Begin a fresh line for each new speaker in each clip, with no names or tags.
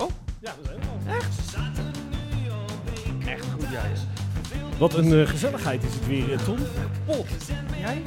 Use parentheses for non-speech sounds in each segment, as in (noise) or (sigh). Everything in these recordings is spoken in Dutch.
Oh.
Ja, dat is helemaal.
Echt goed, ja. ja.
Wat een eh, gezelligheid is het weer, eh, Tom.
Pot. Jij?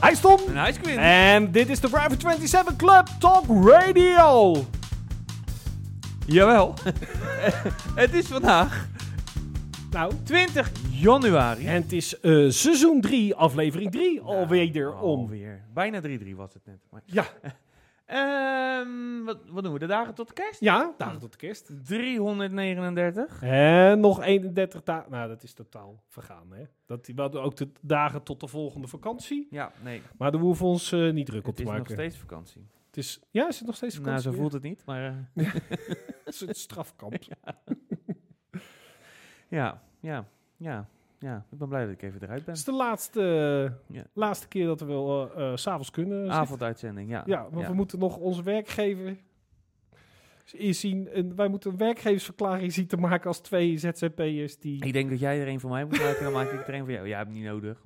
Hij is Tom.
Een ijsquint.
En dit is de Private 27 Club Top Radio.
Jawel. het is vandaag
Nou,
20 januari.
en het is eh, seizoen 3, aflevering 3, alweer
Nou.
om.
Alweer. Bijna 3-3 was het net. Maar.
Ja,
(laughs) Ehm, wat, wat doen we? De dagen tot de kerst?
ja, dagen tot de kerst.
339.
En nog 31 dagen. Nou, dat is totaal vergaan, hè. Dat, we hadden ook de dagen tot de volgende vakantie.
Ja, nee.
Maar daar hoeven we ons eh, niet druk op
Het
te
is nog
maken.
steeds vakantie.
Het is, ja, is het nog steeds
Nou,
vakantie?
zo voelt het niet, maar... eh,
het. Het is een
(laughs)
strafkamp.
Ja, ja, ja, ja. Ik ben blij dat ik even eruit ben.
Het is de laatste,
Ja.
laatste keer dat we wel eh, eh, s s'avonds kunnen. zitten.
Avonduitzending, ja.
Ja, want we moeten nog onze werkgever eerst zien. En wij moeten een werkgeversverklaring zien te maken als twee ZZP'ers die...
Ik denk dat jij er een van mij moet maken, dan maak ik er een van jou. Jij hebt hem niet (laughs) nodig.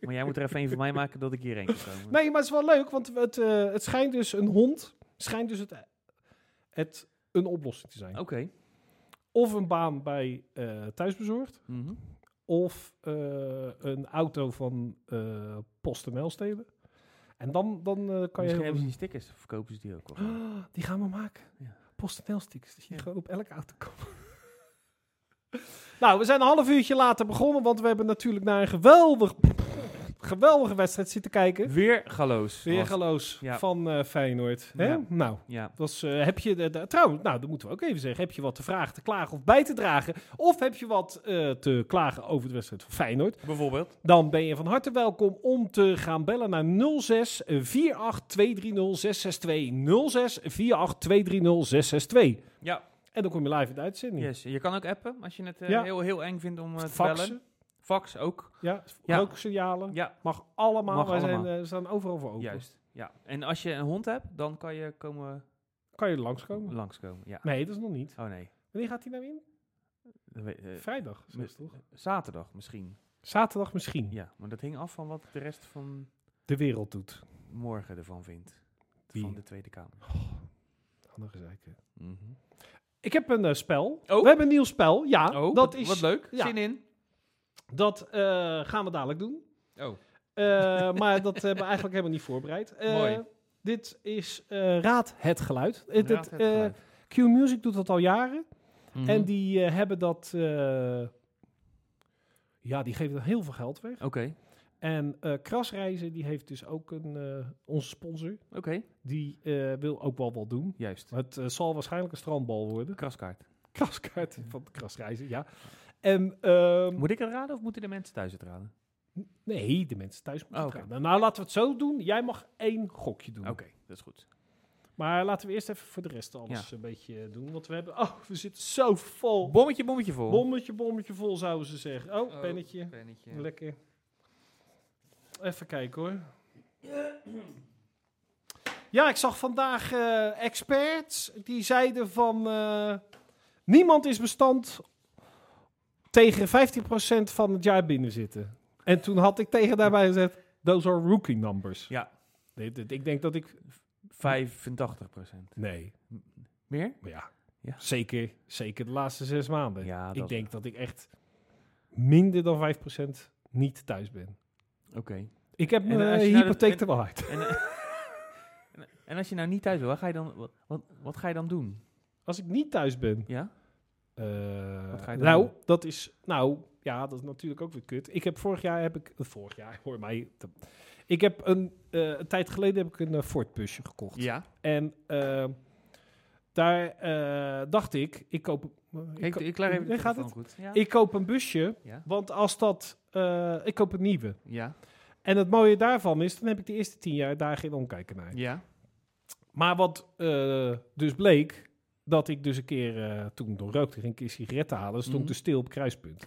Maar jij moet er even een van mij maken dat ik hierheen kan komen.
Nee, maar het is wel leuk, want het, eh, het schijnt dus een hond, schijnt dus het, het een oplossing te zijn.
Oké.
Of een baan bij eh Thuisbezorgd,
Mhm.
of eh, een auto van eh PostNL stelen. En dan, dan eh, kan je...
Misschien
heel-
hebben ze die stickers, verkopen ze die ook wel.
Ah, (gasps) die gaan we maken.
Ja.
PostNL stickers, die
Ja.
gewoon op elke auto komen. (laughs) nou, we zijn een half uurtje later begonnen, want we hebben natuurlijk naar een geweldig, (laughs) geweldige wedstrijd zitten kijken.
Weer galoos. was-
Weergaloos
Ja.
van eh, Feyenoord. Hè?
Ja.
Nou,
Ja.
was, eh, heb je, de, de- trouwens, nou, dat moeten we ook even zeggen. Heb je wat te vragen, te klagen of bij te dragen? Of heb je wat eh, te klagen over de wedstrijd van Feyenoord?
Bijvoorbeeld.
Dan ben je van harte welkom om te gaan bellen naar 06 48 230 662. 06 48 230 662.
Ja.
En dan kom je live in de uitzending.
Yes. Je kan ook appen als je het eh,
Ja.
heel, heel eng vindt om eh, te bellen.
Faxen,
Fax ook.
ja,
Ja.
rooksignalen.
Ja,
Mag allemaal.
Mag
Wij
allemaal.
Zijn, eh, staan overal voor open.
juist. Ja. En als je een hond hebt, dan kan je komen
Kan je er langskomen?
langskomen. Ja.
Nee, dat is nog niet.
Oh nee.
Wanneer gaat hij nou in?
Dat weet- eh,
Vrijdag, is het
met-
toch?
Zaterdag misschien.
Zaterdag misschien.
Ja, maar dat hing af van wat de rest van
De wereld doet.
morgen ervan vindt.
Wie?
Van de Tweede Kamer.
Handige gezeik. hè.
Mhm.
eh, Ik heb een eh, spel.
Oh.
We hebben een nieuw spel. Ja,
oh,
dat,
wat,
is,
wat leuk.
ja.
Zin in.
dat eh, gaan we dadelijk doen.
Oh,
Eh, maar dat hebben we eigenlijk helemaal niet voorbereid. Eh,
Mooi.
Dit is eh, Raad het Geluid. Eh, dit,
raad het
eh,
geluid.
Q Music doet dat al jaren.
Mhm.
En die eh, hebben dat... eh, ja, die geven er heel veel geld weg.
Oké,
En eh, Krasreizen, die heeft dus ook een, eh, onze sponsor.
oké,
Die eh, wil ook wel wat doen.
juist.
Het eh, zal waarschijnlijk een strandbal worden. (laughs)
Kraskaart.
Kraskaart van Krasreizen, ja. En ehm,
Moet ik het raden of moeten de mensen thuis het raden?
nee, de mensen thuis moeten
Oh,
het
oké.
raden. Nou, laten we het zo doen. Jij mag één gokje doen.
Oké, dat is goed.
Maar laten we eerst even voor de rest alles een beetje eh, doen. Want we hebben. Oh, we zitten zo vol.
Bommetje, bommetje vol.
Bommetje, bommetje vol zouden ze zeggen. Oh, pennetje.
pennetje.
Lekker. Even kijken hoor. Ja, ik zag vandaag eh, experts die zeiden van. eh, niemand is bestand tegen 15% van het jaar binnen zitten. En toen had ik tegen daarbij gezegd: Those are rookie numbers.
Ja.
Dit- dit- Ik denk dat ik.
85 procent.
Nee.
Meer?
Maar ja,
Ja.
Zeker, zeker de laatste zes maanden.
Ja,
ik
dat-
denk dat ik echt minder dan 5% niet thuis ben.
Oké.
Ik heb
En
mijn
als
eh,
je naar de-
hypotheek
en-
te wel uit.
En, eh, (laughs) en- en als je nou niet thuis wil, wat ga je dan, wat, wat, wat ga je dan doen?
Als ik niet thuis ben...
Ja?
eh,
Wat ga je dan
nou,
doen?
dat is... Nou, ja, dat is natuurlijk ook weer kut. Ik heb vorig jaar heb ik... eh, Vorig jaar, hoor mij. te- Ik heb een, eh, een tijd geleden heb ik een eh, Ford busje gekocht.
Ja.
En eh, daar eh, dacht ik, ik koop... Ik,
Ik,
ko-
ik klaar even de
Nee, gaat
telefoon goed. Ja.
ik koop een busje,
Ja.
want als dat... eh, ik koop een nieuwe.
Ja.
En het mooie daarvan is, dan heb ik de eerste tien jaar daar geen omkijken naar.
Ja.
Maar wat eh, dus bleek, dat ik dus een keer, eh, toen ik nog rookte, ging ik een sigaret halen. Stond ik
Mhm.
dus stil op kruispunt.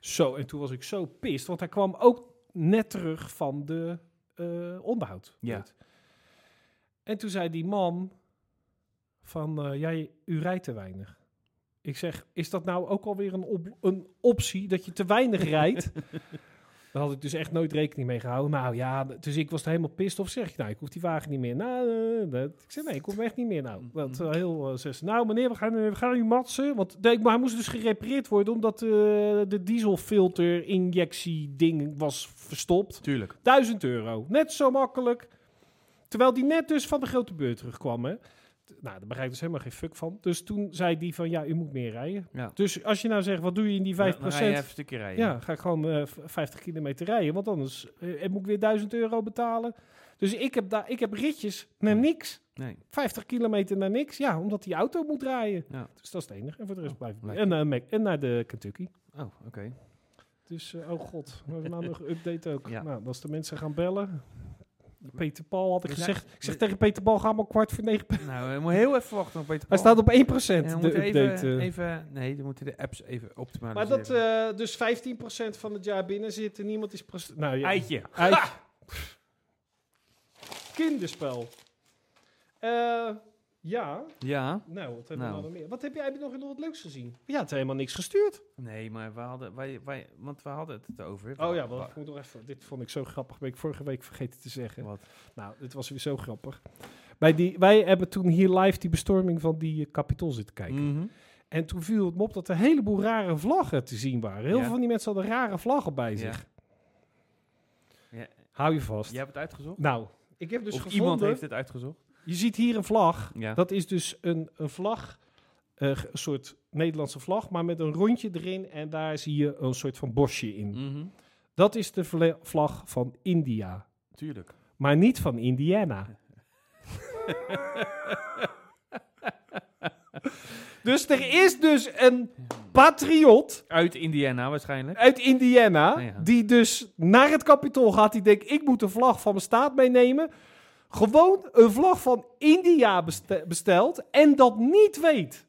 Zo, en toen was ik zo pist, want hij kwam ook net terug van de eh, onderhoud.
Ja.
En toen zei die man van, eh, jij, u rijdt te weinig. Ik zeg, is dat nou ook alweer een, op- een optie, dat je te weinig rijdt? Daar had ik dus echt nooit rekening mee gehouden. Nou ja, dus ik was er helemaal pist. Of zeg je, nou, ik hoef die wagen niet meer. Nou, eh, dat- ik zei, nee, ik hoef hem echt niet meer nou. Want eh, heel eh, zes. Nou, meneer, we gaan, eh, we gaan u matsen. Want nee, maar hij moest dus gerepareerd worden... omdat eh, de dieselfilter injectie ding was verstopt.
Tuurlijk.
1000 euro. Net zo makkelijk. Terwijl die net dus van de grote beurt terugkwam, hè. T- Nou, daar begrijp ik dus helemaal geen fuck van. Dus toen zei die van, ja, u moet meer rijden.
Ja.
Dus als je nou zegt, wat doe je in die 5%?
Dan- Dan ga je even een stukje rijden.
Ja, ga ik gewoon eh, v- 50 kilometer rijden, want anders eh, moet ik weer 1000 euro betalen. Dus ik heb, daar ik heb ritjes naar niks.
Nee.
50 kilometer naar niks. Ja, omdat die auto moet draaien.
Ja.
Dus dat is het enige. En voor de rest blijf ik.
Oh, lekker.
En, naar Mac- en naar de Kentucky.
Oh, oké.
Dus, eh, oh god, we hebben nou nog een update (laughs) ook.
Ja.
Nou, als de mensen gaan bellen. Peter Paul had ik
We zijn-
gezegd. Ik zeg
we-
tegen Peter Paul, ga maar kwart voor negen.
(laughs) Nou, we moeten heel even wachten op Peter
Hij
Paul.
staat op 1% de
En we
update.
moeten even,
eh.
even... Nee, dan moeten de apps even
Maar
optimaliseren.
dat eh, dus 15% van het jaar binnen zit en niemand is... pres- Nou ja,
Eitje.
Uit. Kinderspel. Eh, ja,
Ja.
nou, wat hebben we
Nou.
nou nog meer? Wat heb jij heb je nog nog wat leuks gezien? Ja, het helemaal niks gestuurd.
Nee, maar we hadden... Wij, wij, want we hadden het over.
Oh ja, want ik moet nog even. Dit vond ik zo grappig. Ben ik vorige week vergeten te zeggen.
Wat?
Nou, dit was weer zo grappig. Bij die, wij hebben toen hier live die bestorming van die eh, kapitool zitten kijken.
Mhm.
En toen viel het me op dat er een heleboel rare vlaggen te zien waren. Heel
Ja.
veel van die mensen hadden rare vlaggen bij
Ja.
zich.
Ja.
Hou je vast.
Jij hebt het uitgezocht?
Nou, ik heb dus
of
gevonden.
iemand heeft het uitgezocht?
Je ziet hier een vlag.
Ja.
Dat is dus een, een vlag, eh, een soort Nederlandse vlag, maar met een rondje erin en daar zie je een soort van bosje in.
Mhm.
Dat is de vla- vlag van India,
Tuurlijk.
maar niet van Indiana. dus er is dus een patriot
Uit Indiana waarschijnlijk.
uit Indiana,
Ja, ja.
die dus naar het kapitool gaat, die denkt, ik moet een vlag van mijn staat meenemen. Gewoon een vlag van India beste- bestelt en dat niet weet.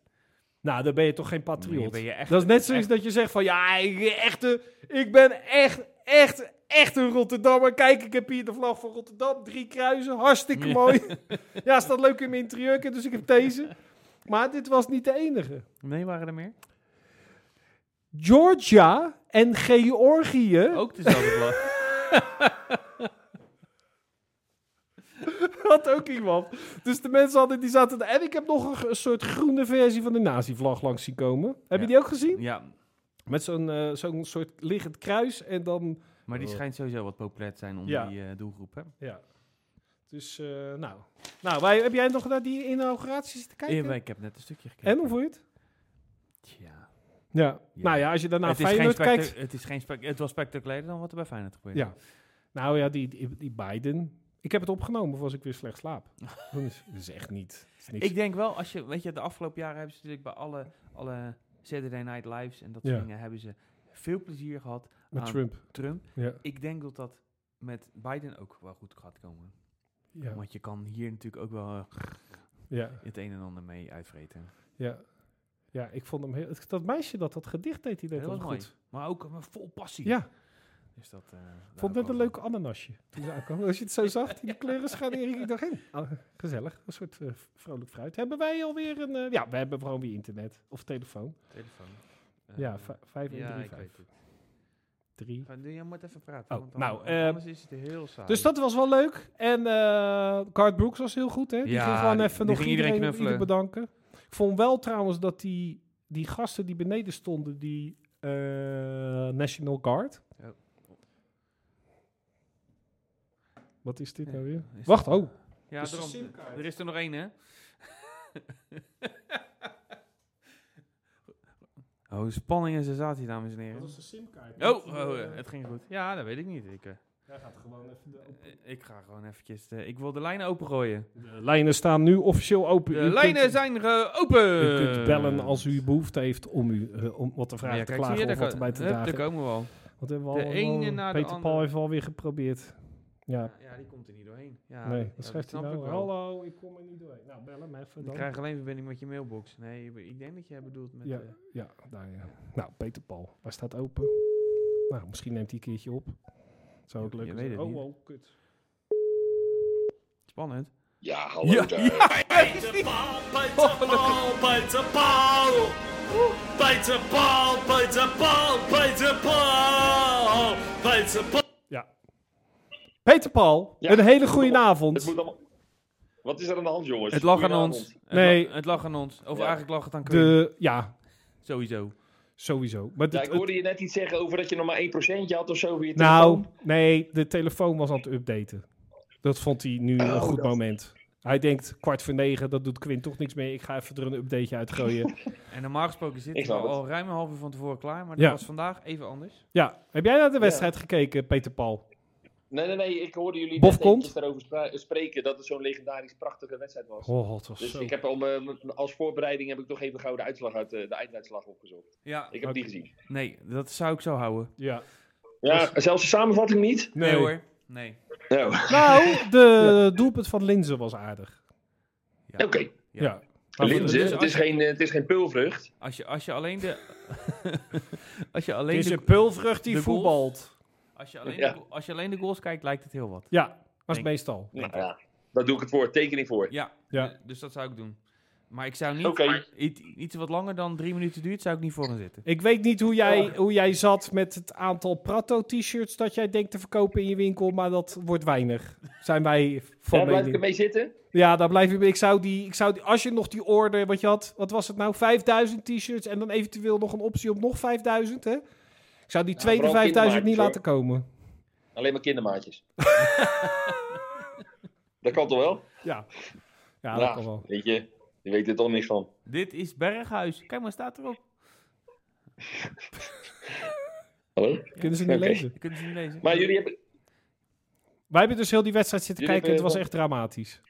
Nou, dan ben je toch geen
Dan
patriot.
Ben je echt,
dat is net zoiets dat je zegt van, ja, ik, echte, ik ben echt, echt, echt een Rotterdammer. Kijk, ik heb hier de vlag van Rotterdam, drie kruisen, hartstikke
Ja.
(laughs) mooi. ja, staat leuk in mijn interieur, dus ik heb deze. Maar dit was niet de enige.
Nee, waren er meer?
Georgia en Georgië
Ook (laughs) dezelfde vlag.
(laughs) had ook iemand. Dus de mensen hadden, die zaten... En ik heb nog een, g- een soort groene versie van de nazi-vlag langs zien komen. Heb je
Ja.
die ook gezien?
ja,
Met zo'n eh, zo'n soort liggend kruis en dan...
maar die schijnt sowieso wat populair te zijn onder
Ja.
die eh, doelgroep, hè?
Ja. Dus, eh, nou. Nou, wij, heb jij nog naar die inauguratie zitten kijken?
Eh, Ik heb net een stukje gekeken.
En, hoe vond je het?
Tja.
Ja.
Ja.
Nou ja, als je daarna
het, is geen
Feyenoord kijkt...
spectac- het is geen spectac- Het was spectaculairder dan wat er bij Feyenoord gebeurde.
Ja. Nou ja, die, die, die Biden... Ik heb het opgenomen voor als ik weer slecht
(laughs)
slaap. dat is- dat is echt niet... dat is niks.
Ik denk wel, als je, weet je, de afgelopen jaren hebben ze natuurlijk bij alle, alle Saturday Night Lives en dat
Ja.
soort dingen hebben ze veel plezier gehad
Met
aan
Trump.
Trump.
Ja.
Ik denk dat dat met Biden ook wel goed gaat komen.
Ja.
Want je kan hier natuurlijk ook wel eh,
ja.
het een en ander mee uitvreten.
Ja. Ja, ik vond hem heel... het- Dat meisje dat dat gedicht deed, die deed
Dat
dat
was mooi.
goed.
Maar ook eh, vol passie.
Ja,
Dus dat, eh,
ik vond
daar
net een
ook
leuk ananasje toen ze aankwam. Als je het
(laughs)
zo zag, die kleuren schaderen, ik dacht, hé, ah, gezellig. Een soort eh, vrolijk fruit. Hebben wij alweer een... eh, ja, we hebben gewoon weer internet. Of telefoon.
wel. Telefoon. Eh,
ja, vijf
ja,
5
ik weet het.
3.
Ga- Doe jij moet even praten.
Oh,
want
nou,
anders,
eh,
anders is het heel saai.
Dus dat was wel leuk. En eh Card Brooks was heel goed, hè? Die
Ja,
ging gewoon
die-
even
die
nog
ging
iedereen,
iedereen
iedereen
knuffelen.
bedanken. Ik vond wel trouwens dat die, die gasten die beneden stonden, die eh, National Guard...
Oh.
Wat is dit
Ja,
nou weer?
is
Wacht,
dat-
oh.
Ja,
Dus de
daarom.
simkaart.
er is er nog één, hè? (laughs) oh, spanning en sensatie, dames en heren.
Dat is
Oh,
de simkaart.
oh, eh, het ging goed. Ja, dat weet ik niet. Ik, eh,
Hij gaat gewoon even de,
eh, ik ga gewoon eventjes... de- ik wil de lijnen opengooien.
lijnen staan nu officieel
De
open. U
lijnen
kunt,
zijn open!
U kunt bellen als u behoefte heeft om, u, eh, om wat te vragen, te klagen of wat erbij te
Daar
dragen.
komen we al.
Wat hebben we
de
al,
ene
oh,
na de
Peter Paul
andere.
heeft alweer geprobeerd. Ja,
Ja, die komt er niet doorheen. Ja,
nee,
ja,
wat schrijft hij
snap
nou?
ik wel.
Hallo, ik kom er niet doorheen. Nou, Nou, bel hem even
Ik
dan.
krijg alleen verbinding met je mailbox. Nee, ik denk dat jij bedoelt met...
Ja,
eh,
ja, daar, ja. Nou, Peter Paul, waar staat open? Nou, misschien neemt hij een keertje op. Zou ook
Je-
leuk
je
zijn.
weet het
Oh,
niet.
oh, kut.
spannend.
Ja, hallo daar.
Oh, Ja. Peter Paul,
Ja.
een hele goede
Het
avond.
moet allemaal... Wat is er aan de hand, jongens?
Het lag aan
Goedenavond.
ons. Het
Nee.
la- Het lag aan ons. Of
Ja.
eigenlijk lag het aan Quinn.
De, ja,
Sowieso.
sowieso. Maar
Ja,
dit-
ik hoorde je net iets zeggen over dat je nog maar 1% had of zo. Weer
nou, nee, de telefoon was aan het updaten. Dat vond hij nu
Oh,
een goed moment. Hij denkt, kwart voor negen, dat doet Quint toch niks meer. Ik ga even er een updateje
(laughs)
uitgooien.
En normaal gesproken zit
Ik
het
snap
al,
het.
al ruim een half uur van tevoren klaar. Maar
Ja.
dat was vandaag even anders.
ja, heb jij naar de wedstrijd gekeken, Peter Paul?
Nee, nee, nee. Ik hoorde jullie
Bof
net
komt.
eventjes daarover spra- het dat het zo'n legendarisch prachtige wedstrijd was.
Oh, het was
Dus
zo...
ik heb om, eh, m- als voorbereiding heb ik toch even gauw de uitslag uit eh, de einduitslag opgezocht.
Ja,
Ik heb die
Oké.
gezien.
nee, dat zou ik zo houden.
Ja.
Ja, zelfs de samenvatting niet?
Nee, hoor. Nee.
Nou,
Nou, de doelpunt van Linzen was aardig.
Ja.
oké.
Ja.
Ja.
Maar goed,
Linzen,
dus
het
als
is
je-
geen, eh, het is geen peulvrucht.
Als je, als je
(laughs)
alleen de... (laughs) als je alleen
Het is
de,
een pulvrucht die
de goals-
voetbalt.
als je alleen,
Ja.
de, als je alleen de goals kijkt, lijkt het heel wat.
Ja, was
Denk-
meestal.
Nou ja, daar doe ik het voor. Tekening voor.
Ja,
Ja.
d- dus dat zou ik doen. Maar ik zou niet...
Oké.
Iets, iets wat langer dan drie minuten duurt, zou ik niet voor gaan zitten.
Ik weet niet hoe jij, hoe jij zat met het aantal Prato-t-shirts dat jij denkt te verkopen in je winkel, maar dat wordt weinig. Zijn wij van
Daar blijf ik
mening.
ermee zitten.
Ja, daar blijf ik mee. Ik zou die, ik zou die, als je nog die order, wat je had, wat was het nou, 5000 t-shirts en dan eventueel nog een optie op nog 5000, hè? Ik zou die tweede
vooral
5000 niet laten
kindermaatjes,
komen.
Alleen maar kindermaatjes.
(laughs)
dat kan toch wel?
Ja, ja dat
Nou,
kan wel.
Weet je, je weet er toch niks van.
Dit is Berghuis. Kijk maar, staat erop.
Hallo?
Kunnen ze niet
Oké.
lezen.
Je kunt het niet lezen.
Maar jullie hebben...
Wij hebben dus heel die wedstrijd zitten
Jullie
kijken en het was
hebben-
echt dramatisch.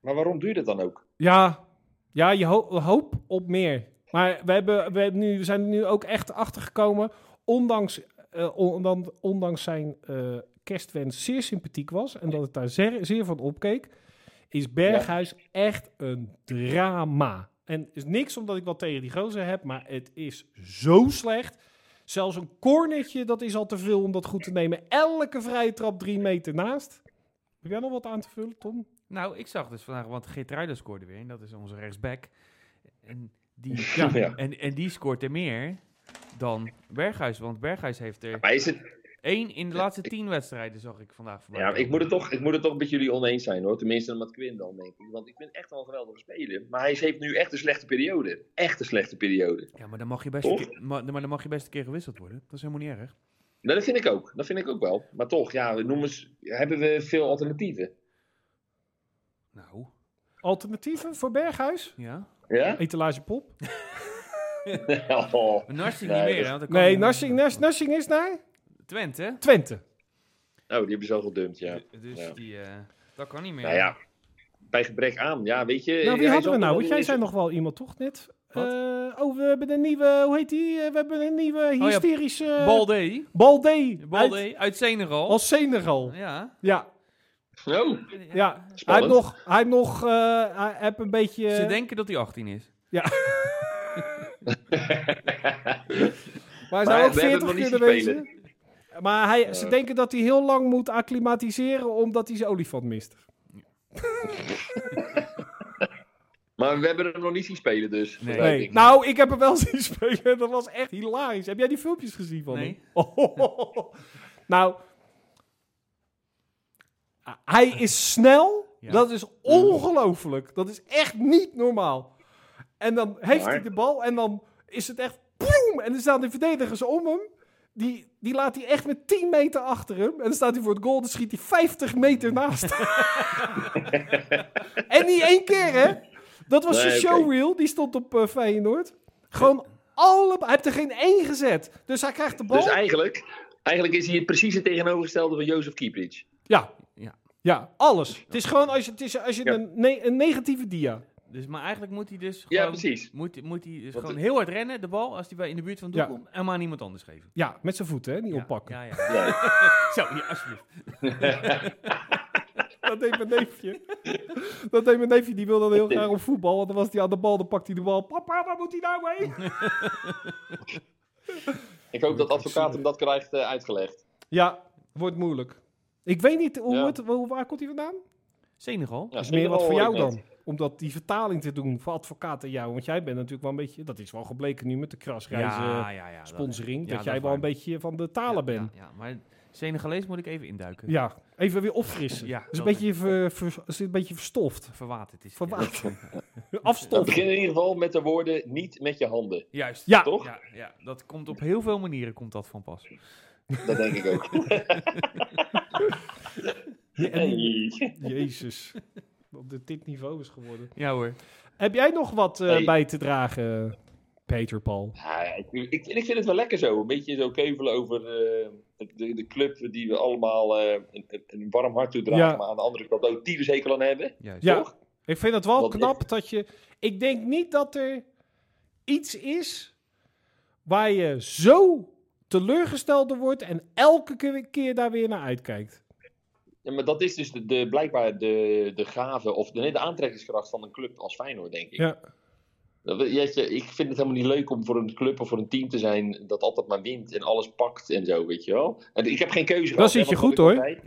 Maar waarom duurt het dan ook?
Ja, ja je ho- hoop op meer. Maar we, hebben, we, hebben nu, we zijn er nu ook echt achtergekomen. Ondanks, eh, on- dan- ondanks zijn eh, kerstwens zeer sympathiek was. En dat het daar zeer, zeer van opkeek. Is Berghuis echt een drama. En is niks omdat ik wat tegen die gozer heb. Maar het is zo slecht. Zelfs een cornetje, dat is al te veel om dat goed te nemen. Elke vrije trap drie meter naast. Heb jij nog wat aan te vullen, Tom?
Nou, ik zag dus vandaag, want Geert Ruida scoorde weer. En dat is onze rechtsback. En
(laughs)
die,
Ja.
en, en die scoort er meer dan Berghuis. Want Berghuis heeft er
Maar is het...
één in de laatste tien wedstrijden, zag ik vandaag voorbij.
Ja, maar ik moet het toch, ik moet het toch met jullie oneens zijn hoor. Tenminste met Quinn dan, denk ik. Want ik vind echt wel een geweldige speler. Maar hij heeft nu echt een slechte periode. Echt een slechte periode.
Ja, maar dan mag je best, een
Toch?
keer, maar, maar dan mag je best een keer gewisseld worden. Dat is helemaal niet erg.
Nou, dat vind ik ook. Dat vind ik ook wel. Maar toch, ja, noem eens... Hebben we veel alternatieven?
Nou,
Alternatieven voor Berghuis?
ja.
Ja? (laughs)
Etalage Pop?
Oh.
Narsing
Nee,
niet meer,
dat-
hè? want dan kan
Nee,
hij-
Narsing, Nars- Narsing is naar
Twente.
Twente.
Oh, die hebben ze al gedumpt, ja.
D- Dus
Ja.
die, eh, dat kan niet meer.
Nou ja, bij gebrek aan. Eh, Ja, weet je...
Nou,
hij
wie hadden
zal
we nou? Want
toch wel
jij
eens-
zei nog wel iemand, toch, net?
Wat?
Eh, oh, we hebben een nieuwe, hoe heet die? Eh, We hebben een nieuwe
ja,
hysterische...
Balde.
Balde.
Balde
Uit,
uit, Senegal.
als Senegal.
Ja.
Ja,
Oh,
ja. Hij heeft
Spannend.
nog, hij heeft nog, eh, hij heeft een beetje...
Ze denken dat hij 18 is.
maar hij zou
Maar
ook 40
we hebben hem nog
kunnen
niet zien
wezen. Maar hij, ze
Ja.
denken dat hij heel lang moet acclimatiseren omdat hij zijn olifant mist.
(laughs) maar we hebben hem nog niet zien spelen dus.
Nee.
begrijp
Nee.
ik.
Nou, ik heb hem wel (laughs) zien spelen. Dat was echt hilarisch. Heb jij die filmpjes gezien van
Nee.
hem? Oh. (laughs) Nou, hij is snel.
Ja.
Dat is ongelooflijk. Dat is echt niet normaal. En dan heeft
Maar-
hij de bal en dan is het echt ploem. En dan staan de verdedigers om hem. Die, die laat hij echt met 10 meter achter hem. En dan staat hij voor het goal. Dan schiet hij 50 meter naast.
(laughs)
en niet één keer, hè? Dat was
Nee,
zijn
oké.
showreel. Die stond op eh, Feyenoord. Gewoon alle... Hij heeft er geen één gezet. Dus hij krijgt de bal.
Dus eigenlijk, eigenlijk is hij het precies het tegenovergestelde van Jozef Kieprits.
Ja.
Ja.
Ja, alles. Het is gewoon als je, het is als je
Ja.
een, ne- een negatieve dia.
Dus, maar eigenlijk moet hij dus
Ja,
gewoon,
precies.
Moet, moet hij dus
Want
gewoon heel hard rennen, de bal, als die bij in de buurt van het doel
Ja.
komt, en maar aan iemand anders geven.
Ja, met zijn voeten, hè? Niet
Ja,
oppakken.
Ja, ja.
Nee.
Zo, hier, alsjeblieft.
Dat deed mijn neefje. Dat deed mijn neefje, die wilde dan
(laughs)
heel graag op voetbal. Want dan was hij aan de bal, dan pakt hij de bal. Papa, waar moet hij nou mee?
Ik hoop dat advocaat hem dat krijgt eh, uitgelegd.
Ja, wordt moeilijk. Ik weet niet, hoe
Ja.
het, hoe- waar komt hij vandaan?
Senegal?
Ja,
Dat is meer wat voor
hoor
jou
ik net.
dan. Om dat, die vertaling te doen voor advocaat en jou. Want jij bent natuurlijk wel een beetje... Dat is wel gebleken nu met de krasreizen
ja, ja, dat-
eh, sponsoring.
ja,
dat jij
is
wel een
waar.
beetje van de talen
Ja,
bent.
Ja, ja, maar Senegalees moet ik even induiken.
Ja, even weer opfrissen.
(laughs) Ja,
is een
dat-
beetje, ver, ver- is een beetje verstoft.
Verwaterd is het,
Verwaterd.
ja.
We
(laughs) Afstoft.
beginnen in ieder geval met de woorden niet met je handen.
Juist.
Ja.
Toch?
Ja, ja, dat komt op heel veel manieren komt dat van pas.
Dat denk ik
(laughs)
ook. Hey.
Jezus. Wat dit, dit niveau is geworden.
Ja hoor.
Heb jij nog wat eh,
Hey.
bij te dragen, Peter Paul?
Ja, ik, ik, ik vind het wel lekker zo. Een beetje zo kevelen over eh, de, de club die we allemaal eh, een, een- een warm hart toedragen.
Ja.
Maar aan de andere kant ook tyfushekel aan hebben.
Juist.
Ja,
Toch?
ik vind het wel
Want
knap dat je... Ik denk niet dat er iets is waar je zo teleurgesteld door wordt en elke ke- keer daar weer naar uitkijkt.
Ja, maar dat is dus de, de- blijkbaar de, de gave of de, nee, de aantrekkingskracht van een club als Feyenoord, denk ik.
Ja.
Dat we- jeetje, ik vind het helemaal niet leuk om voor een club of voor een team te zijn dat altijd maar wint en alles pakt en zo, weet je wel. En ik heb geen keuze. gehad,
zit
hè,
je
want
goed,
dat ik al zei-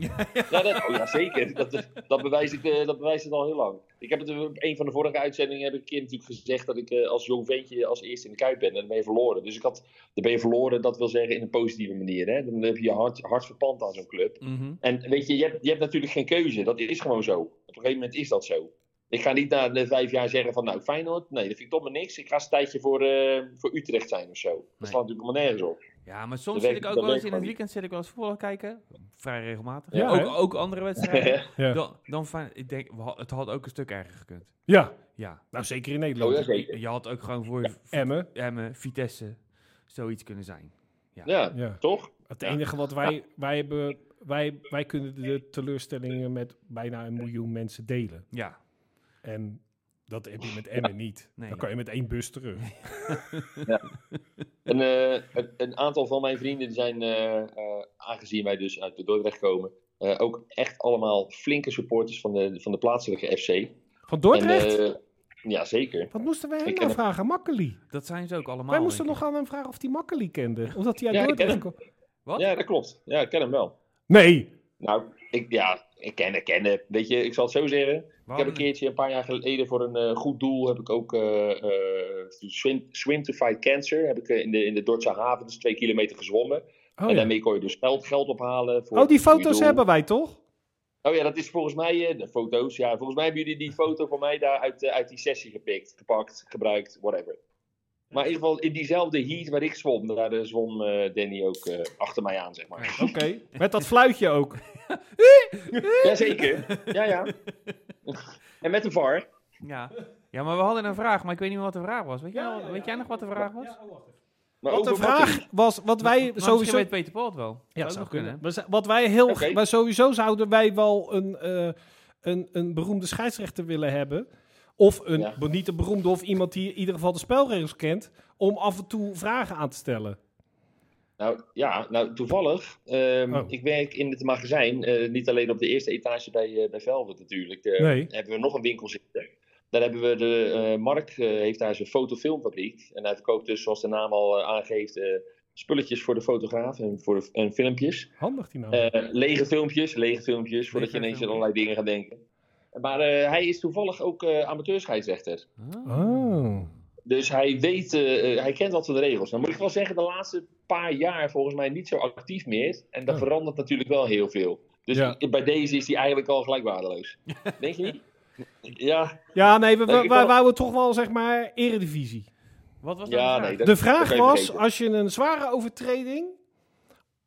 Ja, dat, oh, ja, zeker. Dat, dat, bewijst ik, eh, dat bewijst het al heel lang. Ik heb het in een van de vorige uitzendingen heb ik een keer natuurlijk gezegd dat ik eh, als jong ventje als eerste in de Kuip ben. En dan ben je verloren. Dus ik had, dan ben je verloren, dat wil zeggen in een positieve manier. Hè? Dan heb je je hart, hart verpand aan zo'n club.
Mhm.
En weet je, je hebt, je hebt natuurlijk geen keuze. Dat is gewoon zo. Op een gegeven moment is dat zo. Ik ga niet na de vijf jaar zeggen van, nou, Feyenoord, nee, dat vind ik toch maar niks. Ik ga eens een tijdje voor, eh, voor Utrecht zijn of zo. Dat
Nee.
slaat natuurlijk helemaal nergens op.
Ja, maar soms zit
Dat
ik
werkt-
ook wel
dat
eens
werkt
in het
gewoon
weekend zit ik wel eens voetbal kijken. Vrij regelmatig.
Ja, hè?
ook, ook andere
(laughs)
wedstrijden.
Ja.
Dan, dan fijn- ik denk, we had- het had ook een stuk erger gekund.
ja,
Ja.
nou zeker in
Oh,
Nederland.
ja, zeker.
Je, je had ook gewoon voor
E-, Emmen.
Emmen, Vitesse, zoiets kunnen zijn.
Ja,
Ja.
toch?
Het enige wat wij, wij hebben, wij, wij kunnen de teleurstellingen met bijna een miljoen mensen delen.
Ja.
En dat heb je met Emmen niet.
Nee.
Dan kan je met één bus terug.
Een, eh, een, een aantal van mijn vrienden die zijn, eh, eh, aangezien wij dus uit Dordrecht komen, eh, ook echt allemaal flinke supporters van de, van de plaatselijke FC.
Van Dordrecht?
En, eh, ja, zeker.
wat moesten wij hem
ik
nou
ken
vragen? Makkeli.
Dat zijn ze ook allemaal.
Wij moesten
denk
nog aan hem vragen of hij Makkeli kende. Omdat hij uit
Ja, ik
Dordrecht
ken
kwam.
ik. Wat?
Ja, dat klopt. Ja, ik ken hem wel.
Nee.
Nou, ik, ja, ik ken hem, ken hem. Weet je, ik zal het zo zeggen. Ik heb
Waarom
een keertje, een paar jaar geleden, voor een eh, goed doel heb ik ook eh, eh, swim, swim to Fight Cancer. Heb ik eh, in de, in de Dordtse haven, dus twee kilometer gezwommen.
Oh,
en
ja.
daarmee kon je dus geld, geld ophalen. Voor
oh die
een goed
foto's
doel.
hebben wij toch?
Oh ja, dat is volgens mij, eh, de foto's, ja. Volgens mij hebben jullie die foto van mij daar uit, eh, uit die sessie gepikt, gepakt, gebruikt, whatever. Maar in ieder geval in diezelfde heat waar ik zwom, daar eh, zwom eh, Danny ook eh, achter mij aan, zeg maar.
Oké. Met dat fluitje ook.
Jazeker, ja
(laughs)
ja. en met de VAR.
Ja. ja, maar we hadden een vraag, maar ik weet niet meer wat de vraag was. Weet, jij, al- weet jij nog wat de vraag was?
Maar
Wat
ook
de
door Matty.
vraag was, wat wij
Maar Misschien
sowieso...
weet Peter Paul het wel.
nou, Ja,
ook
zou
nog
kunnen.
hè?
We zijn- Wat wij heel,
Oké.
maar sowieso zouden wij wel een, eh, een, een beroemde scheidsrechter willen hebben. Of een,
Ja.
maar niet een beroemde, of iemand die in ieder geval de spelregels kent. Om af en toe vragen aan te stellen.
Nou ja, nou toevallig. ehm,
Oh.
Ik werk in het magazijn. eh, niet alleen op de eerste etage bij, eh bij Velvet natuurlijk. eh,
Nee.
Hebben we nog een winkel zitten. Daar hebben we de. eh, Mark eh, heeft daar zijn fotofilmfabriek. En hij verkoopt dus, zoals de naam al eh, aangeeft, eh, spulletjes voor de fotograaf en, voor de, en filmpjes.
Handig die nou.
Eh, lege filmpjes, lege filmpjes, voordat je
Lege
ineens aan
filmpjes.
allerlei dingen gaat denken. Maar eh, hij is toevallig ook eh amateurscheidsrechter.
oh.
Dus hij weet, eh, eh, hij kent wat van de regels. Dan moet ik wel zeggen, de laatste paar jaar volgens mij niet zo actief meer. En dat
Ja.
verandert natuurlijk wel heel veel. Dus
Ja.
i- bij deze is hij eigenlijk al gelijk waardeloos. Denk je niet? Ja,
Ja, nee, we, we,
Nee, ik
wij
wil-
wouden toch wel, zeg maar, eredivisie.
Wat was
ja
dat?
nee.
De vraag
dat kan je
was,
vergeten.
als je een zware overtreding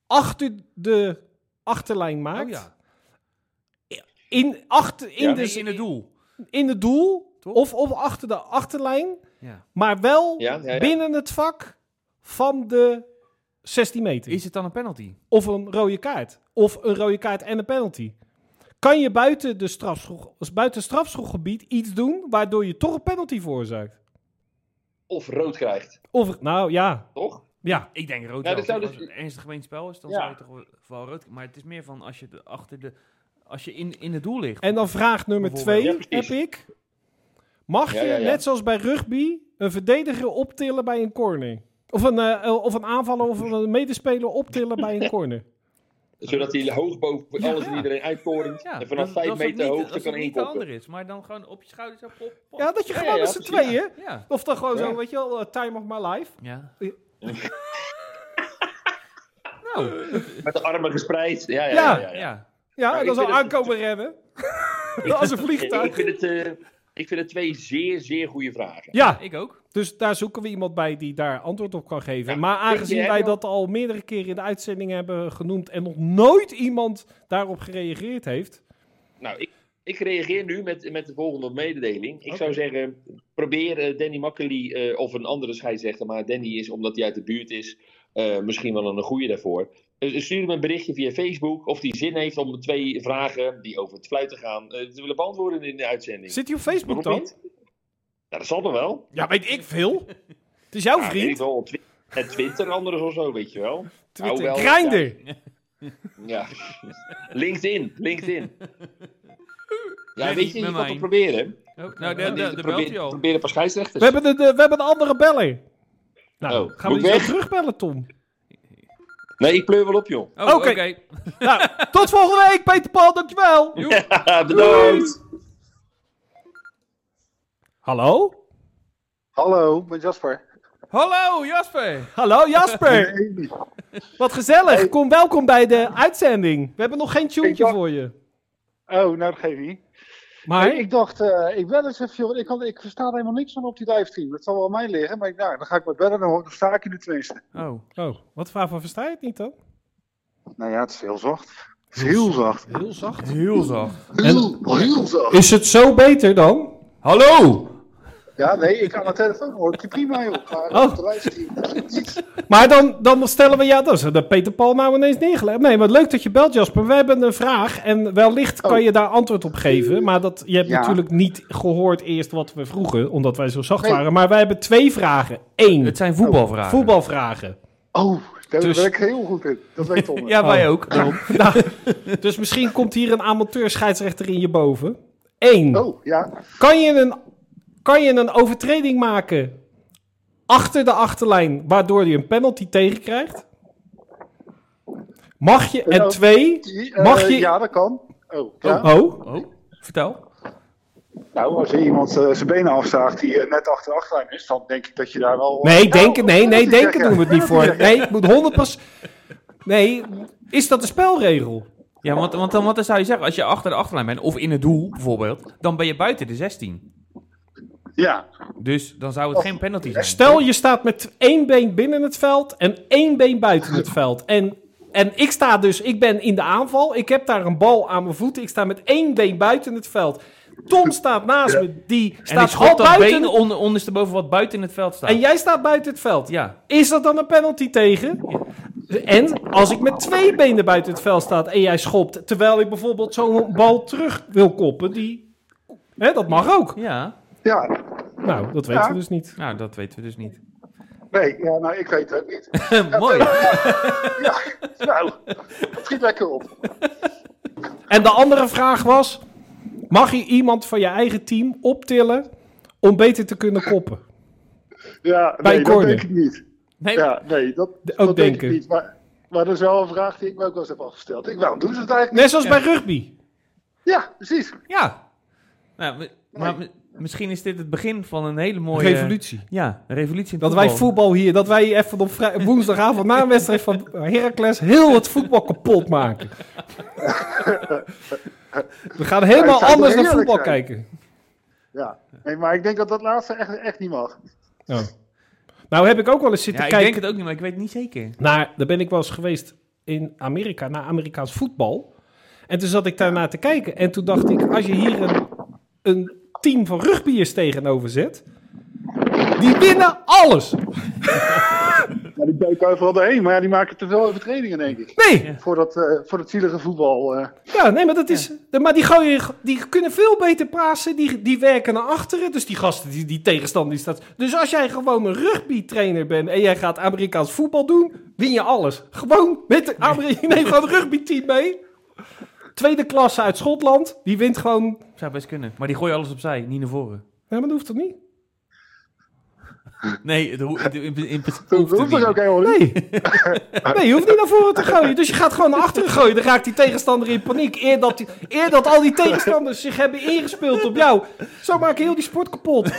achter de achterlijn maakt,
Oh ja.
in, achter, in,
Ja.
de,
Dus in het doel.
in het doel,
Toch?
of, of achter de achterlijn,
Ja.
maar wel
Ja, ja, ja.
binnen het vak van de 16 meter.
Is het dan een penalty?
Of een rode kaart. Of een rode kaart en een penalty. Kan je buiten, de strafschroeg, buiten het strafschroeggebied iets doen waardoor je toch een penalty veroorzaakt?
Of rood krijgt,
Of, nou ja,
toch?
ja.
Ik denk rood
Nou,
wel.
dat zou
Als
dus-
het een ernstig gemeen spel is, dan
Ja.
zou je toch wel rood... Maar het is meer van als je de- achter de Als je in, in het doel ligt.
En dan vraag nummer twee
Bijvoorbeeld. Ja,
heb
precies.
ik. Mag je,
Ja, ja, ja.
net zoals bij rugby, een verdediger optillen bij een corner? Of een, eh, of een aanvaller of een medespeler optillen bij
(laughs)
een corner?
Zodat hij hoog boven
Ja,
alles
ja.
en iedereen uitkorent.
Ja,
en vanaf
dat-
5
dat is ook
meter
niet-
hoogte
als
kan
het niet de
inkoppen.
ander is, maar dan gewoon op je schouders op. op, op.
Ja, dat je
Ja,
gewoon
ja,
met z'n
precies,
tweeën...
ja.
Of dan gewoon
Ja.
zo, weet je wel, eh, time of my life.
ja.
Ja.
nou,
Met de armen gespreid. Ja, ja,
Ja.
ja. ja, ja.
ja.
Ja,
Maar
en
ik
dan zo
vind het-
aankomen rennen.
(laughs)
Als een
Ik,
vliegtuig.
vind het, eh, ik vind het twee zeer, zeer goede vragen.
Ja,
Ik ook.
dus daar zoeken we iemand bij die daar antwoord op kan geven.
Ja,
maar
vind je,
aangezien
hè,
wij
joh?
dat al meerdere keren in de uitzending hebben genoemd... en nog nooit iemand daarop gereageerd heeft...
Nou, ik, ik reageer nu met, met de volgende mededeling. Ik
Oké.
zou zeggen, probeer eh, Danny Makkely eh, of een andere scheidsrechter, maar Danny is, omdat hij uit de buurt is, eh, misschien wel een goede daarvoor. Eh, stuur hem een berichtje via Facebook of hij zin heeft om twee vragen die over het fluiten gaan eh, te willen beantwoorden in de uitzending.
Zit hij op Facebook
Waarom
dan?
niet? Ja, dat zal toch wel?
Ja, weet ik veel. Het is jouw
Ja, weet ik
vriend.
wel, twi- en Twitter anders of zo, weet je wel.
Twitter.
Nou, wel,
Grindr. (laughs)
Ja. LinkedIn, LinkedIn. Ja,
Danny,
weet je, je
met
kan
mij.
toch proberen?
Oh, nou, de, de, de belt hij
probeer,
al.
probeer een paar scheidsrechters.
We hebben, een, eh, we hebben een andere beller. Nou,
Oh,
gaan we
moet
die
ik
zo
weg?
terugbellen, Tom?
Nee, ik pleur wel op,
(laughs)
joh.
Oh, oké.
Oké. nou, tot volgende week, Peter Paul. Dankjewel.
Joep.
Bedankt.
Hallo?
Hallo, ik ben Jasper.
Hallo, Jasper.
Hallo Jasper.
Hey.
Wat gezellig. Kom, welkom bij de uitzending. We hebben nog geen tuentje
Hey,
voor je.
Oh, nou dat geeft niet.
Maar
Ik dacht, eh, ik bel eens even, joh. Ik, kan, ik versta er helemaal niks van op die dive team. Dat zal wel aan mij liggen, maar ik, nou, dan ga ik maar bellen, dan, hoor- dan sta ik in de tenminste.
Oh.
oh, wat waarvan versta je het niet dan?
Nou ja, het is heel zacht. Het is heel zacht.
Heel zacht.
Heel zacht.
Heel, heel zacht.
Is het zo beter dan?
Hallo.
Ja, nee, ik aan de telefoon hoor ik je prima, joh.
Oh.
Maar op de livestream niet.
Maar dan, dan stellen we ja, dat is dat Peter Paul nou ineens neergelegd. Nee, maar leuk dat je belt Jasper. We hebben een vraag en wellicht kan
Oh.
je daar antwoord op geven. Maar dat, je hebt
Ja.
natuurlijk niet gehoord eerst wat we vroegen, omdat wij zo zacht
Nee.
waren. Maar wij hebben twee vragen. Eén,
Het zijn voetbalvragen.
voetbalvragen. (laughs)
Oh, daar
Dus-
ben ik heel goed in. Dat
(laughs)
weet Tom.
Ja, wij
Oh.
ook. Daarom.
Nou, dus misschien komt hier een amateur scheidsrechter in je boven. Eén,
Oh, ja.
Kan je een, kan je een overtreding maken achter de achterlijn, waardoor je een penalty tegenkrijgt? Mag je, en
Ja.
twee,
Die, eh,
Mag je-
Ja, dat kan. Oh, ja.
oh,
Oh, vertel.
Nou, als er iemand eh, zijn benen afzaagt die eh, net achter de achterlijn is, dan denk ik dat je daar wel... eh, Nou,
nee,
Ja,
denken, nee, nee,
penalty
denken
krijg
doen we
je.
het niet
Penalty (laughs)
voor.
krijg je.
Nee, het moet 100 pas. Nee, is dat een spelregel?
Ja, want, want, dan, want dan zou je zeggen, als je achter de achterlijn bent, of in het doel bijvoorbeeld, dan ben je buiten de 16.
Ja,
Dus dan
Oh.
zou het geen penalty zijn.
Stel je staat met één been binnen het veld en één been buiten het veld. En, en ik sta dus, ik ben in de aanval. Ik heb daar een bal aan mijn voeten. Ik sta met één been buiten het veld. Tom staat naast me, die
En ik
staat al
schot dat
buiten.
been onder, ondersteboven wat buiten het veld staat.
En jij staat buiten het veld.
Ja.
Is dat dan een penalty tegen? En als ik met twee benen buiten het veld sta en jij schopt, terwijl ik bijvoorbeeld zo'n bal terug wil koppen, die, hè, dat mag ook.
Ja,
ja.
Nou, dat weten
Ja.
we dus niet.
nou dat weten we dus
(laughs)
niet.
Nee, ja, nou, ik weet het ook niet.
Mooi.
nou, het schiet lekker op.
En de andere vraag was: mag je iemand van je eigen team optillen om beter te kunnen koppen?
Ja,
Bij
nee, dat
corner.
denk ik niet.
Nee,
Ja, nee, dat,
ook
dat denk
denken.
ik niet. Maar, maar dat is wel een vraag die ik me ook wel eens heb afgesteld. Ik, waarom doen ze het eigenlijk
Net zoals bij rugby.
niet? Ja, precies.
Ja. Nou, mi- maar mi- misschien is dit het begin van een hele mooie...
Revolutie.
Ja, een revolutie in
Dat
voetbal.
wij voetbal hier, dat wij even op vrij- woensdagavond na een wedstrijd van Heracles heel het voetbal kapot maken. We gaan helemaal
zou toch
anders naar
heerlijk
voetbal
zijn?
kijken.
Ja. Nee, maar ik denk dat dat laatste echt, echt niet mag.
Oh. Nou heb ik ook wel eens zitten
Ja, ik
kijken.
denk het ook niet, maar ik weet het niet zeker.
naar, daar ben ik wel eens geweest in Amerika, naar Amerikaans voetbal. En toen zat ik daarna te kijken. En toen dacht ik, als je hier een, een team van rugbyers tegenover zet, die winnen alles.
Ja, die duiken overal doorheen, maar ja, die maken te veel overtredingen, denk ik.
Nee,
Voor dat, eh, voor dat zielige voetbal. eh.
ja, nee maar, dat is, maar die, gooien, die kunnen veel beter pasen. Die, die werken naar achteren. Dus die gasten, die, die tegenstander die staat. Dus als jij gewoon een rugbytrainer bent en jij gaat Amerikaans (laughs) voetbal doen, win je alles. Gewoon met de Ameri- neem gewoon het rugbyteam mee. tweede klasse uit Schotland. Die wint gewoon.
Zou best kunnen. Maar die gooien alles opzij, niet naar voren.
Ja, maar dat hoeft toch niet?
Nee, het ho- het- in, in, in, hoeft
Dat hoeft
het
toch
niet.
ook helemaal niet?
Nee. nee, je hoeft niet naar voren (laughs) te gooien. Dus je gaat gewoon naar achteren gooien. Dan raakt die tegenstander in paniek. Eer dat, die- eer dat al die tegenstanders zich hebben ingespeeld op jou. Zo maak je heel die sport (laughs) kapot.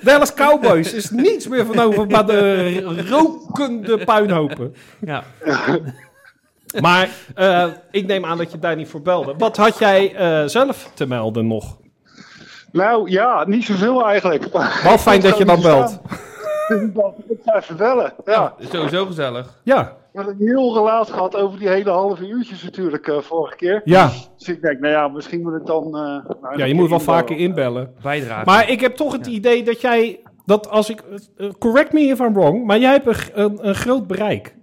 Dallas Cowboys is niets meer van over maar de rokende puinhopen.
Ja.
Maar eh, ik neem aan dat je daar niet voor belde. Wat had jij eh, zelf te melden nog?
Nou ja, niet zoveel eigenlijk.
Wel fijn dat je dan belt.
(laughs) Ik ga even bellen. Ja,
Is Sowieso gezellig.
Ja,
we hebben een heel relaas gehad over die hele halve uurtjes natuurlijk eh, vorige keer.
ja.
Dus ik denk, nou ja, misschien moet ik dan... eh, nou, een
ja
keer
je moet wel
inbellen.
vaker inbellen.
Bijdrage.
Maar ik heb toch het idee dat jij, dat als ik, eh, correct me if I'm wrong, maar jij hebt een, g- een, een groot bereik.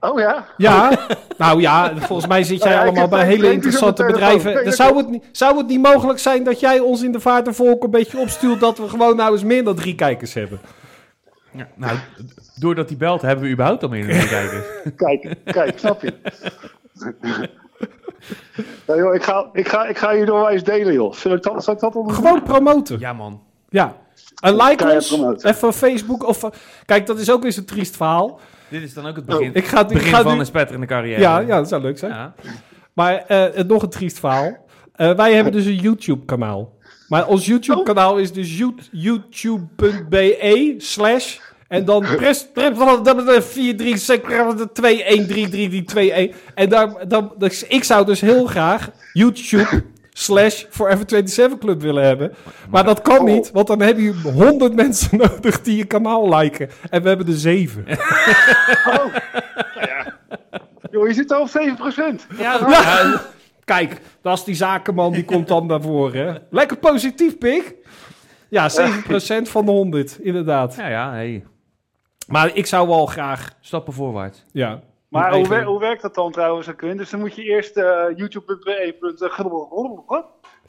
Oh ja?
Ja, (laughs) nou ja, volgens mij zit jij
Ja, ik
allemaal
heb
bij
vijf
hele
levens op
interessante
de telefoon.
bedrijven.
Nee,
Dan
dat
zou,
klopt.
het, niet- zou het niet mogelijk zijn dat jij ons in de vaart en volk een beetje opstuurt dat we gewoon nou eens meer dan drie kijkers hebben?
Ja, nou, d- doordat hij belt, hebben we überhaupt al
(laughs)
meer naar kijken.
Kijk, kijk, snap je? nou, joh, ik, ga, ik, ga, ik ga je doorwijs delen, joh. Zal ik dat, zal ik dat onder...
Gewoon promoten.
Ja, man.
Ja. En like
Keihard
ons,
promoten.
even op Facebook. Of, eh, kijk, dat is ook eens een triest verhaal.
Dit is dan ook het
Nou,
begin,
Ik ga, ik
begin
ga
van
nu,
een spetterende carrière.
ja, ja, dat zou leuk zijn.
Ja.
Maar eh, eh, nog een triest verhaal. Eh, wij hebben dus een YouTube-kanaal. Maar ons YouTube-kanaal is dus you- youtube.be slash... En dan press, press 4, 3, 2, 1, 3, 3, 3, 2, 1. En daar, dan, dus ik zou dus heel graag YouTube slash Forever 27 Club willen hebben. Maar dat kan niet, want dan heb je 100 (laughs) mensen nodig die je kanaal liken. En we hebben er 7.
Oh. Ja. Joh, je zit al op 7%.
Ja,
Ja. Kijk, dat is die zakenman die komt dan naar voren. hè. Lekker positief, pik. Ja, 7% van de 100, inderdaad.
ja, ja, hey.
Maar ik zou wel graag.
Stappen voorwaarts.
Ja,
Maar
Eigen-
hoe, wer- hoe werkt dat dan trouwens, Quinn? Dus dan moet je eerst eh youtube.be.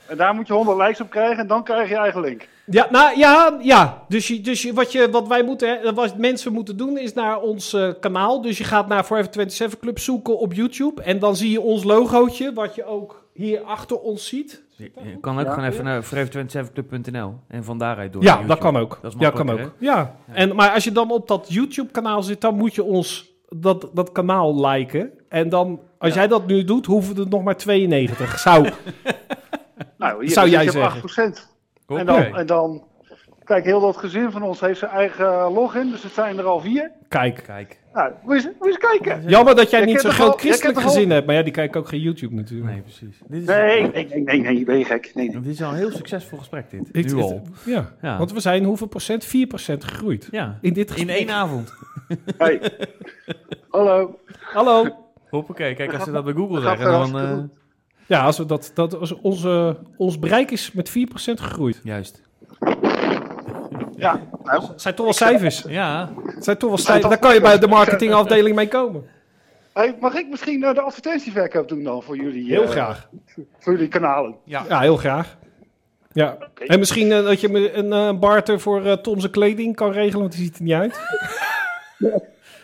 En daar moet je 100 likes op krijgen en dan krijg je eigen link.
ja, nou, ja, ja. dus, je, dus je, wat, je, wat wij moeten, hè, wat mensen moeten doen is naar ons eh, kanaal. Dus je gaat naar Forever 27 Club zoeken op YouTube. En dan zie je ons logootje, wat je ook hier achter ons ziet.
Je je kan ook
Ja.
gewoon even naar vreef27club.nl en van daaruit door.
ja,
naar
dat
YouTube.
kan ook.
Dat is
ja, kan ook.
makkelijker,
Ja. En, maar als je dan op dat YouTube-kanaal zit, dan moet je ons dat, dat kanaal liken. En dan, als jij dat nu doet, hoeven er nog maar 92. Zou, (laughs)
Nou, hier
Zou
zit
jij
je op
zeggen.
8%. En dan,
Hoppakee.
en dan, kijk, heel dat gezin van ons heeft zijn eigen login, dus het zijn er al vier.
kijk.
Kijk.
Nou, moet je eens- moet je eens kijken.
Jammer dat jij
Je
niet
kent
zo'n
toch
groot
wel- je
christelijk
kent toch
gezin hebt. Maar ja, die kijken ook geen YouTube natuurlijk.
Nee, precies. Dit is,
Nee, nee, nee, nee, nee, ben je gek. Nee, nee.
dit is al een heel succesvol gesprek, dit.
Ik-
nu
het-
al.
ja.
Ja.
want we zijn hoeveel procent? 4 procent gegroeid.
Ja.
In dit
In
gesprek.
één avond.
Hey.
(laughs)
Hallo.
Hallo.
Hoppakee. Kijk, als ze dat bij Google
Dat gaat
zeggen, dan...
hartstikke
eh,
Ja, als we dat, dat, als onze, ons bereik is met 4 procent gegroeid.
juist.
Ja, nou,
Het zijn toch wel cijfers.
Ja.
Het zijn toch wel cijfers. Daar kan je bij de marketingafdeling mee komen.
hey, mag ik misschien eh, de advertentieverkoop doen dan voor jullie,
Heel
eh,
graag.
voor jullie kanalen?
Ja, heel graag. Ja. En misschien eh, dat je me een eh, barter voor eh Tom zijn kleding kan regelen, want die ziet er niet uit.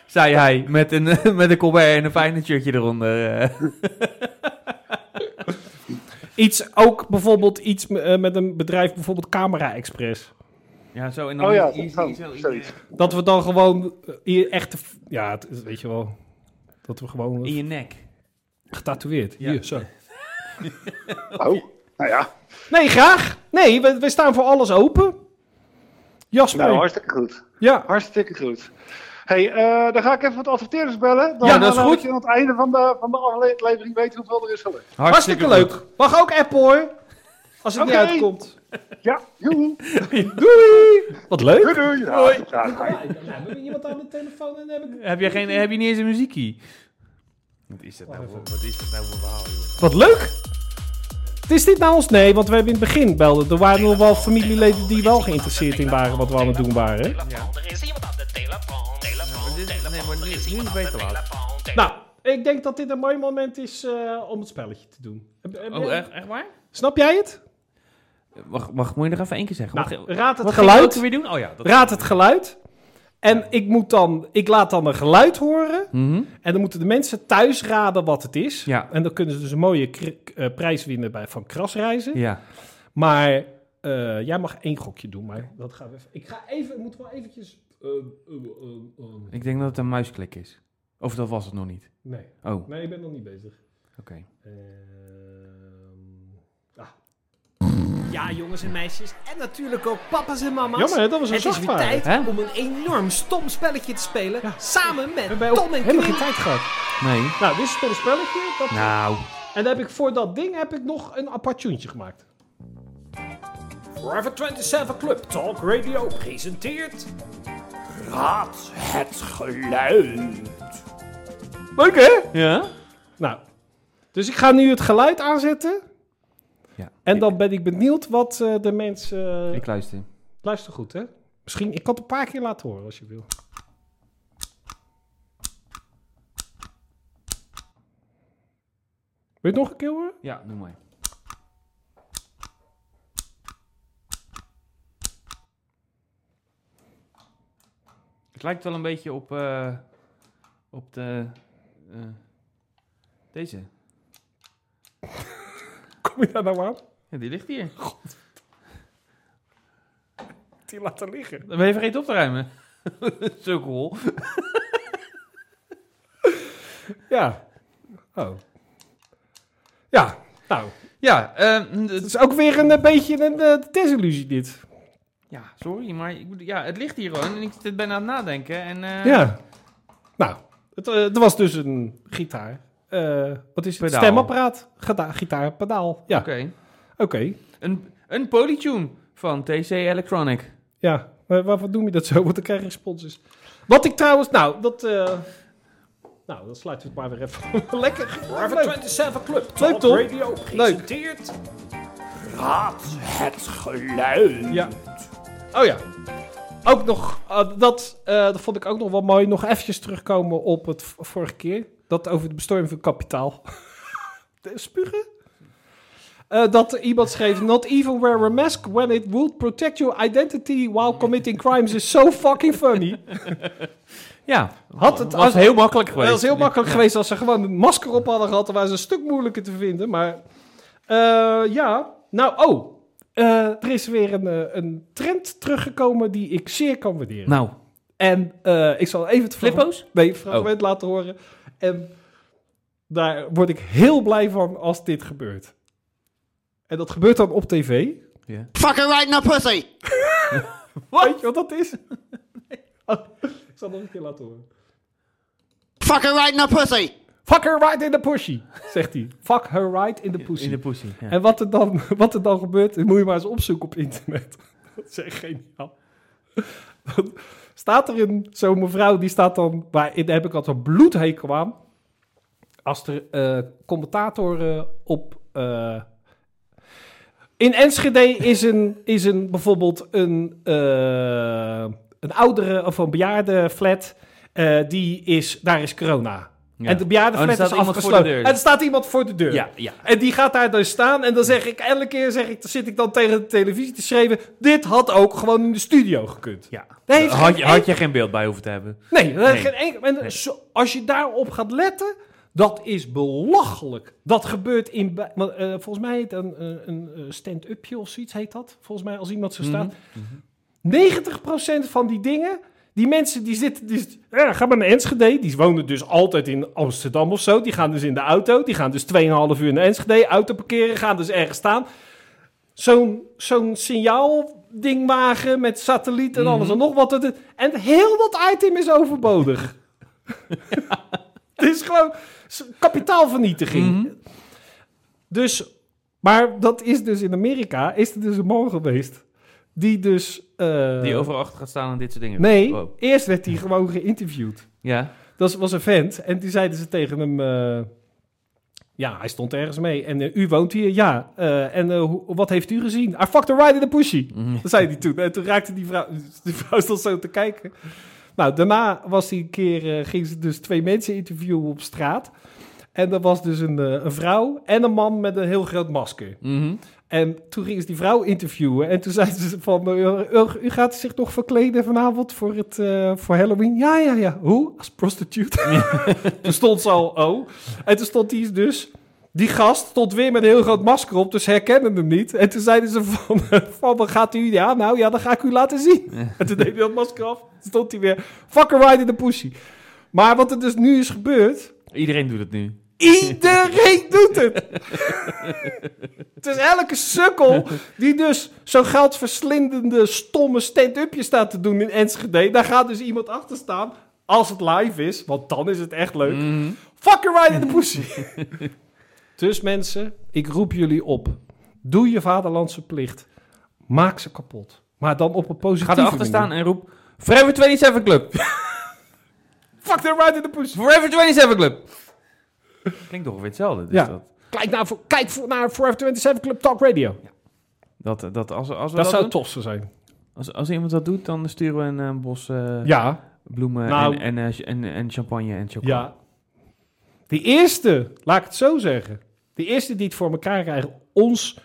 Zei hij, met een, (laughs) met een colbert en een fijne shirtje eronder. eh.
Iets, ook bijvoorbeeld iets me- eh, met een bedrijf, bijvoorbeeld Camera Express.
Ja, zo. En dan
Oh ja,
hier- hier-
zo,
hier- hier-
zoiets.
Dat we dan gewoon eh, hier echt, ja, het is- weet je wel, dat we gewoon
in
eh,
je nek.
getatoeëerd.
Ja.
Hier, zo.
Oh, nou ja,
Nee, graag. Nee, we, we staan voor alles open. Jasper.
nou, hartstikke goed.
ja.
Hartstikke goed. hey, eh, dan ga ik even wat adverteerders bellen. Dan
Ja, dat is
eh,
goed.
laat je aan het einde van de, van de aflevering weten hoeveel er is gelukt.
Hartstikke, leuk. Mag ook Apple hoor. Als het
Oké.
niet
(laughs)
uitkomt.
Ja,
(laughs)
joehoe.
Doei. Wat leuk.
Doei, doei. Ja, ja, ja.
Hebben we iemand aan de telefoon en heb ik
Heb je, geen, heb je niet eens een muziekie? Wat is dat nou voor, wat is dat nou voor verhaal, joh?
Wat leuk! Is dit nou ons? Nee, want we hebben in het begin belden. Er waren nog wel familieleden die wel geïnteresseerd in waren wat we aan het doen waren. hè?
Er is iemand aan de telefoon, telefoon, telefoon. Er is iemand aan de telefoon,
Nou, ik denk dat dit een mooi moment is eh, om het spelletje te doen. Heb- heb-
Oh, echt, echt waar?
Snap jij het?
Wacht, wacht, moet je nog even één keer zeggen?
Nou,
Wacht,
raad het
wat ging je
geluid.
ook weer doen? Oh ja. dat-
Raad het geluid. En ik, moet dan, ik laat dan een geluid horen.
Mhm.
En dan moeten de mensen thuis raden wat het is.
Ja.
En dan kunnen ze dus een mooie kri- eh, prijs winnen bij Van Krasreizen.
Ja.
Maar eh, jij mag één gokje doen. Maar dat gaan we even. Ik ga even. Ik moet wel eventjes. eh, eh, eh, eh,
Ik denk dat het een muisklik is. Of dat was het nog niet.
nee.
Oh, oké.
nee, ik ben nog niet bezig. Ehm, ah.
Ja, jongens en meisjes. En natuurlijk ook papa's en mama's.
Jammer, hè, dat was een
Het is weer
zachtvaardig.
tijd
We
Hè?
om een enorm stom spelletje te spelen. Samen met
hebben ook
Tom en
helemaal geen
Quinn.
tijd gehad.
Nee.
Nou, dit is toch een spelletje. Dat...
Nou.
En dan heb ik voor dat ding heb ik nog een apart tuintje gemaakt.
Forever 27 Club Talk Radio presenteert... Raad het geluid.
Leuk hè?
Ja?
Nou, dus ik ga nu het geluid aanzetten.
Ja.
En dan ben ik benieuwd wat eh, de mensen...
Ik luister.
Luister goed, hè? Misschien, ik kan het een paar keer laten horen als je wil. Wil je het nog een keer horen?
Ja, noem maar. Het lijkt wel een beetje op, eh, op de, eh, deze.
Kom je daar nou aan?
Ja, die ligt hier.
Die laten liggen.
Dan ben je vergeten op te ruimen. (laughs) Zo cool.
Ja. Oh. Ja, nou.
Ja, ehm,
Het
d-
is ook weer een, eh, beetje een eh, desillusie, dit.
ja, sorry, maar ik, bedoel- ja, het ligt hier gewoon. En ik zit ben aan het nadenken. En, eh,
Ja. Nou, het, eh, er was dus een gitaar. Eh, wat is het?
Pedaal.
Stemapparaat. Gita- gitaar, pedaal. Ja,
Oké.
oké.
Een, een polytune van TC Electronic.
Ja, maar waarvoor doen we dat zo? (laughs) Want dan krijg je sponsors. Wat ik trouwens... Nou, dat... eh, nou, dan sluiten we het maar weer even (laughs) lekker.
Forever
Leuk.
27 Club Talk
Leuk, toch?
Radio presenteert... Raad het geluid.
Ja. Oh ja. Ook nog... eh, dat, eh, dat vond ik ook nog wel mooi. Nog eventjes terugkomen op het v- vorige keer. Dat over de bestorming van kapitaal. (laughs) de spugen? Eh, dat er iemand schreef... Not even wear a mask when it would protect your identity while committing crimes is so fucking funny.
(laughs) Ja,
Had het,
was
als,
heel makkelijk
Het
geweest.
Dat is heel makkelijk geweest als ze gewoon een masker op hadden gehad. Dan waren ze een stuk moeilijker te vinden. Maar eh, ja, nou, oh. eh, er is weer een, eh, een trend teruggekomen die ik zeer kan waarderen.
Nou,
En eh, ik zal even het fragment-
flippo's?
nee, het fragment laten horen. En daar word ik heel blij van als dit gebeurt. En dat gebeurt dan op tv.
Fucking right in the pussy.
Weet je wat dat is? Oh, ik zal het nog een keer laten horen.
Fucking right in the pussy.
Fuck her right in the pushy, zegt hij. Fuck her right in the pussy.
In de pussy. Ja.
En wat er, dan, (laughs) wat er dan gebeurt, dat moet je maar eens opzoeken op internet. (laughs) Dat is echt geniaal. Dan staat er een, zo'n mevrouw, die staat dan, waar, daar heb ik altijd een bloedhekel aan. Als er eh commentatoren op... eh, in Enschede is een, is een bijvoorbeeld een, eh, een oudere of een bejaarde flat, eh, die is, daar is corona.
Ja.
En de bejaarde
Oh, er
flat
staat
is
iemand voor de
afgesloten.
deur.
En er staat iemand voor de deur.
Ja, ja.
En die gaat daar dus staan. En dan zeg ik, elke keer zeg ik, dan zit ik dan tegen de televisie te schreeuwen. Dit had ook gewoon in de studio gekund.
ja.
Daar heeft
Had,
geen
je, had
enkel-
je geen beeld bij hoeven te hebben.
Nee, daar heeft
Nee.
geen enkel- en
Nee.
zo- als je daarop gaat letten, dat is belachelijk. Dat gebeurt in, bij- want, eh, volgens mij heet een, een, een eh, stand-upje of zoiets heet dat. Volgens mij als iemand zo staat. 90% van die dingen, die mensen die zitten, die, zit- ja, ga maar naar Enschede, die wonen dus altijd in Amsterdam of zo. Die gaan dus in de auto, die gaan dus 2,5 uur naar Enschede, auto parkeren, gaan dus ergens staan. Zo'n zo'n signaaldingwagen met satelliet en alles en nog wat. Het- En heel dat item is overbodig. Het is gewoon s- kapitaalvernietiging. Dus, maar dat is dus in Amerika, is er dus een man geweest die dus... eh,
Die overal achter gaat staan en dit soort dingen.
Nee,
Wow.
eerst werd hij gewoon geïnterviewd.
Ja.
Dat was een vent. En toen zeiden ze tegen hem... eh, ja, hij stond ergens mee. En eh, u woont hier? Ja. Eh, en eh, hoe- wat heeft u gezien? I fucked a ride in the pushy. Dat zei hij toen. En toen raakte die vrouw... (laughs) Die vrouw stond zo te kijken. Nou, daarna was hij een keer... eh, ging ze dus twee mensen interviewen op straat. En dat was dus een, eh, een vrouw en een man met een heel groot masker.
Mhm.
En toen gingen ze die vrouw interviewen. En toen zeiden ze van, eh, u, u gaat zich nog verkleden vanavond voor, het, eh, voor Halloween? Ja, ja, ja. Hoe? Als prostitute. (laughs) toen stond ze al, oh. En toen stond die dus... Die gast stond weer met een heel groot masker op, dus herkennen hem niet. En toen zeiden ze van, (laughs) van wat gaat u? Ja, nou ja, dan ga ik u laten zien. (laughs) En toen deed hij dat masker af, stond hij weer, fucker right in the pussy. Maar wat er dus nu is gebeurd,
Iedereen doet het nu.
Iedereen doet het. het is elke sukkel die dus zo'n geldverslindende, stomme stand-upje staat te doen in Enschede. Daar gaat dus iemand achter staan, als het live is, want dan is het echt leuk. Fucking right in the pussy. dus mensen, ik roep jullie op. Doe je vaderlandse plicht. Maak ze kapot. Maar dan op een positieve
Ga
manier.
erachter staan en roep... Forever 27 Club!
Fuck them right in the pussy.
Forever 27 Club! Klinkt ongeveer hetzelfde. Dus
Ja.
dat,
Kijk, nou, voor- kijk voor, naar Forever 27 Club Talk Radio.
dat, dat, als, als we
Dat
dat,
zou
doen,
tof zo zijn.
als, als iemand dat doet, dan sturen we een, eh, bos eh,
Ja.
bloemen
Nou.
en, en, eh, ch- en, en champagne en chocola.
Ja. Die eerste, laat ik het zo zeggen. Die eerste die het voor elkaar krijgen. Ons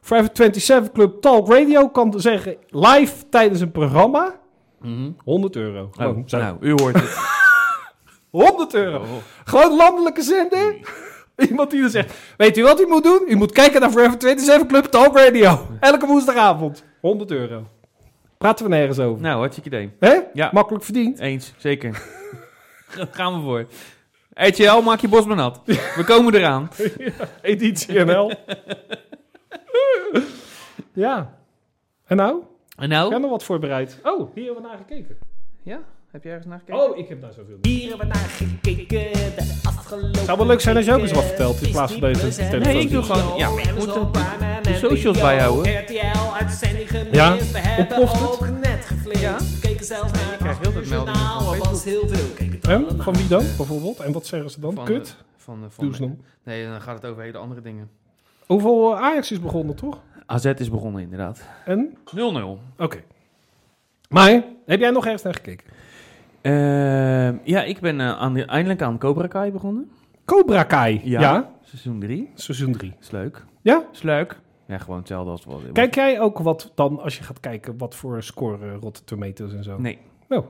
527 Club Talk Radio kan zeggen live tijdens een programma. 100 euro.
Mhm. Oh,
Gewoon, zo.
nou, Oh, u hoort het.
100 euro. Gewoon landelijke zender.
(laughs)
Iemand die dan zegt, weet u wat u moet doen? U moet kijken naar Forever 27 Club Talk Radio. Elke woensdagavond. 100 euro. Praten we nergens over.
(laughs) nou, hartstikke idee.
Hè?
Ja.
Makkelijk verdiend.
Eens, (laughs) zeker. Daar gaan we voor. HL, maak je bos maar nat. We komen eraan.
Editie NL. (laughs) ja. En nou?
En
Ik heb
nou?
nog wat voorbereid. Oh, hier hebben we naar gekeken.
Ja? Heb je ergens naar gekeken?
Oh, ik heb daar zoveel.
Hier hebben we naar gekeken bij de afgelopen
Zou wel leuk zijn als je ook eens wat
weken.
vertelt in plaats van deze
Disney Plus en
telefoon.
Nee, ik doe gewoon- ja,
Amazon
moet de-
Prime
de
en
socials
NPO.
bijhouden.
RTL, uitzending gemist.
Ja,
We hebben
ontploft het.
ook net geflikt.
Ja.
We keken zelfs naar het
krijg heel veel meldingen
journaal.
van
Er was heel veel. We keken het
En?
allemaal.
Van wie dan, bijvoorbeeld? En wat zeggen ze dan?
Van,
Kut?
eh, Van, eh, van,
Doe ze dan.
Nee, dan gaat het over hele andere dingen.
Hoeveel eh, Ajax is begonnen, toch?
AZ is begonnen inderdaad. 0-0.
En? Oké. Maar, heb jij nog ergens naar gekeken?
Ehm, ja, ik ben eh, aan de, eindelijk aan Cobra Kai begonnen.
Cobra Kai. Ja.
Ja. Seizoen 3.
Seizoen 3.
Is leuk.
Ja?
Is leuk. Ja, gewoon hetzelfde als wat.
Kijk jij ook wat dan, als je gaat kijken, wat voor score eh, Rotten Tomatoes en zo?
Nee,
Nou,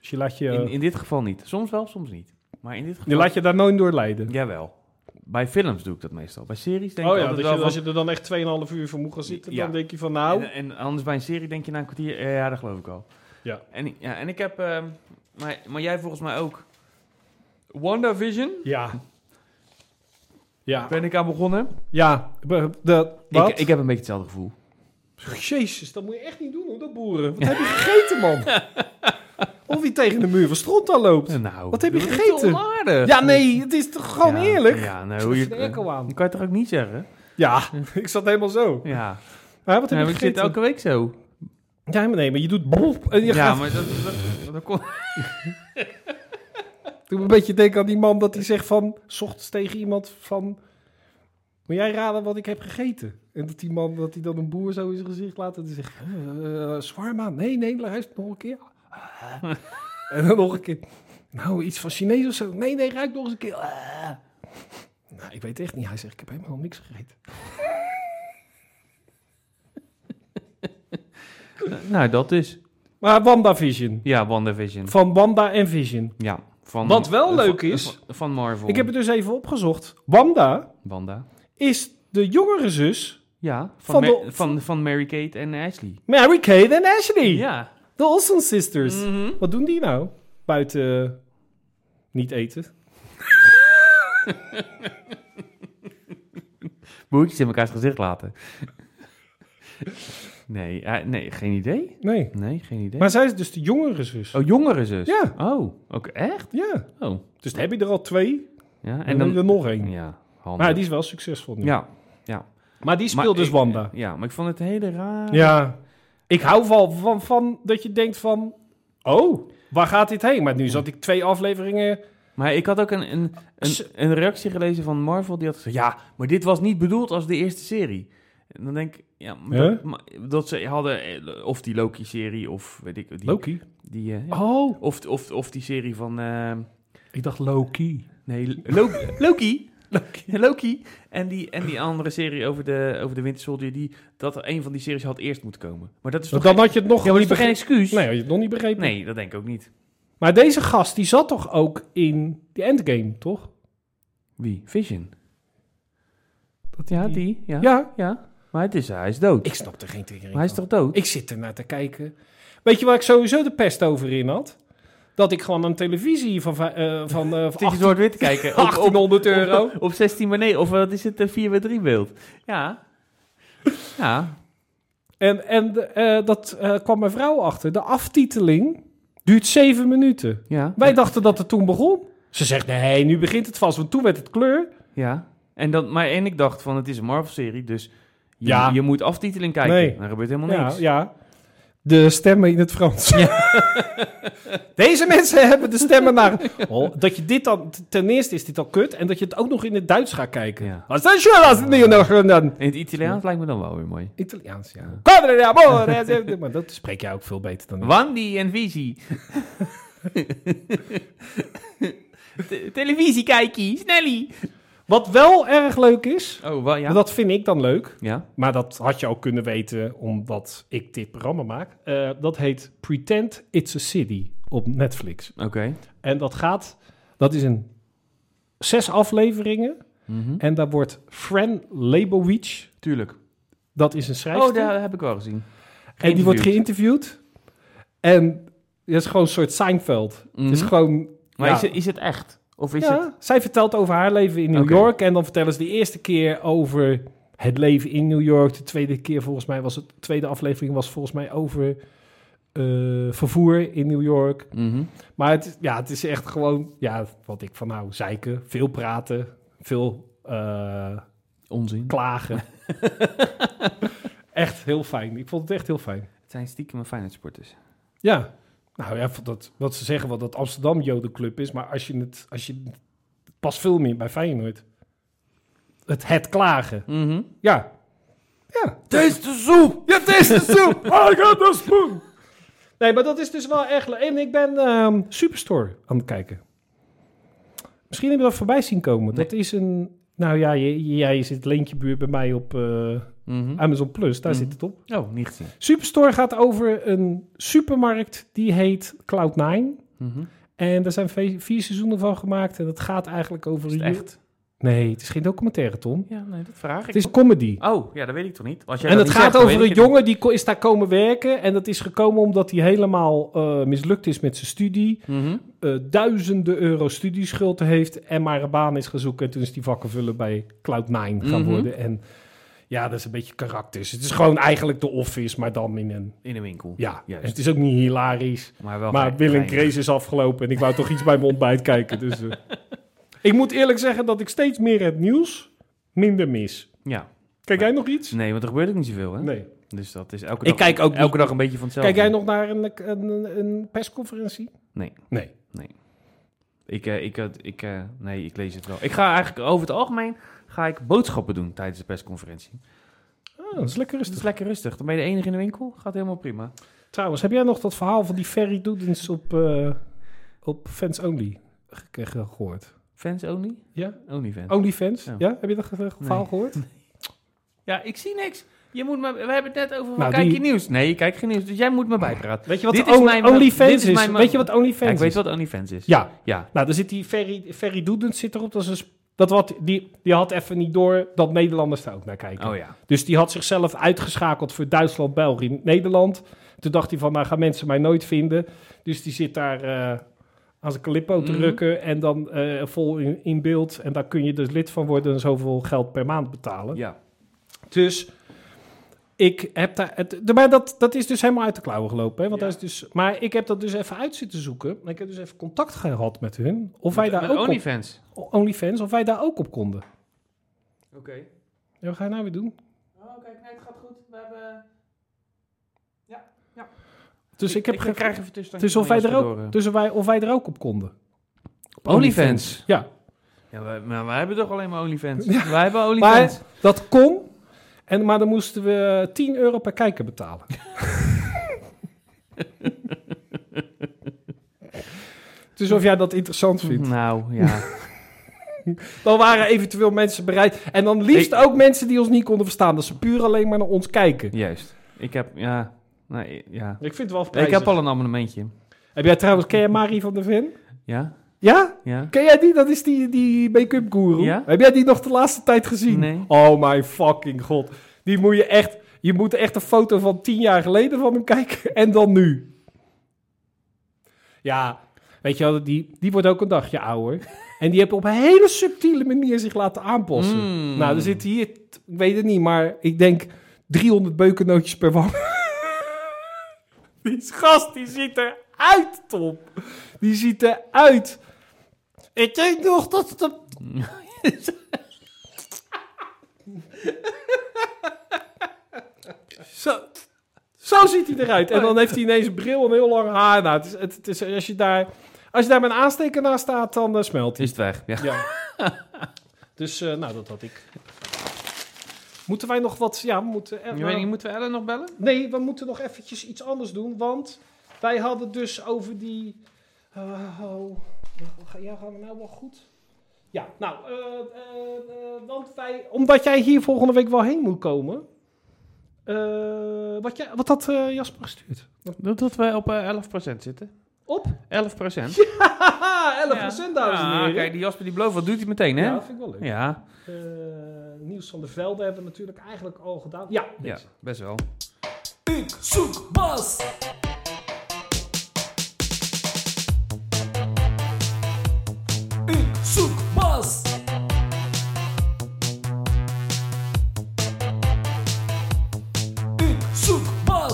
dus je laat je,
in, in dit geval niet. Soms wel, soms niet. Maar in dit geval...
je, laat je daar nooit door leiden.
Jawel. Bij films doe ik dat meestal. Bij series denk
oh
ik
ja,
altijd
dus
wel
je,
van-
als je er dan echt 2,5 uur voor moet gaan zitten,
Ja.
dan denk je van nou...
En, eh, en anders bij een serie denk je na een kwartier, eh, ja, dat geloof ik al.
Ja.
En, ja, en ik heb, ehm, maar, maar jij volgens mij ook, WandaVision
Ja. Ja.
ben ik aan begonnen.
Ja. be- De, wat?
Ik, ik heb een beetje hetzelfde gevoel.
Jezus, dat moet je echt niet doen hoor, dat boeren. Wat heb je gegeten,
(laughs)
man? of wie tegen de muur van stront aan loopt.
Nou,
Wat heb je
dat is
gegeten?
onaardig.
Ja, nee, het is toch gewoon
eh, Ja,
eerlijk?
Ja, nou,
Wat
hoe je,
is de echo aan?
dat kan je toch ook niet zeggen?
Ja, (laughs) ik zat helemaal zo.
Ja,
Maar wat heb
ja maar
je
ik zit
gegeten?
elke week zo.
Ja, maar nee, maar je doet brrr en je
Ja,
gaat...
maar dat, dat, dat kon...
Doe me een beetje denken aan die man dat hij zegt van... S ochtends tegen iemand van... Moet jij raden wat ik heb gegeten? En dat die man, dat hij dan een boer zo in zijn gezicht laat... en die zegt... eh eh, Shawarma? Nee, nee, luister nog een keer. Eh. en dan nog een keer... Nou, iets van Chinees of zo. Nee, nee, ruik nog eens een keer. Eh. Nou, ik weet echt niet. Hij zegt, ik heb helemaal niks gegeten.
nou, dat is.
Maar WandaVision.
Ja, WandaVision.
Van Wanda en Vision.
Ja. Van, eh,
Wat wel
van-
leuk is-
Van, van Marvel.
Ik heb het dus even opgezocht. Wanda
Wanda.
is de jongere zus...
Ja, van,
Van
Ma-
de-
van, van Mary-Kate en Ashley.
Mary-Kate en Ashley.
Ja.
De Olsen Sisters. Wat doen die nou? Buiten eh, niet eten.
Boertjes in mekaars gezicht laten. (laughs) nee, eh, nee, geen idee.
Nee.
Nee, geen idee.
Maar zij is dus de jongere zus.
Oh, jongere zus?
Ja.
Oh, ook echt?
Ja.
Oh.
Dus dan heb je er al twee.
Ja,
En dan heb je er nog één.
Ja, handig.
Maar die is wel succesvol nu.
Ja,
Maar die
maar
speelt dus
ik-
Wanda.
ja, maar ik vond het hele raar.
Ja. Ik hou wel van, van dat je denkt van... Oh, waar gaat dit heen? Maar nu zat ik twee afleveringen...
Maar ik had ook een, een, een, een reactie gelezen van Marvel die had gezegd... Ja, maar dit was niet bedoeld als de eerste serie. En dan denk ik... Ja, maar
Huh?
dat, maar dat ze hadden... eh, Of die Loki-serie of weet ik... Die,
Loki.
Die, eh, ja.
Oh.
Of, of, of die serie van... eh,
Ik dacht Loki.
(laughs) nee, Lo- Loki. (laughs) Loki. En, die, en die andere serie over de, over de Winter Soldier, die, dat er een van die series had eerst moeten komen. Maar dat is toch,
Want dan had je het nog
geen, ja, maar
niet
dat is toch geen
begrepen.
excuus?
Nee, had je het nog niet begrepen.
Nee, dat denk ik ook niet.
Maar deze gast, die zat toch ook in die Endgame, toch?
Wie? Vision. ja, die. Ja. ja.
Ja.
Maar het is, hij is dood.
Ik snap er geen triggering
maar hij is
van.
toch dood?
Ik zit ernaar te kijken. Weet je waar ik sowieso de pest over in had? Dat ik gewoon een televisie van, vij- eh, van
(laughs)
eh,
Zit je zwart-wit te kijken? Op- op-
1800 euro.
Op 16 maar nee, of eh, wat is het, een 4 bij 3 beeld. Ja. Ja.
En, en eh, dat eh, kwam mijn vrouw achter. De aftiteling duurt zeven minuten.
Ja.
Wij dachten dat het toen begon. Ze zegt, nee, nu begint het vast, want toen werd het kleur.
Ja. En, dan, maar, en ik dacht van, het is een Marvel-serie, dus je,
Ja.
je moet aftiteling kijken.
Nee.
Dan gebeurt helemaal
Ja,
niks.
ja. De stemmen in het Frans. (laughs) Deze mensen hebben de stemmen naar... Oh, dat je dit dan... Ten eerste is dit al kut. En dat je het ook nog in het Duits gaat kijken.
Ja.
Als dat zo was, nee, dan- dan-
In het Italiaans lijkt me dan wel weer mooi.
Italiaans, ja. Padre
(laughs)
d'amore. Maar dat spreek jij ook veel beter dan ik.
Wandy en (laughs) visie. Te- Televisie kijkie, snelly.
Wat wel erg leuk is,
Oh, wa- ja.
dat vind ik dan leuk,
Ja.
maar dat had je ook kunnen weten omdat ik dit programma maak. Eh, dat heet Pretend It's a City op Netflix.
Oké.
En dat gaat, dat is een zes afleveringen
Mhm.
en daar wordt Fran Lebowitz,
Tuurlijk.
dat is een schrijfster,
Oh, daar heb ik wel gezien.
en die wordt
geïnterviewd.
geïnterviewd. En dat is gewoon een soort Seinfeld.
Mhm.
Het is gewoon...
Maar
ja.
is, het, is het echt? Of is
Ja,
het...
zij vertelt over haar leven in New
Oké.
York. En dan vertellen ze de eerste keer over het leven in New York. De tweede keer volgens mij was het... De tweede aflevering was volgens mij over eh, vervoer in New York.
Mhm.
Maar het, is- ja, het is echt gewoon... Ja, wat ik van nou zeiken. Veel praten. Veel eh,
Onzin.
klagen. echt heel fijn. Ik vond het echt heel fijn.
Het zijn stiekem Feyenoord-sporters.
Ja. Nou ja, dat, wat ze zeggen wel dat Amsterdam Jodenclub is. Maar als je het... Als je, pas veel meer bij Feyenoord. Het, het klagen.
Mhm.
Ja. Ja. Het is de soep. Ja, het is de soep. Ah, ik heb de soep. Nee, maar dat is dus wel echt... le- En ik ben ehm, Superstore aan het kijken. Misschien heb je dat voorbij zien komen. Dat is een... Nou ja, je- jij zit leentjebuur bij mij op eh,
(laughs) Mhm.
Amazon Plus. Daar
Mhm.
zit het op.
Oh, niet gezien.
Superstore gaat over een supermarkt die heet Cloud9.
Mhm.
En daar zijn ve- vier seizoenen van gemaakt. En dat gaat eigenlijk over...
Is het
een ju-
echt?
Nee, het is geen documentaire, Tom.
Ja, nee, dat vraag ik.
Het is comedy.
Oh, ja, dat weet ik toch niet? Als jij
en
dat
het
niet
gaat
zegt, dan
over een
weet ik het
jongen die ko- is daar komen werken. En dat is gekomen omdat hij helemaal eh, mislukt is met zijn studie.
niet. Mhm.
eh, duizenden euro studieschulden heeft. En maar een baan is gaan zoeken. En toen is die vakken vullen bij Cloud9 gaan
Mhm.
worden. En ja, dat is een beetje karakters. Het is gewoon eigenlijk de office, maar dan in een...
In een winkel.
Ja,
Juist.
en het is ook niet hilarisch.
Maar wel
Maar
ge-
Will en
geinig.
Grace is afgelopen en ik wou toch iets bij mijn ontbijt kijken. Dus, eh. Ik moet eerlijk zeggen dat ik steeds meer het nieuws minder mis.
Ja.
Kijk jij nog iets?
Nee, want er gebeurt ook niet zoveel, hè?
Nee.
Dus dat is elke
Ik
dag,
kijk ook
elke
niet-
dag een beetje van hetzelfde.
Kijk jij nog naar een, een, een persconferentie?
Nee.
Nee.
Ik, eh, ik, eh, ik, eh, nee, ik lees het wel. Ik ga eigenlijk over het algemeen ga ik boodschappen doen tijdens de persconferentie.
Ah, dat is lekker
Dus
rustig.
het is lekker rustig. Dan ben je de enige in de winkel. Gaat helemaal prima.
Trouwens, heb jij nog dat verhaal van die Ferry Doedens op, eh, op Fans Only ge- ge- gehoord?
Fans only?
Ja? Oh.
Only fans.
Only Fans? Ja.
Ja.
Heb je dat ge- verhaal (laughs) gehoord?
Ja, ik zie niks. Je moet me, we hebben het net over van
Nou,
kijk
die-
je nieuws. Nee, ik kijk geen nieuws. Dus jij moet me bijpraten.
Weet je wat
Dit
de
is
on-
mijn-
Only
dit
Fans
is
is?
mijn-
Weet je wat Only
Ja,
Fans
ik weet
is?
wat OnlyFans is.
Ja.
Ja.
Nou, daar zit die Ferry, Ferry Doedens zit erop. Dat, is een sp- dat wat, die, die had even niet door dat Nederlanders daar ook naar kijken.
Oh ja.
Dus die had zichzelf uitgeschakeld voor Duitsland, België, Nederland. Toen dacht hij van, nou gaan mensen mij nooit vinden. Dus die zit daar eh, aan zijn calippo te
Mhm.
rukken en dan eh, vol in, in beeld. En daar kun je dus lid van worden en zoveel geld per maand betalen.
Ja.
Dus ik heb daar. Het, de- maar dat, dat is dus helemaal uit de klauwen gelopen. Hè? Want
Ja.
dat is dus, maar ik heb dat dus even uit zitten zoeken. En ik heb dus even contact gehad met hun. Of wij
Met,
daar
met
ook
OnlyFans.
op. OnlyFans, of wij daar ook op konden.
Oké.
Ja, wat ga je nou weer doen?
Oh, kijk, nee, het gaat goed. We hebben...
Dus ik, heb
ik
gekregen.
krijg even tussen.
Dus of wij, er ook, dus of wij, of wij er ook op konden. Op
eh. OnlyFans.
Ja,
Ja, wij, maar wij hebben toch alleen maar OnlyFans?
(laughs) Ja.
Wij hebben OnlyFans.
(laughs) maar dat kon. En, maar dan moesten we 10 euro per kijker betalen.
(laughs)
dus of jij dat interessant vindt.
Nou, ja.
Dan waren eventueel mensen bereid. En dan liefst
Ik-
ook mensen die ons niet konden verstaan. Dat ze puur alleen maar naar ons kijken.
Juist. Ik heb, ja... Nee, ja.
Ik vind het wel
Ik
prijzig.
heb al een abonnementje.
Heb jij trouwens, ken jij Marie van der Ven?
Ja?
Ja?
Ja?
Ken jij die? Dat is die, die make-up guru.
Ja?
Heb jij die nog de laatste tijd gezien?
Nee.
Oh mijn fucking god. Die moet je echt... Je moet echt een foto van tien jaar geleden van hem kijken. (laughs) En dan nu. Ja. Weet je wel, die, die wordt ook een dagje (laughs) ouder. En die heeft op een hele subtiele manier zich laten aanpassen.
Mm.
Nou, er zitten hier... t- Ik weet het niet, maar ik denk 300 beukennootjes per wang. (laughs) die gast, die ziet eruit, Tom. Die ziet eruit. Ik denk nog dat het... een- (laughs) Zo, zo ziet hij eruit. En dan heeft hij ineens een bril en heel lang haar. Nou, het is, het, het is, als, je daar, als je daar met een aansteker naast staat, dan eh, smelt hij.
Is het weg? Ja.
Ja. dus, eh, nou, dat had ik. Moeten wij nog wat... Ja, we moeten... eh,
Je weet niet, moeten we Ellen nog bellen?
Nee, we moeten nog eventjes iets anders doen, want wij hadden dus over die... eh, oh, ga- ja, gaan we nou wel goed? Ja, nou, eh, eh, eh, want wij, omdat jij hier volgende week wel heen moet komen... eh, wat, jij, wat had eh, Jasper gestuurd? (laughs)
Dat, dat wij op eh, 11% zitten.
Op?
11%?
Haha, 11 dames en heren.
Ah, Kijk, die Jasper die belooft, wat doet hij meteen, hè?
Ja, dat
Ja.
vind ik wel leuk.
Ja,
Eh, Niels van der Velde hebben we natuurlijk eigenlijk al gedaan. Ja, deze.
best wel.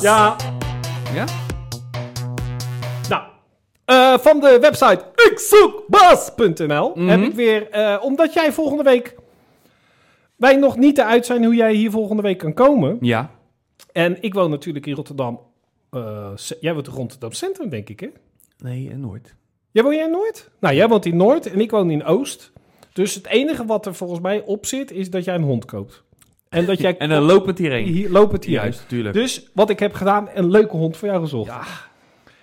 Ja,
Ja?
Nou, eh, van de website ikzoekbas.nl heb ik weer, eh, omdat jij volgende week, wij nog niet eruit zijn hoe jij hier volgende week kan komen.
Ja.
En ik woon natuurlijk in Rotterdam, eh, ce- jij woont in Rotterdam Centrum denk ik hè?
Nee, en nooit.
Jij woont jij in Noord? Nou, jij woont in Noord en ik woon in Oost. Dus het enige wat er volgens mij op zit, is dat jij een hond koopt. En dat jij
(laughs) En dan lopend hierheen.
hier loopt het hier uit.
Juist, tuurlijk.
Dus wat ik heb gedaan, een leuke hond voor jou gezocht.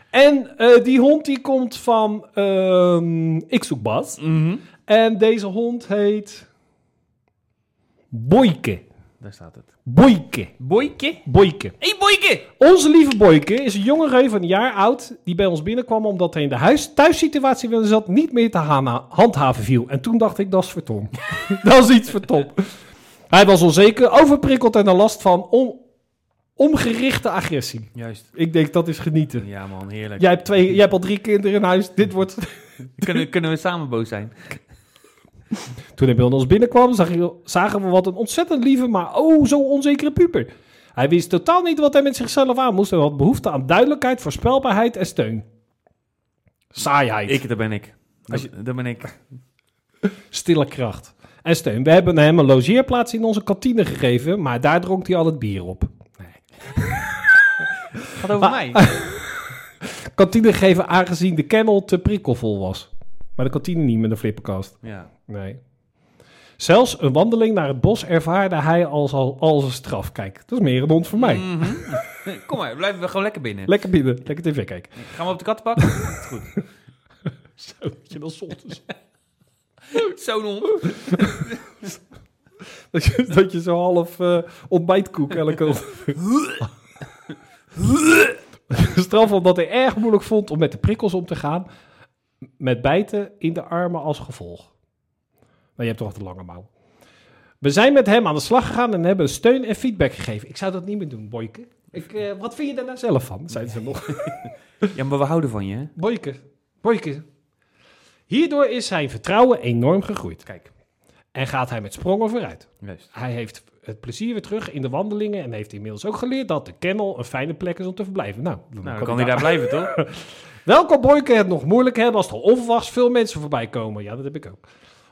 En eh, die hond die komt van ehm, Ik Zoek Bas.
Mhm.
En deze hond heet Boyke.
Daar staat het.
Boyke.
Boyke.
Boyke.
Hé, hey, Boyke!
Onze lieve Boyke is een jonge reu van een jaar oud die bij ons binnenkwam omdat hij in de huis thuissituatie waarin hij zat niet meer te hana- handhaven viel. En toen dacht ik, dat is voor Tom. (laughs) dat is iets voor Tom. Hij was onzeker, overprikkeld en had last van on- omgerichte agressie.
Juist.
Ik denk dat is genieten.
Ja, man, heerlijk.
Jij hebt, twee, jij hebt al drie kinderen in huis. Dit wordt.
Kunnen, kunnen we samen boos zijn?
Toen hij bij ons binnenkwam, zag je- zagen we wat een ontzettend lieve, maar oh zo onzekere puber. Hij wist totaal niet wat hij met zichzelf aan moest en had behoefte aan duidelijkheid, voorspelbaarheid en steun. Saaiheid,
Ik, daar ben ik. Als je, daar ben ik.
stille kracht en steun. We hebben hem een logeerplaats in onze kantine gegeven, maar daar dronk hij al het bier op.
(laughs) Gaat over mij.
Kantine gegeven aangezien de kennel te prikkelvol was. Maar de kantine niet met een flipperkast.
(laughs) Ja.
Nee. Zelfs een wandeling naar het bos ervaarde hij als, al- als een straf. Kijk, dat is meer een hond voor mij.
Kom maar, blijven we gewoon lekker binnen.
Lekker binnen, lekker tv kijken.
Gaan we op de (laughs) kattenbak? Is Goed.
Zo, dat je dan 's ochtends-
Zo'n hond.
(laughs) dat, je, dat je zo half eh, ontbijtkoek (laughs) elke ochtend- Straf omdat hij erg moeilijk vond om met de prikkels om te gaan. Met bijten in de armen als gevolg. Maar je hebt toch de lange mouw. We zijn met hem aan de slag gegaan en hebben steun en feedback gegeven. Ik zou dat niet meer doen, Boyke. Ik, eh, wat vind je daar nou zelf van? Zeiden ze nog.
Ja, maar we houden van je, hè?
(laughs) Boyke. Boyke. Hierdoor is zijn vertrouwen enorm gegroeid. Kijk. En gaat hij met sprongen vooruit.
Juist.
Hij heeft het plezier weer terug in de wandelingen en heeft inmiddels ook geleerd dat de kennel een fijne plek is om te verblijven. Nou, dan kan
Nou, dan kan hij daar blijven, toch?
Wel kan Boyke het nog moeilijk hebben als er onverwachts veel mensen voorbij komen. Ja, dat heb ik ook.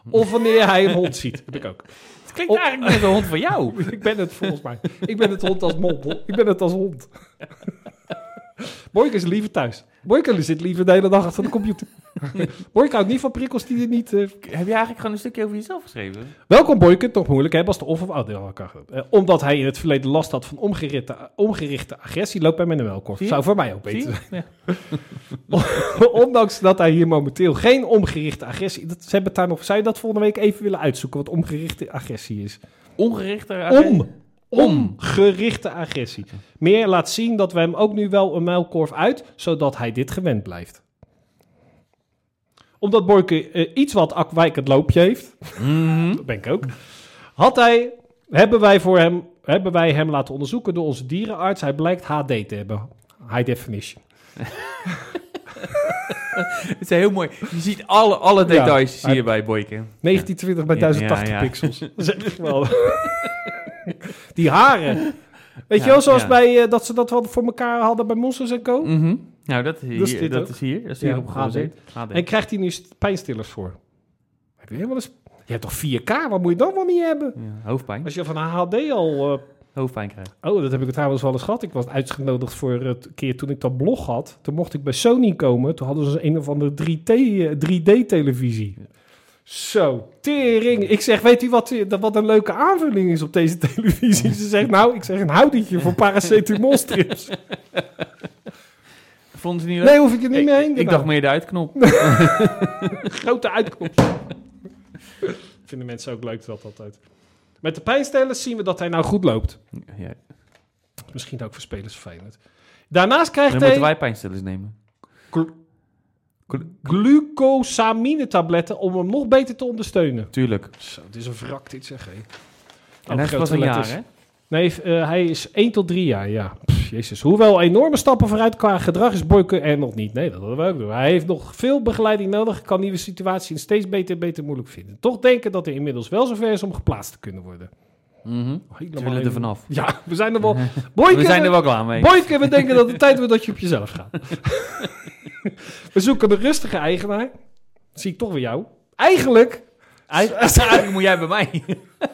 Of wanneer hij een hond ziet. Heb ik ook.
Het (laughs) klinkt
Op-
eigenlijk net een hond van (laughs) jou.
Ik ben het volgens mij. Ik ben het hond als mol. Ik ben het als hond. Boyke is liever thuis. Boyke zit liever de hele dag achter de computer. Boycott niet van prikkels die je niet... eh,
Heb je eigenlijk gewoon een stukje over jezelf geschreven?
Wel kon Boycott toch moeilijk hebben als de of of outdeel Eh, Omdat hij in het verleden last had van omgerichte, omgerichte agressie, loopt bij mij wel kort.
Zie je?
Zou voor mij ook
Zie
beter
je?
zijn.
Ja.
(laughs) Ondanks dat hij hier momenteel geen omgerichte agressie... Dat, ze hebben het daar nog... Zou je dat volgende week even willen uitzoeken, wat omgerichte agressie is?
Ongerichter.
Om. Omgerichte agressie. Meer laat zien dat we hem ook nu wel een mijlkorf uit, zodat hij dit gewend blijft. Omdat Boyke eh, iets wat afwijkend loopje heeft,
Mhm.
dat (laughs) ben ik ook, had hij, hebben, wij voor hem, hebben wij hem laten onderzoeken door onze dierenarts. Hij blijkt HD te hebben. High definition.
Het is heel mooi. Je ziet alle, alle
Ja.
details zie je bij Boyken.
1920 bij
Ja,
1080
ja, ja. (laughs)
pixels. Dat is echt wel. (laughs) Die haren. Weet je
Ja,
wel, zoals
ja.
bij eh, dat ze dat wel voor elkaar hadden bij Monsters Co.
Mhm. Nou, dat is hier.
Dat is
Dat is
dit
hier.
ook.
Dat is hier,
Ja,
op
HD.
gebaseerd. HD.
En krijgt hij nu st- pijnstillers voor? Heb je helemaal eens... Je hebt toch 4K? Wat moet je dan wel niet hebben?
Ja, hoofdpijn.
Als je van HD al... eh,
Hoofdpijn krijgt.
Oh, dat heb ik trouwens wel eens gehad. Ik was uitgenodigd voor het keer toen ik dat blog had. Toen mocht ik bij Sony komen. Toen hadden ze een of andere 3T, eh, 3D-televisie. Zo, tering. Ik zeg, weet u wat, eh, dat- wat een leuke aanvulling is op deze (laughs) televisie? Ze zegt, nou, ik zeg een houdietje
(laughs)
voor paracetamolstrips.
Vonden ze niet leuk?
Nee, hoef ik er niet mee heen.
ik, ik dacht meer de uitknop.
grote uitkomst. (laughs) Vinden mensen ook leuk dat altijd. Met de pijnstellers zien we dat hij nou goed loopt.
Ja.
Misschien ook voor spelers vervelend. Daarnaast krijgt
Dan moeten
hij
wij pijnstillers nemen.
glucosamine-tabletten om hem nog beter te ondersteunen.
Tuurlijk.
Zo, het is een wrak dit zeg. Hé.
En hij was een jaar, hè?
Nee, eh, hij is 1 tot 3 jaar, ja. Pff, jezus. Hoewel enorme stappen vooruit qua gedrag is Boyke er nog niet. Nee, dat hadden we ook doen. Hij heeft nog veel begeleiding nodig. Kan nieuwe situaties in steeds beter en beter moeilijk vinden. Toch denken dat hij inmiddels wel zover is om geplaatst te kunnen worden.
Mhm.
Helemaal
Ze willen er
helemaal-
vanaf.
Ja, we zijn er
(laughs)
wel... Boyke,
We zijn er wel klaar mee.
Boyke, we denken dat het tijd wordt dat je op jezelf gaat. (laughs) we zoeken een rustige eigenaar. Zie ik toch weer jou. Eigenlijk,
Eigenlijk, eigenlijk moet jij bij mij.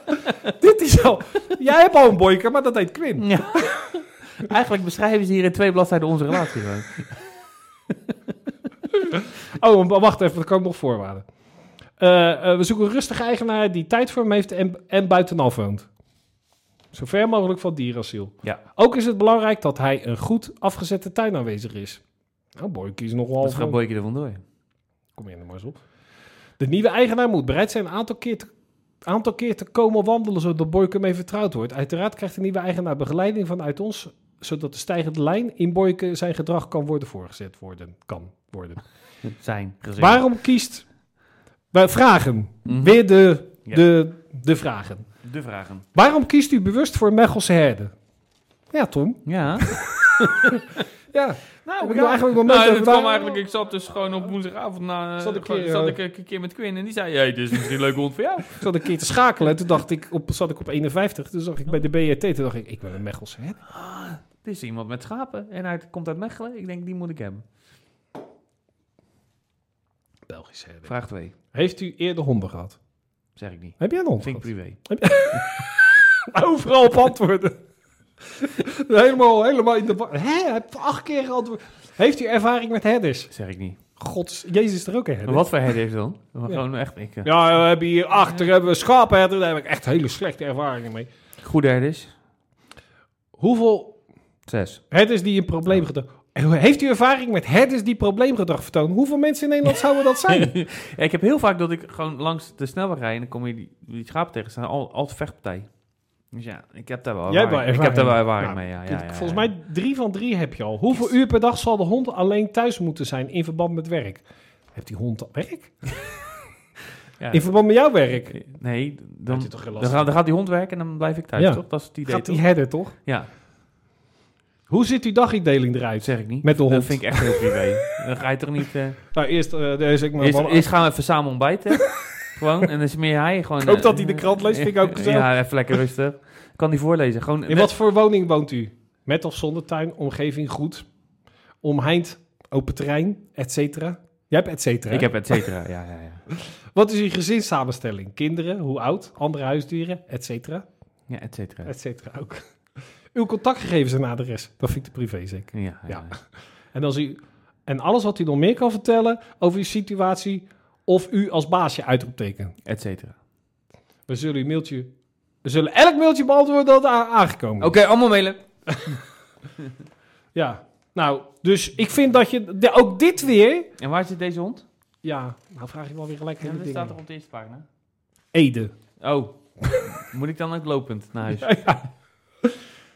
(laughs) dit is al... Jij hebt al een Boyke, maar dat heet Quinn.
Ja. (laughs) Eigenlijk beschrijven ze hier in twee bladzijden onze relatie. gewoon.
Oh, w- wacht even, dat kan ik nog voorwaarden. Eh, eh, we zoeken een rustige eigenaar die tijd voor hem heeft en, en buitenaf woont. Zo ver mogelijk van dierasiel.
Ja,
Ook is het belangrijk dat hij een goed afgezette tuin aanwezig is. Nou, boy, kies nogal.
dat Dus gaat Boyke er vandoor.
Kom je er maar eens op. De nieuwe eigenaar moet bereid zijn een aantal keer te, aantal keer te komen wandelen, zodat Boyke mee vertrouwd wordt. Uiteraard krijgt de nieuwe eigenaar begeleiding vanuit ons, zodat de stijgende lijn in Boyke zijn gedrag kan worden voorgezet worden. Kan worden.
Zijn gezin.
Waarom kiest... Wij vragen. Weer de,
Ja.
de, de vragen.
De vragen.
Waarom kiest u bewust voor Mechelse herden? Ja, Tom.
Ja.
Ja.
Nou,
Heb ik nou eigenlijk nog nooit
nou,
over
dat
waar-
kwam eigenlijk, ik zat dus gewoon op woensdagavond na, eh,
Zat ik
gewoon-
hier,
zat
eh,
ik een, keer met Quinn en die zei, hey, dit is misschien een leuke hond voor jou.
Ik zat een keer te schakelen en toen dacht ik op, zat ik op 51. Toen zag ik bij de BRT, toen dacht ik, ik ben een Mechelse herder.
(laughs) Het is iemand met schapen en hij komt uit Mechelen. Ik denk, die moet ik hebben.
Belgische herder.
Vraag 2,
Heeft u eerder honden gehad?
zeg ik niet.
Heb jij een hond
Vind ik
gehad?
privé.
(laughs) Overal op antwoorden. (laughs) helemaal, helemaal in de... war. Hè, hij heeft acht keer geantwoord. Heeft u ervaring met herders?
Zeg ik niet.
Gods, Jezus is er ook een herder.
Maar wat voor herder heeft dan? Maar Gewoon echt, ik, eh,
Ja, we hebben hier achter hebben we schaapherder. Daar heb ik echt hele slechte ervaringen mee.
goede herders.
Hoeveel
Zes.
herders die een probleemgedrag... Heeft u ervaring met herders die probleemgedrag vertonen? Hoeveel mensen in Nederland zouden dat zijn?
(laughs) Ja, ik heb heel vaak dat ik gewoon langs de snelweg rijd en dan kom je die, die schapen tegen. staan al, altijd vechtpartij. Dus ja, ik heb daar wel
Jij hebt
ervaring,
wel
ik heb daar wel ervaring
ervaring.
mee. Ja, ja, ja, ja.
Volgens mij drie van drie heb je al. Hoeveel uur per dag zal de hond alleen thuis moeten zijn in verband met werk? Heeft die hond al werk?
Ja.
In verband met jouw werk?
Nee, dan,
Had je toch geen last
dan, gaat, dan gaat die hond werken en dan blijf ik thuis,
Ja.
toch? Dat is het idee,
Gaat die
toch?
herder toch?
Ja,
Hoe ziet uw dagindeling eruit?
dat zeg ik niet.
Met de hond.
Dat vind ik echt heel privé. dan ga je toch
(laughs)
niet... eh
Nou, eerst eh, deze... Ik maar
eerst,
wel-
eerst gaan we even samen
(laughs)
ontbijten. gewoon. En dan smeer hij gewoon...
Ik hoop
eh,
dat hij de krant leest, vind ik ook gezellig.
(laughs) Ja, even lekker rustig. Kan hij voorlezen. Gewoon,
In wat voor woning woont u? Met of zonder tuin, omgeving goed, omheind, open terrein, et cetera. Jij hebt et cetera.
Ik heb et cetera. ja, ja, ja.
Wat is uw gezinssamenstelling? Kinderen, hoe oud, andere huisdieren, et cetera,
Ja, et cetera.
et cetera ook. (laughs) Uw contactgegevens en adres, dat vind ik de privé zeker.
Ja, ja.
En als u En alles wat u nog meer kan vertellen over uw situatie of u als baasje uitroepteken.
et cetera.
We zullen uw mailtje... We zullen elk mailtje beantwoorden dat a- aangekomen is.
Oké, allemaal mailen.
Ja. Nou, dus ik vind dat je... de- ook dit weer...
En waar zit deze hond?
Ja, nou vraag je wel weer gelijk
Ja,
hele
dat
dingen.
staat er op de eerste pagina.
Ede.
Oh, (laughs) moet ik dan ook lopend naar huis?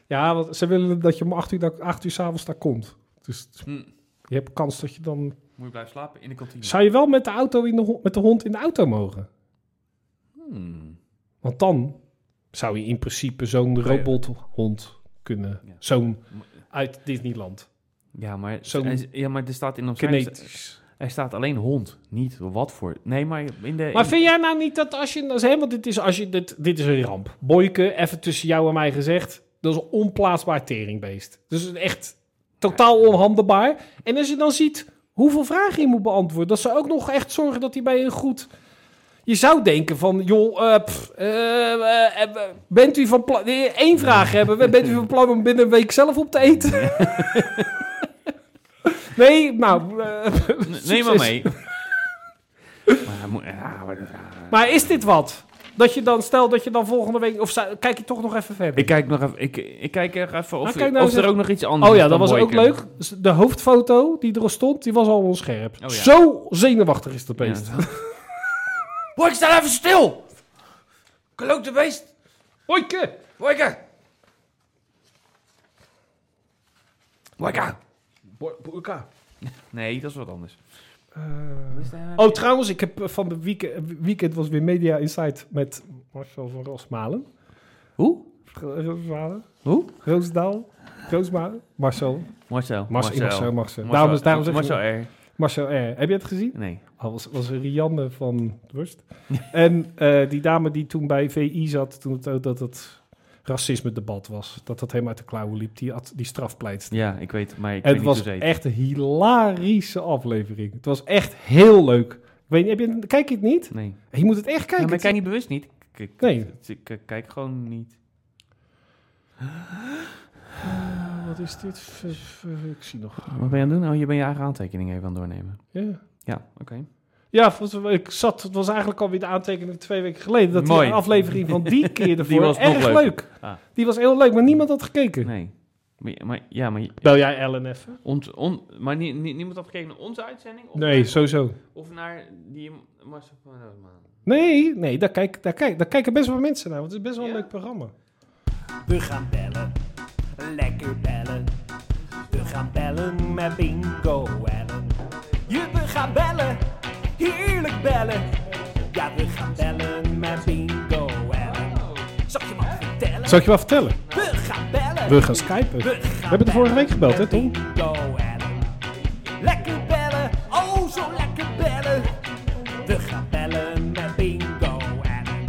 Ja, want ze willen dat je om acht uur, da- acht uur s'avonds daar komt. Dus
Hm.
je hebt kans dat je dan...
Moet je blijven slapen in de kantine?
Zou je wel met de, auto in de, ho- met de hond in de auto mogen?
Hmm.
Want dan zou je in principe zo'n robothond kunnen.
Ja.
Zo'n uit Disneyland.
Ja, maar,
Zo'n
hij- ja, maar er staat in omschrijving...
Kinetisch.
Er staat alleen hond, niet wat voor... Nee, maar in
Maar
de... eh, in-
vind jij nou niet dat als je... Als, hè, want dit is, als je, dit, dit is een ramp. Boyke, even tussen jou en mij gezegd... Dat is een onplaatsbaar teringbeest. Dus echt totaal onhandelbaar. En als je dan ziet hoeveel vragen je moet beantwoorden... dat ze ook nog echt zorgen dat hij bij een goed... Je zou denken van, joh, eh, pff, eh, eh, eh, bent u van plan... nee, één vraag hebben, bent u van plan om binnen een week zelf op te eten? (laughs) Nee, nou... eh,
Ne- Neem maar
succes. (laughs)
mee. maar, hij moet- ja, maar- ja.
Maar is dit wat? Dat je dan, stel dat je dan volgende week... Of zou- kijk je toch nog even verder?
ik kijk nog even, ik, ik kijk er even of,
Maar kijk nou
of
eens
er
even-
ook nog iets anders
oh ja,
is
dat
dan
was ook
Boykin.
leuk. S- De hoofdfoto die er stond, die was al onscherp.
Oh ja.
Zo zenuwachtig is dat beest.
Ja. (laughs) Boy, ik sta even stil! Klote beest!
Boyke!
Boyka! Boyka!
Boyka.
Nee, dat is wat anders.
Oh, trouwens, ik heb eh, van de week- eh, weekend was weer Media Insight met Marcel van Rosmalen. eh,
Hoe?
Rosmalen?
Hoe?
Roosdaal? Roosmalen? Marcel.
Marcel.
Marcel. Marcel. Marcel.
Marcel-
Daarom, daarom zeg ik-
Marcel eh. R.
Marcel R. Heb je het gezien?
Nee.
Al was, was er Rianne van Wurst. (laughs) en eh, die dame die toen bij VI zat, toen het, ook dat het racisme-debat was. Dat dat helemaal uit de klauwen liep, die, had, die strafpleit.
Ja, ik weet, maar
En
ik weet
het
niet
was
hoe ze heet.
echt een hilarische aflevering. Het was echt heel leuk. Ik weet niet, heb je, kijk je het niet?
Nee.
Je moet het echt
Ja,
kijken.
maar ik kijk niet bewust niet. Ik, ik-
Nee.
ik- ik- ik kijk gewoon niet.
Eh, wat is dit? V- v- ik zie nog.
Wat ben je aan het doen? Oh, je bent je eigen aantekening even aan het doornemen.
Ja,
Ja, oké.
ja volgens mij- ik zat, het was eigenlijk alweer de aantekening twee weken geleden. Dat
Mooi.
die aflevering van die
(laughs)
keer ervoor
was nog
erg
leuker.
leuk.
Ah.
Die was heel leuk, maar niemand had gekeken.
Nee. Maar, je- maar, ja, maar, je-
Bel jij Ellen even?
ons, on, maar nie- nie- niemand had gekeken naar onze uitzending? Of
Nee,
naar-
sowieso.
Of naar die Marcel van Roosmalen?
Nee, nee daar, kijk, daar, kijk, daar kijken best wel mensen naar, want het is best wel een leuk programma.
We gaan bellen. Lekker bellen. We gaan bellen met Bingo Ellen. Je, we gaan bellen. Heerlijk bellen. Ja, we gaan bellen met Bingo Ellen. Zal ik je wat vertellen?
Zal ik je wel vertellen?
We gaan bellen.
We gaan skypen. We hebben er vorige week gebeld, hè, Tom?
Bingo Ellen. Lekker bellen, oh zo lekker bellen. We gaan bellen met Bingo Ellen.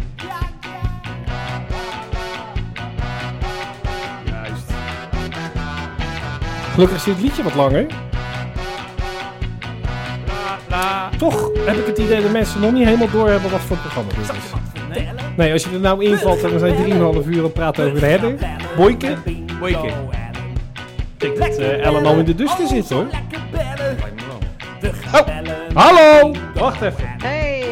Gelukkig is dit liedje wat langer. Toch heb ik het idee dat mensen nog niet helemaal doorhebben wat voor programma dit is.
Vertellen.
Nee, als je er nou invalt en we zijn 3,5 uur aan het praten over de herder. Boyke.
Boyke.
Ik denk dat eh, Ellen al in de dus te zit, hoor.
Oh,
Hallo! Wacht even.
Hey.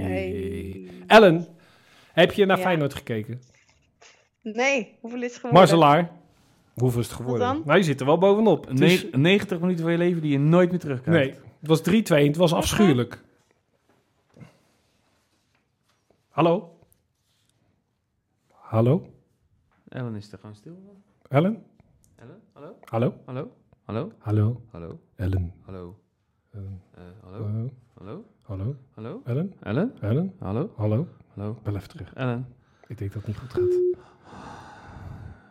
Hey! Ellen, heb je naar
Ja.
Feyenoord gekeken?
Nee, hoeveel is het geworden?
Marcelaar. Hoeveel is het geworden?
Wat dan?
Nou, je zit er wel bovenop. Het is-
Ne- 90 minuten van je leven die je nooit meer terugkrijgt.
nee, het was 3-2 en het was afschuwelijk. Hallo? Hallo?
Ellen is er gewoon stil.
Ellen?
Ellen? Hallo?
Hallo?
Hallo? Hallo?
Hallo?
Hallo?
Ellen?
Hallo?
Ellen?
Eh, hallo?
Hallo?
Hallo?
Hallo?
Hallo?
Ellen?
Ellen?
Ellen?
Hallo?
Hallo?
Hallo?
Bel even terug.
Ellen?
Ik denk dat het niet goed gaat.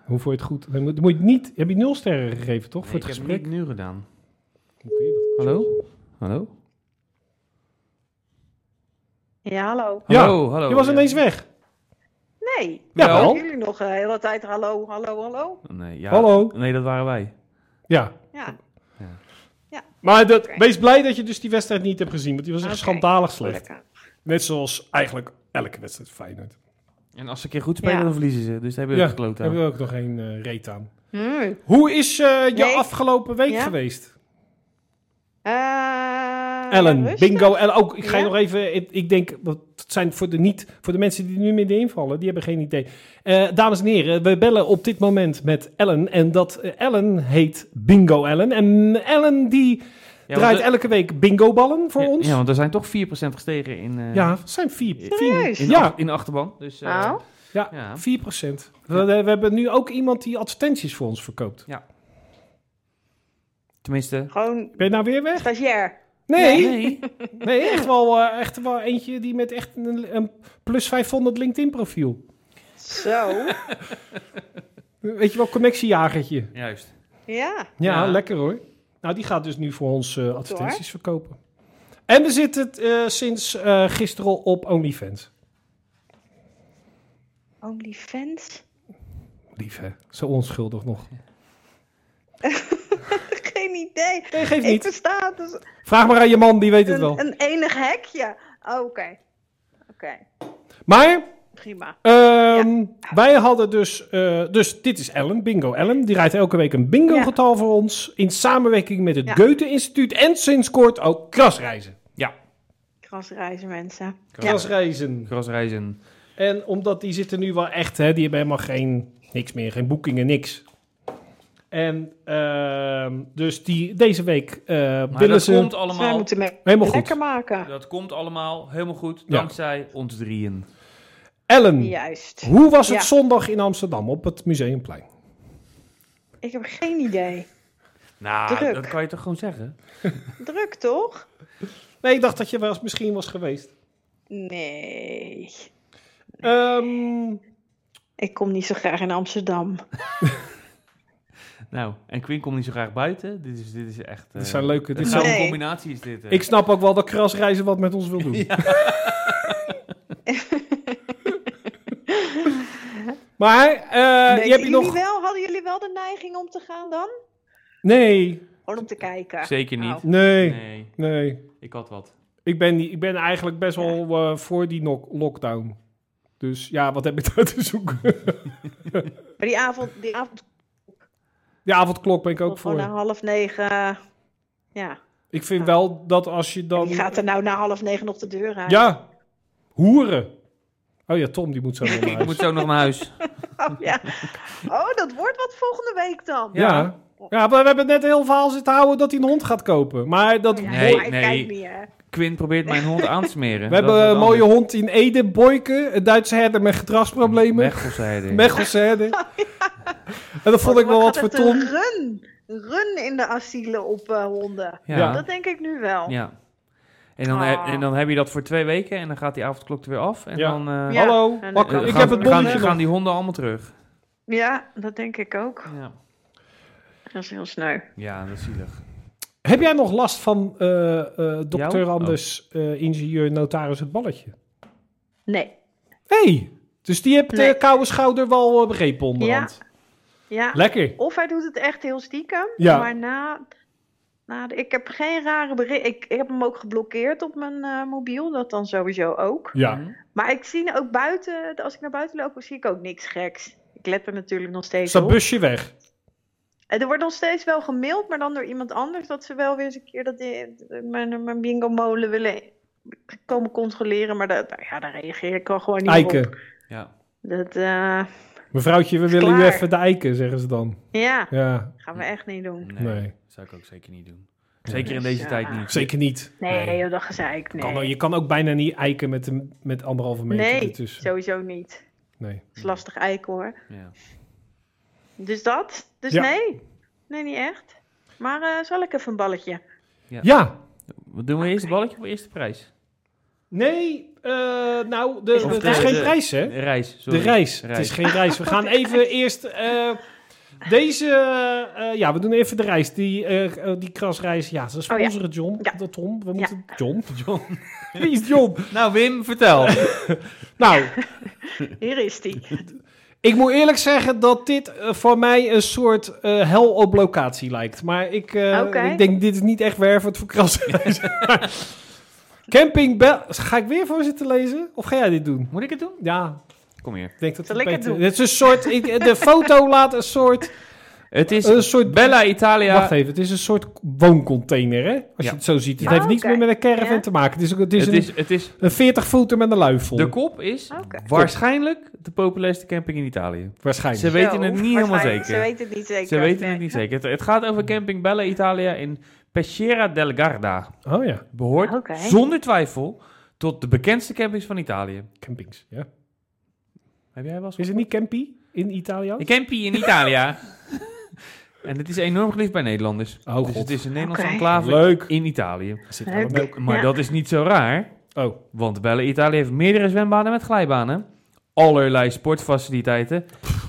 Hoe vond je het goed? Dan moet, dan moet je niet, heb je nul sterren gegeven, toch?
Nee,
voor
ik
het
heb het
gesprek?
niet nu gedaan.
Hoe kun je dat?
Hallo? Hallo?
Ja, hallo.
Ja,
hallo, hallo.
je was
Oh, Ja.
ineens weg.
Nee.
Ja,
Horen
wel.
jullie nog eh, de hele tijd hallo, hallo, hallo?
Nee, ja,
Hallo?
Nee, dat waren wij.
Ja.
Ja.
Maar dat,
Oké.
wees blij dat je dus die wedstrijd niet hebt gezien, want die was echt
Oké.
schandalig slecht.
Lekker.
Net zoals eigenlijk elke wedstrijd van Feyenoord.
En als ze een keer goed spelen,
Ja.
dan verliezen ze. Dus daar hebben we
Ja,
het gekloot
daar
aan.
hebben we ook nog geen eh reet aan.
Hmm.
Hoe is eh, je
Nee.
afgelopen week
Ja?
geweest?
Eh,
Ellen,
rustig.
bingo. Ellen, ook, ik ga je
Ja?
nog even... Ik, ik denk, want het zijn voor de, niet, voor de mensen die nu midden invallen, die hebben geen idee. Eh, dames en heren, we bellen op dit moment met Ellen. En dat eh, Ellen heet Bingo Ellen. En Ellen die
want
draait
er-
elke week bingoballen voor
ja,
ons.
Ja,
Ja,
want er zijn toch 4% gestegen in, eh,
het zijn vier. vier
Serieus?
in, de
Ja.
ach- in de achterban. Dus, eh,
Nou,
ja,
Ja.
4 procent. We, we hebben nu ook iemand die advertenties voor ons verkoopt.
Tenminste...
gewoon
Ben je nou weer weg?
stagiair.
Nee, nee.
Nee.
echt, wel, eh, echt wel eentje die met echt een, een plus 500 LinkedIn profiel.
Zo. (laughs)
Weet je wel, connectiejagertje.
Juist.
ja.
Ja,
Ja.
lekker hoor. Nou, die gaat dus nu voor ons eh, advertenties verkopen. En we zitten eh, sinds eh, gisteren al op OnlyFans.
OnlyFans? (laughs)
Lief hè, zo onschuldig nog.
Geen idee.
Nee, geeft
Ik
niet.
versta het dus.
Vraag maar aan je man, die weet het
Een,
wel.
een enig hekje. Oh, Oké. Oké,
Maar
prima.
Ehm, Wij hadden dus, eh, dus dit is Ellen, Bingo Ellen. Die rijdt elke week een bingo getal voor ons. In samenwerking met het
Ja.
Goethe Instituut en sinds kort ook krasreizen. Ja,
Krasreizen mensen. Dus
krasreizen.
Crossreizen.
En omdat die zitten nu wel echt, hè, die hebben helemaal geen, niks meer, geen boekingen, niks. En ehm, dus die, deze week eh,
Maar
willen
dat
ze
komt
Zij
allemaal...
moeten me
helemaal goed.
lekker maken.
Dat komt allemaal helemaal goed
Ja.
dankzij ons drieën.
Ellen,
Juist.
hoe was het
Ja.
zondag in Amsterdam op het Museumplein?
Ik heb geen idee.
Nou,
Druk.
dat kan je toch gewoon zeggen?
Druk toch?
Nee, ik dacht dat je wel eens, misschien was geweest.
Nee.
Ehm
Ik kom niet zo graag in Amsterdam.
Eh,
Nou, en Quinn komt niet zo graag buiten. Dit is, dit is echt... eh,
Dit zijn leuke- dit
een
zijn-
gouden
Nee.
combinatie is dit. eh.
Ik snap ook wel dat krasreizen wat met ons wil (laughs) doen. maar eh je
Weten
hebt je
jullie
nog...
wel, hadden jullie wel de neiging om te gaan dan?
Nee,
Gewoon om te kijken.
Zeker niet.
Oh.
nee, nee.
Nee, ik had wat.
Ik, ben niet, ik ben eigenlijk best wel eh, voor die nok- lockdown. Dus ja, wat heb ik (laughs) daar te zoeken?
Maar die avond, die avond
De avondklok ben ik ook
gewoon na
voor.
half negen. eh, nou. Ja.
Ik vind wel dat als je dan...
Wie gaat er nou na half negen nog de deur uit?
Ja, hoeren. Oh ja, Tom, die (laughs) moet zo nog naar
Ik moet
huis.
zo nog naar huis.
(laughs) Oh, ja. oh, dat wordt wat volgende week dan.
Ja. ja, maar we hebben net een heel verhaal zitten houden dat hij een hond gaat kopen. Maar dat
Oh, Ja,
Nee,
maar ik
nee.
kijk niet, hè.
Quinn probeert mijn hond aan te smeren.
We hebben een mooie hond in Ede, Boyke, een Duitse herder met gedragsproblemen.
Mechelsheide.
Mechelse herder.
(laughs)
En dat vond ik wel
Wat
wat
gaat
voor
het een
Tom.
Run, run in de asielen op eh, honden.
Ja.
Ja.
Dat denk ik nu wel.
ja. En, dan, he- en dan heb je dat voor twee weken en dan gaat die avondklok er weer af. En
Ja.
dan eh,
Ja. nou,
Hallo,
En-
wakker,
eh,
ik
gaan,
heb het
gaan,
bonnetje nog.
gaan die honden allemaal terug.
Ja, dat denk ik ook.
Ja,
Dat is heel sneu.
ja dat is zielig.
Heb jij nog last van eh, eh, dokter
Jou? Oh.
Anders, eh, ingenieur, notaris, het balletje?
Nee.
hey, dus die hebt
Nee.
de koude schouder wel eh, begrepen onderhand.
Ja.
Lekker.
Of hij doet het echt heel stiekem.
Ja.
Maar na, na de- ik heb geen rare berichten. Ik, ik heb hem ook geblokkeerd op mijn eh, mobiel. Dat dan sowieso ook.
Ja.
Mhm.
Maar ik zie ook buiten, als ik naar buiten loop, zie ik ook niks geks. Ik let er natuurlijk nog
Is
steeds
dat
op.
busje weg?
En er wordt nog steeds wel gemaild, maar dan door iemand anders. Dat ze wel weer eens een keer dat die- mijn, mijn bingo molen willen komen controleren. Maar dat, nou ja, daar reageer ik wel gewoon niet meer op.
Eiken.
Ja.
Dat, eh,
Mevrouwtje, we
Is
willen u
klaar.
even de eiken, zeggen ze dan.
ja,
Ja, Mm.
gaan we echt niet doen.
Nee,
Nee.
zou ik ook zeker niet doen. Zeker in deze
Ja.
tijd niet.
zeker niet.
Nee, joh, dat gezeik. Nee,
Kan, ook- je kan ook bijna niet eiken met, een, met anderhalve meter
nee
ertussen.
sowieso niet.
Nee.
Dat is lastig eiken hoor.
Ja.
Dus dat? Dus
Ja.
nee? Nee, niet echt. Maar eh, zal ik even een balletje?
Ja,
Wat doen we eerst het balletje of eerst de prijs?
Nee, eh, nou, de,
Is
het
het
is
de-
geen
de-
prijs, hè?
De reis.
De
sorry.
reis. Het is geen reis. We (laughs) gaan even eerst eh, deze... eh, ja, we doen even de reis. Die, eh, eh, die krasreis. Ja, ze
Oh, ja.
sponsoren John.
Ja.
Dat Tom. We moeten... John? John. (laughs) Wie is John?
Nou, Wim, vertel.
Nou,
Hier is die.
ik moet eerlijk zeggen dat dit eh, voor mij een soort eh, hel op locatie lijkt. Maar ik, eh,
Oké.
ik denk, dit is niet echt wervend voor
(laughs)
krasreis. Camping Bel... Ga ik weer voor zitten lezen? Of ga jij dit doen?
(laughs) Moet ik het doen?
Ja,
Kom hier.
Ik denk dat
Zal
het
ik het
beter-
doen?
Het is een soort. ik- de foto laat een soort
Het is
Een soort-
Bella Italia.
Eh, Wacht even, het is een soort wooncontainer, hè? Als je
Ja.
het zo ziet. Het
Ja.
heeft niks
Oké.
meer met een caravan
Ja.
te maken. Het is, ook- het is,
het
een,
is, het is,
een 40 voeter met een lui vol.
de kop is
Oké.
waarschijnlijk de populairste camping in Italië.
waarschijnlijk.
Ze weten
Zo,
het niet helemaal
waarschijnlijk.
zeker.
Ze weten het niet zeker.
Ze weten het
Nee.
niet zeker. Het, het gaat over camping Bella Italia in Peschiera del Garda.
Oh ja,
Behoort
Oké.
zonder twijfel tot de bekendste campings van Italië.
campings. Ja.
Heb jij wel eens
Is het niet campy in Italië?
Een camping in Italië. (laughs) en het is enorm geliefd bij Nederlanders.
Oh,
dus
God.
het is een Nederlandse
Oké.
enclave
Leuk.
in Italië.
Zit
Leuk.
wel een melk-
Maar
Ja.
dat is niet zo raar,
Oh,
want Bella Italië heeft meerdere zwembaden met glijbanen, allerlei sportfaciliteiten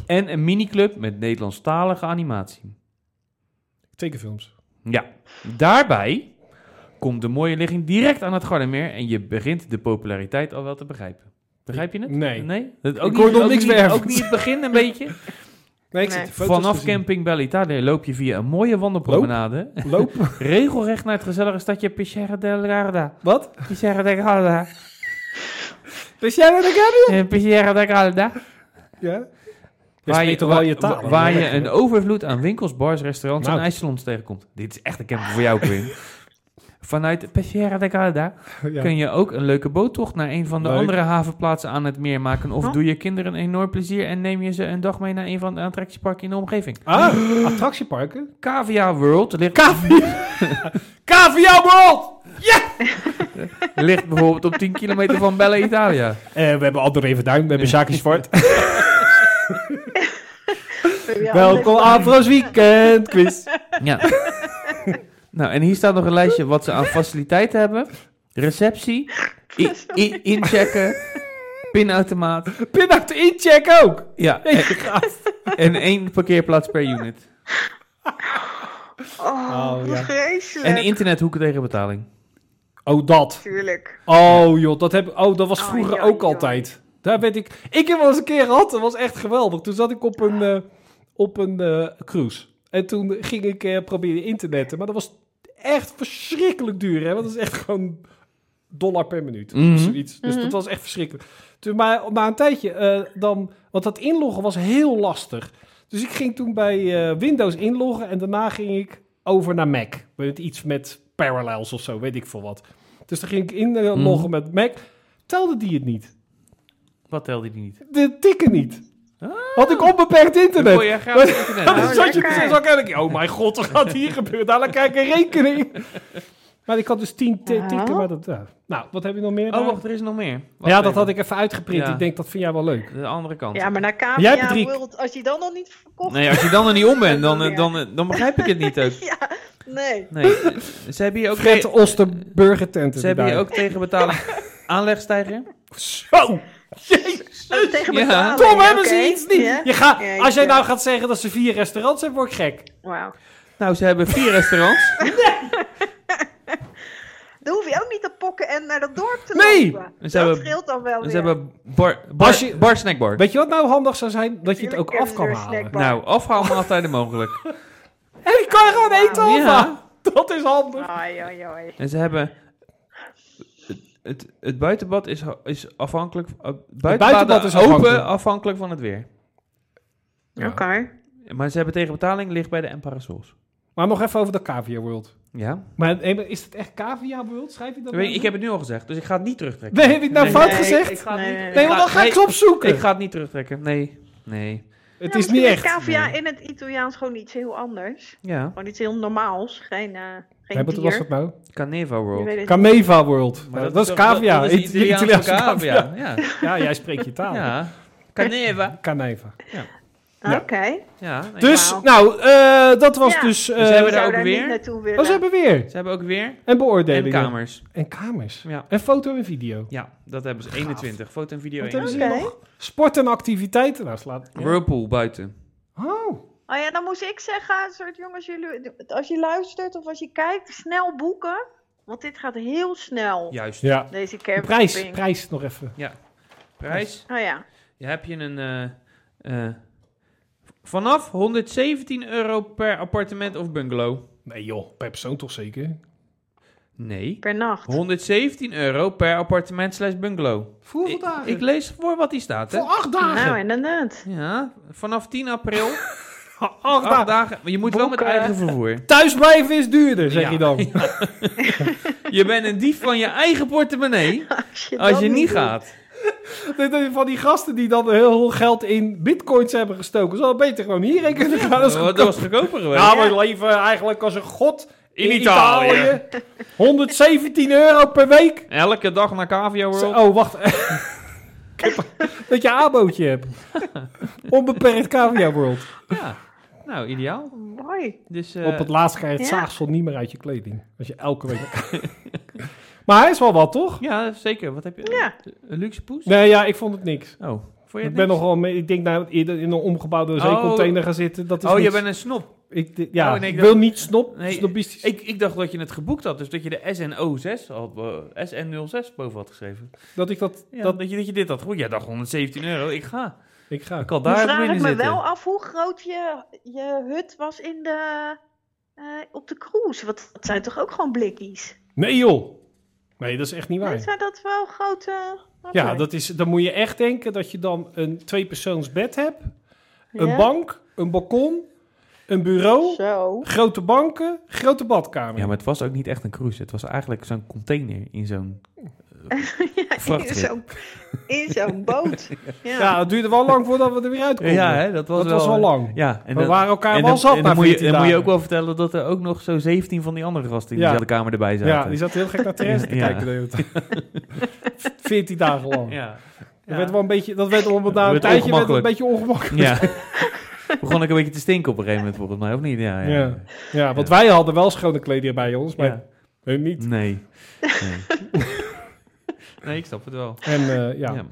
en een miniclub met Nederlandstalige animatie.
tekenfilms.
Ja, daarbij komt de mooie ligging direct aan het Gardermeer en je begint de populariteit al wel te begrijpen. Begrijp je het?
Nee.
nee? Dat ook
Ik hoor
niet-
nog
ook
niks
niet-
wervend.
Ook niet het begin een
(laughs)
beetje.
Nee, ik
Nee.
zit de foto's
Vanaf
te zien.
camping Bella Italia loop je via een mooie wandelpromenade
Loop.
(laughs) regelrecht naar het gezellige stadje Pichera del Garda.
Wat?
Pichera del Garda.
Dus jij dat ik heb?
Eh, Pichera del Garda.
Ja.
Waar je,
toch wel
waar,
je taal.
waar- waar je een overvloed aan winkels, bars, restaurants
Nou.
en ijssalons tegenkomt. Dit is echt een camping voor jou,
(laughs)
Quinn. Vanuit Pichera del Garda
Ja.
kun je ook een leuke boottocht naar een van de
Leuk.
andere havenplaatsen aan het meer maken. Of
Oh.
doe je kinderen een enorm plezier en neem je ze een dag mee naar een van de attractieparken in de omgeving.
Ah, attractieparken?
Cavia World ligt... Cavia World! Ja! ligt bijvoorbeeld op 10 kilometer van Bella Italia.
Eh, we hebben Aldo Revenduin, we hebben Sjaakje Zwart.
Ja,
Welkom
leuk.
Afro's Weekend Quiz.
Ja. (laughs) nou, en hier staat nog een lijstje wat ze aan faciliteiten hebben. Receptie, i- i- inchecken, pinautomaat.
Pinnacht incheck ook.
Ja, Eh, en, en één parkeerplaats per unit.
Oh,
Oh,
wat
ja.
vreselijk.
En internethoeken tegen betaling.
Oh, dat.
Tuurlijk.
Oh joh, dat, heb, oh, dat was
Oh,
vroeger
joh,
ook
joh.
altijd. Daar werd ik... Ik heb wel eens een keer gehad, dat was echt geweldig. Toen zat ik op een, eh, op een eh, cruise. En toen ging ik eh, proberen internetten. Maar dat was echt verschrikkelijk duur, hè. Want dat is echt gewoon dollar per minuut.
Mhm.
Of zoiets. Dus dat was echt verschrikkelijk. Toen, maar na een tijdje eh, dan... Want dat inloggen was heel lastig. Dus ik ging toen bij eh, Windows inloggen. En daarna ging ik over naar Mac. Weet, iets met Parallels of zo, weet ik veel wat. Dus dan ging ik inloggen
Mhm.
met Mac. Telde die het niet.
Wat telde die niet?
De tikken niet. Had ik onbeperkt internet.
Ah. Kon je gratis (laughs) internet?
Dan
Oh,
zat je
lekker.
precies ook en ik, oh mijn god, wat gaat hier gebeuren? Dadelijk kijk ik een rekening. (laughs) Maar ik had dus tien ti- tikken. Maar dat, ja. Nou, wat heb je nog meer?
Oh,
daar?
wacht, er is nog meer. Wacht
ja, dat
even.
had ik even uitgeprint.
Ja.
Ik denk, dat vind jij wel leuk.
De andere kant.
Ja, maar naar
Jij hebt
Cavia
drie-
World, als je dan nog niet verkocht...
Nee, als je dan er niet om bent, dan, eh, dan, eh, dan begrijp ik het niet ook.
(laughs) Ja, nee.
Nee, eh, ze hebben hier ook,
Fred
te-
Osterburger tenten.
ze hebben hier
daar.
ook Oh, tegen betaling aanlegstijger.
Zo!
Oh, tegen
Ja.
betaling.
Tom, hebben
oké.
ze iets niet?
Ja?
Je gaat,
Ja,
als jij
ja.
nou gaat zeggen dat ze vier restaurants hebben, word ik gek.
Wauw.
Nou, ze hebben vier restaurants.
Dan hoef je ook niet te pokken en naar dat dorp te
Nee!
lopen.
En ze
dat
hebben-
scheelt dan wel
Ze
weer.
hebben bar, bar,
Als je-
bar snackbar.
Weet je wat nou handig zou zijn? Dat je het ook
Tuurlijk
af kan
hebben ze er
halen.
snackbar.
Nou, afhaalmaaltijden mogelijk. (laughs)
En ik kan gewoon eten
Ja.
afhalen. (laughs) Dat is handig.
Ai, ai, ai.
En ze hebben... Het, het, het buitenbad is, ha- is afhankelijk... Het buitenbad,
buitenbad
is
is
open afhankelijk.
afhankelijk.
van het weer.
Oké.
Maar ze hebben tegen betaling ligt bij de en parasols.
Maar nog even over de Cavia World.
Ja?
Maar nee, maar is het echt Cavia World? Schrijf je dat?
Weet
nou?
je, ik heb het nu al gezegd, dus ik ga het niet terugtrekken.
Nee, heb ik het nou
Nee,
fout
nee,
gezegd?
ik ga het Nee, niet- nee,
nee, want dan
ik
ga ik ze opzoeken.
Ik ga het niet terugtrekken. Nee. Nee.
het
Ja,
is niet
misschien
echt.
Cavia
Nee.
in het Italiaans gewoon iets heel anders.
Ja.
Gewoon iets heel normaals. Geen, eh geen
Nee, wat
dier.
was dat nou?
Caneva
Je
World.
weet het
Caneva nou? World.
Maar
Ja, dat is
toch-
Cavia.
Dat is de
It-
Italiaanse
Italiaanse
cavia. (laughs) Ja.
Ja, jij spreekt je taal.
ja. Caneva.
Caneva.
niet.
Ja.
Oké.
Ja. nee.
Dus,
Wauw.
nou, eh, dat was
Ja.
dus... eh,
Dus hebben
Ik
we
zou
ook
daar
weer?
niet naartoe willen.
oh, ze hebben weer.
Ze hebben ook weer
En
en
beoordelingen.
kamers.
En kamers.
Ja.
En foto en video.
Ja, dat hebben ze. 21. Foto en video
Wat
1.
hebben ze
Oké.
hier nog? Sport en activiteiten. Nou, slaat... ja.
Whirlpool buiten.
Oh.
Oh ja, dan moest ik zeggen, soort jongens, jullie, als je luistert of als je kijkt, snel boeken. Want dit gaat heel snel,
Juist.
Ja.
deze
De
camping.
Prijs, prijs nog even.
Prijs.
Oh ja,
Je hebt je een... eh, eh, vanaf 117 euro per appartement of bungalow.
Nee joh, per persoon toch zeker?
Nee.
per nacht.
117 euro per appartement slash bungalow.
Voor hoeveel
Ik, Nou,
dagen?
ik lees voor wat die staat, hè.
Voor acht dagen.
Nou, inderdaad.
Ja, vanaf 10 april
Acht
Acht
dagen.
dagen. Maar je moet wel met
Boeken.
eigen vervoer.
Thuisblijven is duurder, zeg
Ja.
je dan.
Je bent een dief van je eigen
(laughs)
portemonnee
Als je,
als
dat
je niet
doet.
gaat.
Dat is Van die gasten die dan heel veel geld in bitcoins hebben gestoken. Ze hadden beter gewoon hierheen kunnen gaan. Dat is
Oh,
goedkoop.
Dat was goedkoper geweest.
Ja, we leven eigenlijk als een god in,
In
Italië.
Italië.
117 euro per week.
Elke dag naar Cavia
Zo-
World.
Oh, wacht. (laughs) Ik heb- dat je abootje
(laughs)
hebt. Onbeperkt Cavia World.
Ja. Nou, ideaal.
Mooi.
Dus, eh,
Op het laatst krijg je het
ja.
zaagsel niet meer uit je kleding. Als je elke week... (laughs) maar hij is wel wat, toch?
Ja, zeker. Wat heb je?
Ja.
Een luxe poes?
Nee, ja, ik vond het niks.
Oh, voor je
Ik
het
ben
niks?
nogal... mee- Ik denk nou in in een omgebouwde
Oh.
zeecontainer gaan zitten. Dat is
Oh, je
niks.
bent een snop.
Ik, d- ja,
Oh, nee, ik
ik
dacht-
wil niet snop,
Nee,
snobistisch.
Ik, ik dacht dat je het geboekt had, dus dat je de SNO6, al, eh, SN06 boven had geschreven.
dat ik dat...
Ja,
dat
dat, je, dat je dit had geboekt. Jij dacht 117 euro, ik ga.
ik ga.
Ik had
Dan
daar
vraag
binnen
ik me
zitten.
Dus wel af hoe groot je, je hut was in de, eh, op de cruise. Want dat zijn toch ook gewoon blikkies?
Nee joh! Nee, dat is echt niet
Nee,
waar.
zijn dat wel grote...
Ja,
Oké.
dat is, dan moet je echt denken dat je dan een tweepersoons bed hebt,
Ja.
een bank, een balkon, een bureau,
Zo.
grote banken, grote badkamer.
Ja, maar het was ook niet echt een cruise. Het was eigenlijk zo'n container in zo'n...
(laughs) ja, in
Vrachtschip.
zo'n in
(laughs)
zo'n boot. Ja.
Ja, het duurde wel lang voordat we er weer uitkomen.
Ja, hè, dat was
Dat
wel...
was wel lang.
Ja, en
we
dan-
waren elkaar
en
wel
dan,
zat
en
na
dan, moet je,
14
dan moet je ook
dagen.
wel vertellen dat er ook nog zo'n 17 van die andere gasten in
Ja.
dezelfde kamer erbij zaten.
Ja, die zat heel gek naar Therese te
(laughs) Ja.
kijken. de hele tijd.
(laughs)
14 dagen lang.
Ja.
Dat werd wel een beetje, dat werd op, na een
Werd
tijdje werd het een
ongemakkelijk.
beetje ongemakkelijk.
Ja. (laughs) Begon ik een beetje te stinken op een gegeven moment, volgens mij, of niet? Ja, ja.
Ja. Ja, want wij hadden wel schone kleding bij ons, maar
Ja.
hun niet.
Nee. Nee. nee, ik snap het wel.
En eh, ja.
Ja.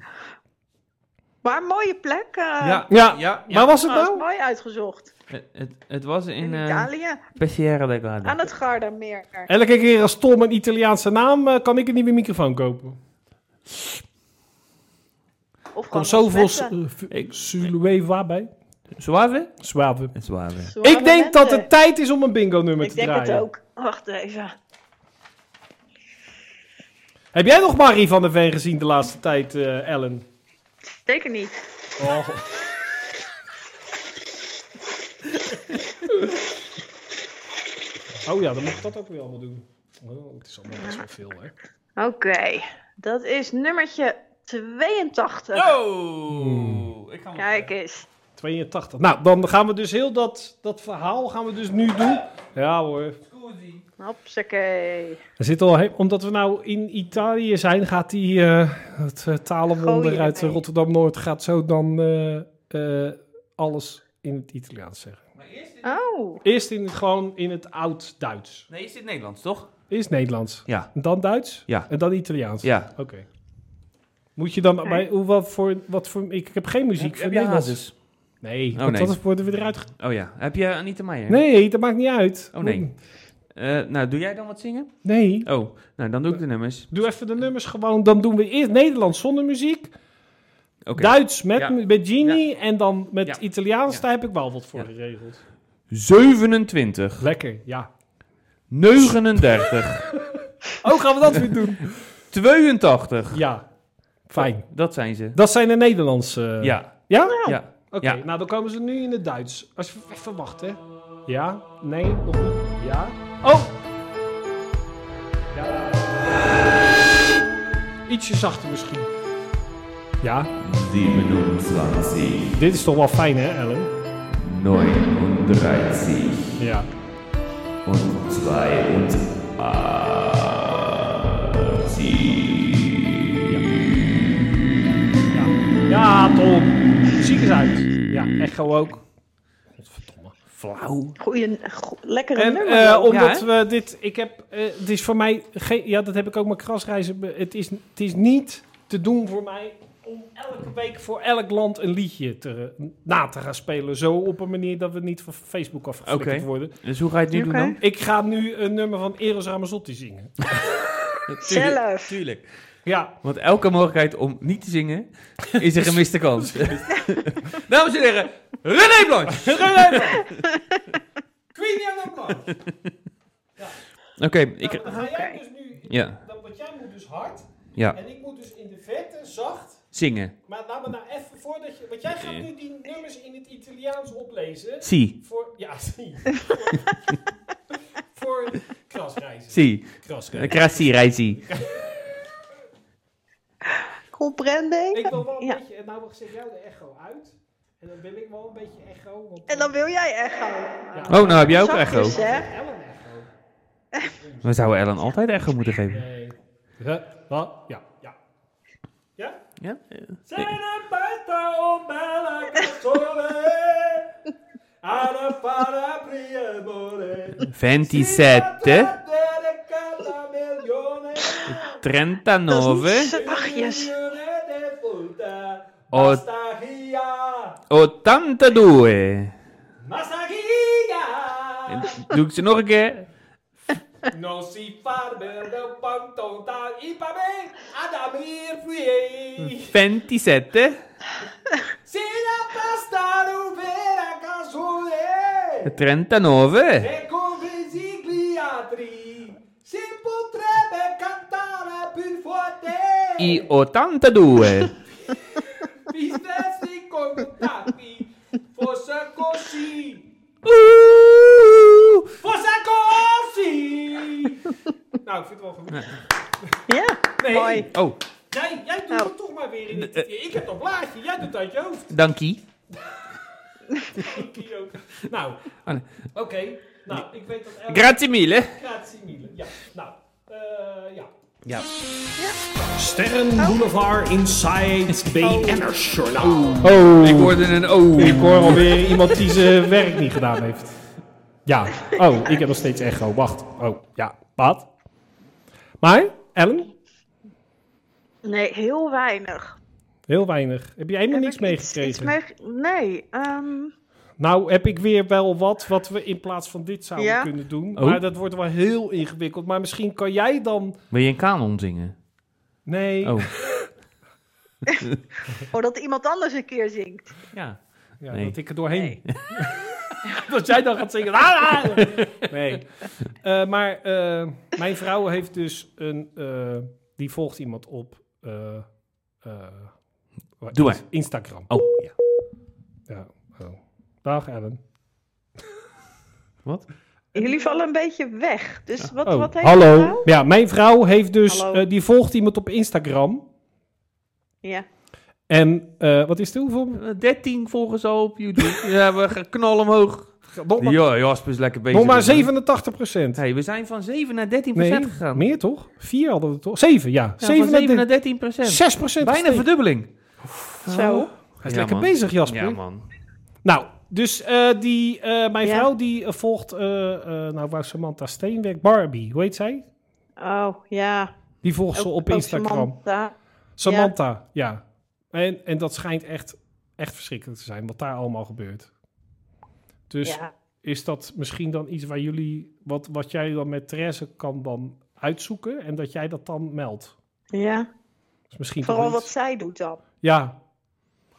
Maar mooie plek. eh,
Ja.
Ja,
Ja, ja.
maar was het
trouwens,
nou?
mooi uitgezocht.
Het, het, het was in
In
eh
Italië.
Pesciera del Grande.
Aan het Gardameer.
Elke keer als Tom een Italiaanse naam, eh, kan ik een nieuwe microfoon kopen.
Of gewoon
Komt zoveel
Smetten.
eh, Sulueva bij.
Suave?
Zwaven.
Suave.
Zware
Ik denk dat
mensen.
het tijd is om een bingo nummer
Ik
te
denk
draaien.
het ook. Wacht even.
Heb jij nog Marie van der Veen gezien de laatste tijd, eh, Ellen?
Zeker niet.
Oh. Oh ja, dan moet ik dat ook weer allemaal doen. Oh, het is allemaal best wel veel, hè?
Oké. Dat is nummertje 82.
Hmm.
Oh! Ik ga
Kijk eens.
82. Nou, dan gaan we dus heel dat, dat verhaal gaan we dus nu doen. Ja hoor.
Hopsakee.
Er zit al he- omdat we nou in Italië zijn, gaat die eh het eh, talenwonder
Gooien
uit
erbij.
Rotterdam-Noord gaat zo dan eh, eh, alles in het Italiaans zeggen.
Maar eerst in,
Oh.
Eerst in, gewoon in het oud-Duits.
nee, is dit Nederlands, toch?
Eerst Nederlands,
Ja.
en dan Duits
Ja.
en dan Italiaans.
Ja.
Oké. Moet je dan bij hoe wat voor wat voor ik, ik heb geen muziek voor Nederlands.
dus.
Nee,
Oh,
want
nee.
dat worden we eruit. ge-
Oh ja. Heb je Anita Meijer?
Nee, dat maakt niet uit.
Oh, nee. Eh, nou, doe jij dan wat zingen?
Nee.
Oh, nou, dan doe ik de nummers.
Doe even de nummers gewoon. Dan doen we eerst Nederlands zonder muziek.
Oké.
Duits met,
Ja.
met Genie en dan met
Ja.
Italiaans.
Ja.
Daar heb ik wel wat voor
Ja.
geregeld.
27,
Lekker, ja.
39,
(laughs) Oh, gaan we dat weer doen?
(laughs) 82.
Ja, fijn.
Dat Oh. zijn ze.
Dat zijn de Nederlandse... eh,
Ja.
Ja?
Ja.
Oké,
Ja.
nou dan komen ze nu in het Duits. Als je even wacht, hè. Ja, nee, nog niet. Ja. Oh! Ja. Ietsje zachter misschien. Ja.
27,
Dit is toch wel fijn, hè, Ellen?
39
Ja.
und 82.
Ja, Tom. Ziek eens uit. Ja, echo ook. Godverdomme.
Hmm. Flauw.
Goeie, go- lekkere
En
nummer.
eh,
wel.
omdat
hè?
we dit... Ik heb... eh, het is voor mij... geen- ja, dat heb ik ook mijn krasreizen... be- Het is, het is niet te doen voor mij om elke week voor elk land een liedje te, na te gaan spelen. Zo op een manier dat we niet van Facebook afgeflikkerd
Oké.
worden.
Dus hoe ga je het nu
Oké.
doen
Ik ga nu een nummer van Eros Ramazzotti zingen.
dan?
Zelf.
Tuurlijk.
Ja.
Want elke mogelijkheid om niet te zingen is een gemiste (laughs) kans. Dames en heren, René Blanche.
Queen Yellow Blood.
Oké,
Oh.
ik...
Dan ga jij dus nu...
Ja,
Dan, want jij moet dus hard...
ja.
En ik moet dus in de vette, zacht...
Zingen.
Maar laat me nou even voordat je... Want jij gaat nu die nummers in het Italiaans oplezen.
Si,
Voor, ja, (laughs) zie. voor, voor krasreizen.
si.
Krasreizen.
Crassi, reizi.
Ik
Comprende?
wil wel een
Ja.
beetje, nou zet jou de echo uit. En dan wil ik wel een beetje echo. Want
En dan wil jij echo.
Oh, nou heb jij ook echo.
Zachtjes, hè?
Ellen echo.
We zouden Ellen altijd echo moeten geven.
Nee. Ja, wat? Ja, ja. Ja?
Ja?
Zijn er buiten om melk sole? Aan een parapriëmore.
27, 39,
Zachtjes.
é tá
82. En
Massagia!
doe ik ze nog een keer?
Non si farbe del pantonta ipame adamir fuie.
27,
Se la pasta vera casole
39,
e con vesigliatri si potrebbe cantare più forte.
i
(laughs)
82.
Mi stessi contatti fosse così.
Oeh.
Fosse così. Nou, ik vind het wel goed.
Ja,
Nee.
mooi.
Oh,
Jij, jij doet
Nou.
het toch maar weer in het... Ik heb dat blaadje, jij doet het uit je hoofd.
dankie.
Dankie ook. Nou,
Oh, nee.
oké. Nou, ik weet dat elke
Grazie mille.
gratie Miele. Ja, nou. eh ja.
Ja.
Sterren Boulevard Inside BN'ers Journaal.
Ik hoorde een oh.
Ik hoor alweer iemand die zijn werk niet gedaan heeft. Ja. Oh, ik heb nog steeds echo. Wacht. Oh, ja. Wat? Maar, Ellen,
Nee, heel weinig.
heel weinig. Heb jij helemaal
Heb
niks
ik iets- iets
meegekregen?
meege- Nee, ehm,
Nou, heb ik weer wel wat wat we in plaats van dit zouden
Ja?
kunnen doen.
Oh.
Maar dat wordt wel heel ingewikkeld. Maar misschien kan jij dan...
Wil je een kanon zingen?
Nee.
Oh,
oh, dat iemand anders een keer zingt.
ja.
Ja,
Nee.
dat ik er doorheen. (laughs) dat jij dan gaat zingen. "Ah, ah." Nee. Eh, maar eh, mijn vrouw heeft dus een. eh, die volgt iemand op. eh, eh, wat-
Doe maar.
Instagram.
Oh, ja.
Ja. Oh. Dag Ellen.
Jullie vallen een beetje weg. Dus wat,
Oh,
wat heeft
hallo.
je nou?
Ja, mijn vrouw heeft dus.
Hallo.
eh, die volgt iemand op Instagram.
Ja.
En eh, wat is het hoeveel?
Eh, 13 volgers al op YouTube. ja, we gaan knal omhoog.
Nog maar,
Ja, Jasper is lekker bezig.
nog maar
met-
87 procent.
Hey, we zijn van 7 naar 13
Nee,
gegaan.
meer toch? Vier hadden we toch? Zeven, ja.
Ja,
Zeven
van 7 naar
naar
13
6 procent.
Bijna verdubbeling.
Zo.
Hij is
Ja,
lekker
man.
bezig, Jasper.
Ja, man.
Nou, dus eh, die, eh, mijn
Ja.
vrouw die eh, volgt, eh, eh, nou waar Samantha Steenweg, Barbie, hoe heet zij?
Oh, ja.
Die volgt ze
Ook-
op
ook
Instagram. Samantha,
Samantha.
ja. En, en dat schijnt echt, echt verschrikkelijk te zijn, wat daar allemaal gebeurt. Dus
ja.
is dat misschien dan iets waar jullie, wat, wat jij dan met Therese kan dan uitzoeken en dat jij dat dan meldt?
ja.
Dus misschien toch
Vooral
iets-
wat zij doet dan.
Ja.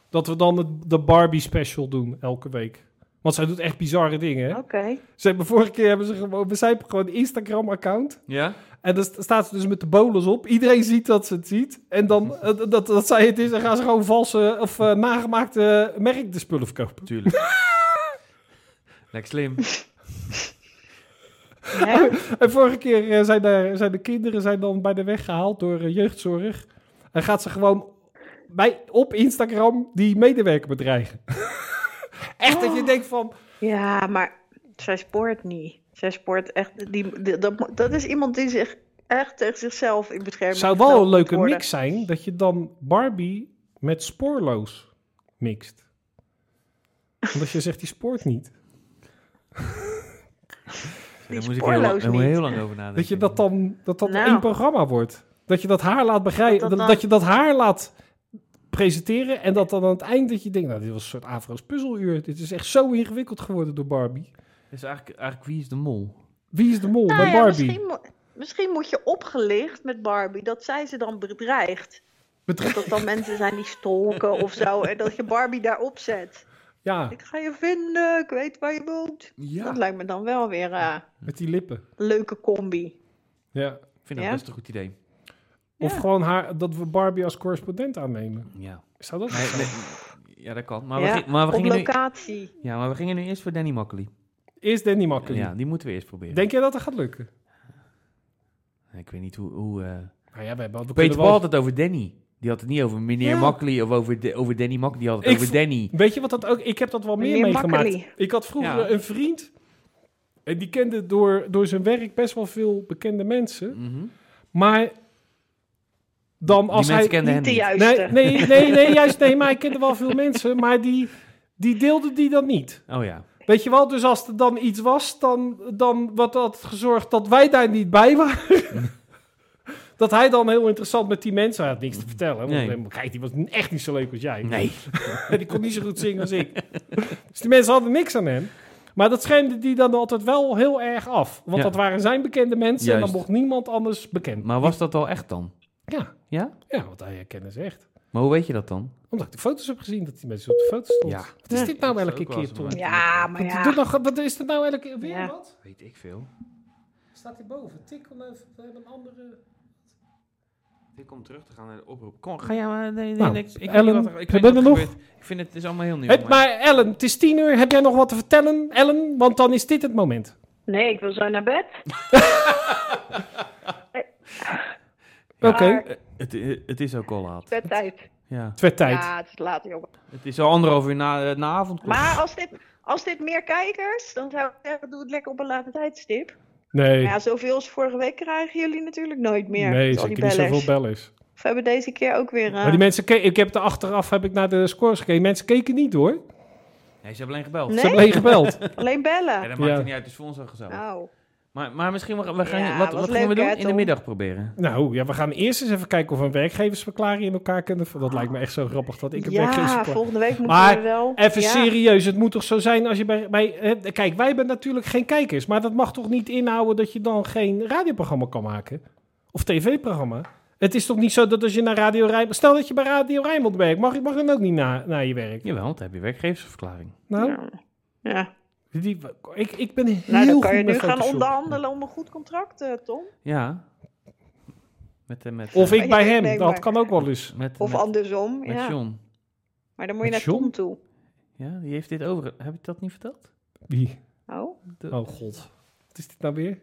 Dat we dan het, de Barbie special doen elke week. Want zij doet echt bizarre dingen, hè?
Oké.
Ze hebben vorige keer hebben ze gewoon, zij hebben gewoon een Instagram-account.
Ja?
En dan st- staat ze dus met de bolus op. Iedereen ziet dat ze het ziet. En dan eh, dat, dat zij het is. En gaan ze gewoon valse of eh, nagemaakte merk de spullen verkopen. (laughs)
Tuurlijk. Lekker slim.
Oh.
Hè?
En vorige keer eh, zijn, daar, zijn de kinderen zijn dan bij de weg gehaald door eh, jeugdzorg. En gaat ze gewoon bij, op Instagram die medewerker bedreigen. (laughs) Echt dat je denkt van...
Ja, maar zij spoort niet. Zij spoort echt... Die, die- dat, mo- dat is iemand die zich echt tegen zichzelf in bescherming
zou wel een
genomen
leuke
moet worden.
mix zijn dat je dan Barbie met spoorloos mixt. Omdat je zegt, die spoort
(laughs)
niet.
Daar
is
moest ik heel,
spoorloos
lang- daar moet ik
niet.
heel lang over nadenken.
Dat je dat dan dat dat
Nou.
één programma wordt. Dat je dat haar laat begrijpen. Dat,
Dat dat dan-
dat je dat haar laat presenteren. En dat dan aan het eind dat je denkt, nou, dit was een soort Afro's puzzeluur. Dit is echt zo ingewikkeld geworden door Barbie.
Dus eigenlijk, eigenlijk, wie is de mol?
Wie is de mol
Nou
bij
ja,
Barbie?
Misschien, mo- misschien moet je opgelicht met Barbie dat zij ze dan bedreigt.
Bedreigt.
Dat dan mensen zijn die stalken of zo. En dat je Barbie daarop zet.
Ja,
Ik ga je vinden, ik weet waar je woont.
Ja.
Dat lijkt me dan wel weer eh, een
met die lippen.
leuke combi.
Ja.
Ik vind dat
Ja?
best een goed idee.
Of
Ja.
gewoon haar, dat we Barbie als correspondent aannemen.
Ja.
Zou dat
Nee, nee, Ja, dat kan. Maar,
Ja,
we, ging- maar, we
op
gingen nu,
locatie.
ja, maar we gingen nu eerst voor Danny Makkely.
Is Danny makkelijk?
Ja, die moeten we eerst proberen.
Denk jij dat dat gaat lukken?
Ik weet niet hoe... hoe eh,
Nou ja, we hebben we
Peter
kunnen
Paul
wel...
had het over Danny. Die had het niet over meneer
Ja.
Makkely of over, de- over Danny Makkely. Die had het
Ik
over
vo-
Danny.
Weet je wat dat ook... Ik heb dat wel meer
Meneer
meegemaakt.
Makkely.
Ik had vroeger
Ja.
een vriend... En die kende door, door zijn werk best wel veel bekende mensen.
Mhm.
Maar dan als
die
hij...
mensen kenden hem
Niet de
niet.
juiste.
Nee, nee, nee, nee, juist nee. Maar ik kende wel veel (laughs) mensen. Maar die, die deelden die dat niet.
Oh ja.
Weet je wel, dus als er dan iets was, dan, dan wat had gezorgd dat wij daar niet bij waren. (laughs) dat hij dan heel interessant met die mensen hij had niks te vertellen. Want
Nee.
helemaal, kijk, die was echt niet zo leuk als jij.
Nee.
(laughs) Die kon niet zo goed zingen als ik. (laughs) Dus die mensen hadden niks aan hem. Maar dat schermde die dan altijd wel heel erg af. Want
Ja.
dat waren zijn bekende mensen en
Juist.
dan mocht niemand anders bekend.
Maar was dat al echt dan?
Ja,
Ja?
ja, want hij herkende ze echt.
Maar hoe weet je dat dan?
Omdat ik de foto's heb gezien dat die mensen op de foto's stond.
Ja.
Wat is
Ja,
dit nou
dat is
elke
ook wel
keer,
zo,
Tom?
maar-
Ja, maar
Wat,
ja.
doet nou, wat is het nou elke keer? Weer
Ja.
wat?
Weet ik veel.
Staat hier boven. Tikkel even. We hebben een andere...
Ik kom terug te gaan naar de oproep. Kom, ga jij maar. Nee, nee,
Nou,
niks. Ik
Ellen,
weet niet wat er, ik
hebben
weet niet
we
wat er
nog?
gebeurt. Ik vind het, is allemaal heel nieuw.
Heb, maar Ellen, het is tien uur. Heb jij nog wat te vertellen, Ellen? Want dan is dit het moment.
Nee, ik wil zo naar bed.
Oké.
Maar-
Eh, het, eh, het is ook al laat.
Bedtijd.
Ja.
Het werd tijd.
Ja, het is laat, jongen.
Het is al anderhalf uur na, eh, na avond.
Maar als dit, als dit meer kijkers, dan zou ik zeggen, doe het lekker op een late tijdstip.
Nee.
Maar ja, zoveel als vorige week krijgen jullie natuurlijk nooit meer.
nee,
met al die
zeker niet zoveel
bellers.
bellers.
We hebben deze keer ook weer... eh,
Maar die mensen keken... Ik heb er achteraf heb ik naar de scores gekeken. Mensen keken niet, hoor. Ze
Nee, ze hebben alleen gebeld.
Nee?
hebben alleen
(laughs)
gebeld.
Ja,
Alleen bellen.
dat maakt
Ja.
het niet uit. Het is voor ons al gezellig.
Nou,
Maar, maar misschien, we, we gaan,
Ja,
wat,
was
wat gaan we
leuk,
doen?
hè,
In de
Tom?
middag proberen.
nou, ja, we gaan eerst eens even kijken of we een werkgeversverklaring in elkaar kunnen... Dat lijkt me echt zo grappig dat ik een
ja,
werkgeversverklaring...
volgende week moeten
Maar
we wel...
Even
ja.
serieus, het moet toch zo zijn als je bij... bij hè, kijk, wij hebben natuurlijk geen kijkers, maar dat mag toch niet inhouden dat je dan geen radioprogramma kan maken? Of tv-programma? Het is toch niet zo dat als je naar Radio Rijnmond... Stel dat je bij Radio Rijnmond werkt, mag, je- mag je dan ook niet na- naar je werk?
Jawel, want dan heb je werkgeversverklaring.
Nou,
Ja.
die, ik, ik ben heel
Nou, dan kan
goed
je
met
nu gaan
Photoshop.
onderhandelen om een goed contract, eh, Tom.
Ja. Met, eh, met,
Of
eh,
ik bij
(laughs) Ja,
hem,
nee,
dat
maar-
kan ook wel eens.
Met,
Of
met,
andersom,
met
ja.
John.
Maar dan moet je
Met
naar
John?
Tom toe.
Ja, die heeft dit over... Heb ik dat niet verteld?
Wie?
Oh,
De,
Oh god, wat is dit nou weer?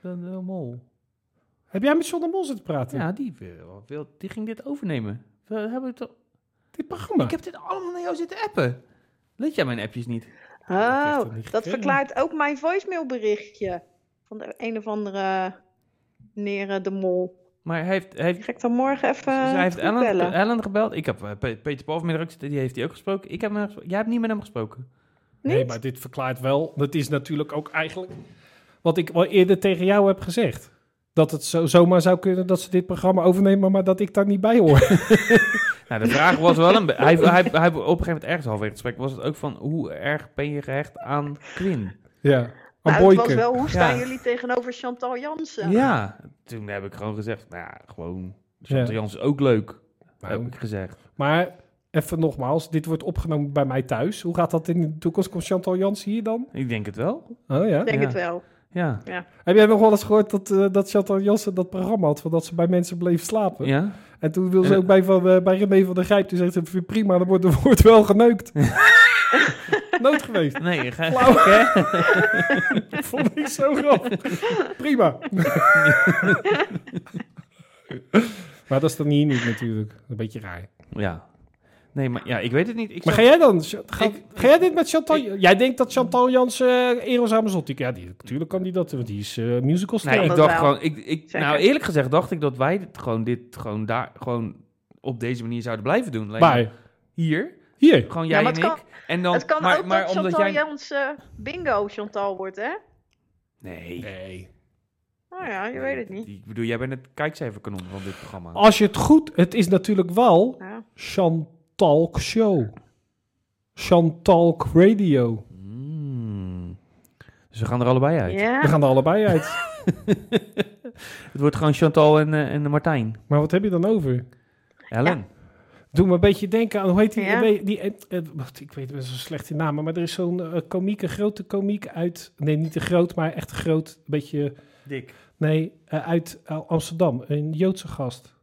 de, de mol.
Heb jij met John de Mol zitten praten?
Ja, die, wil, wil- die ging dit overnemen. We hebben het al-
Dit programma?
Ik heb dit allemaal naar jou zitten appen. Leed jij mijn appjes niet?
krijgt
oh
dat niet
dat
gekregen.
verklaart ook mijn voicemailberichtje. Van de een of andere meneer eh, de mol.
Maar hij heeft, hij heeft,
Die ga ik dan morgen even
zij heeft
terugbellen.
Ellen, Ellen gebeld. Ik heb eh, Pe- Peter Paul vanmiddag ook zitten. Die heeft hij ook gesproken. Ik heb hem gesproken. Jij hebt niet met hem gesproken.
Nee, maar dit verklaart wel. Dat is natuurlijk ook eigenlijk wat ik al eerder tegen jou heb gezegd. Dat het zo, zomaar zou kunnen dat ze dit programma overnemen, maar dat ik daar niet bij hoor.
Nou, de vraag was wel een... (laughs) be- Hij, hij, hij, op een gegeven moment ergens halverwege het gesprek was het ook van... Hoe erg ben je gehecht aan Quinn?
(laughs) Ja. Aan
Nou, het was
Boyke.
wel, hoe staan
Ja.
jullie tegenover Chantal Jansen?
Ja, toen heb ik gewoon gezegd, nou ja, gewoon, Chantal
Ja.
Jans is ook leuk,
Nou.
heb ik gezegd.
Maar even nogmaals, dit wordt opgenomen bij mij thuis. Hoe gaat dat in de toekomst? Komt Chantal Jans hier dan?
Ik denk het wel,
Oh ja.
Ik denk
Ja.
het wel.
ja.
Heb jij nog wel eens gehoord dat, eh, dat Chantal Jansen dat programma had? Van dat ze bij mensen bleef slapen.
ja.
En toen wilde ze ook bij, van, eh, bij René van der Grijp. Toen zegt ze, prima, dan wordt, er wordt wel (laughs) geneukt. Nood geweest.
(laughs)
Nee, ga,
Flauw.
hè?
Vond ik zo grappig. Prima. maar dat is dan hier niet natuurlijk. Een beetje raar.
Ja. Nee, maar ja, ik weet het niet. Ik
Maar ga
zou-
jij dan? Ga,
Ik-
ga jij dit met Chantal? jij denkt dat Chantal Jans eh Eros Ramazzotti... Ja, die, natuurlijk kan die dat, want die is eh musicalster.
Nee, ik
dat
dacht
wel.
gewoon, ik, ik,
Zeker.
nou eerlijk gezegd dacht ik dat wij dit gewoon, dit gewoon daar, gewoon op deze manier zouden blijven doen. Alleen
maar
Hier,
hier,
gewoon
Ja,
jij
maar
en
het
ik.
kan-
en dan,
het kan
maar,
ook
maar
dat
omdat
Chantal
jij...
Jansen bingo Chantal wordt, hè?
Nee.
Nou ja, je weet het niet. Oh.
Ik bedoel, jij bent het kijkcijferkanon van dit programma.
als je het goed... Het is natuurlijk wel
Ja.
Chantal Show. Chantal Radio.
Mm. Dus we gaan er allebei uit.
Ja.
We gaan er allebei uit.
Het wordt gewoon Chantal en, eh, en Martijn.
Maar wat heb je dan over?
Ellen.
Doe me een beetje denken aan, hoe heet die?
Ja.
die, die eh, eh, wacht, ik weet best wel slecht die namen, maar er is zo'n eh, komiek, een grote komiek uit, nee niet te groot, maar echt groot, een beetje,
Dik.
nee, eh, uit eh, Amsterdam, een Joodse gast.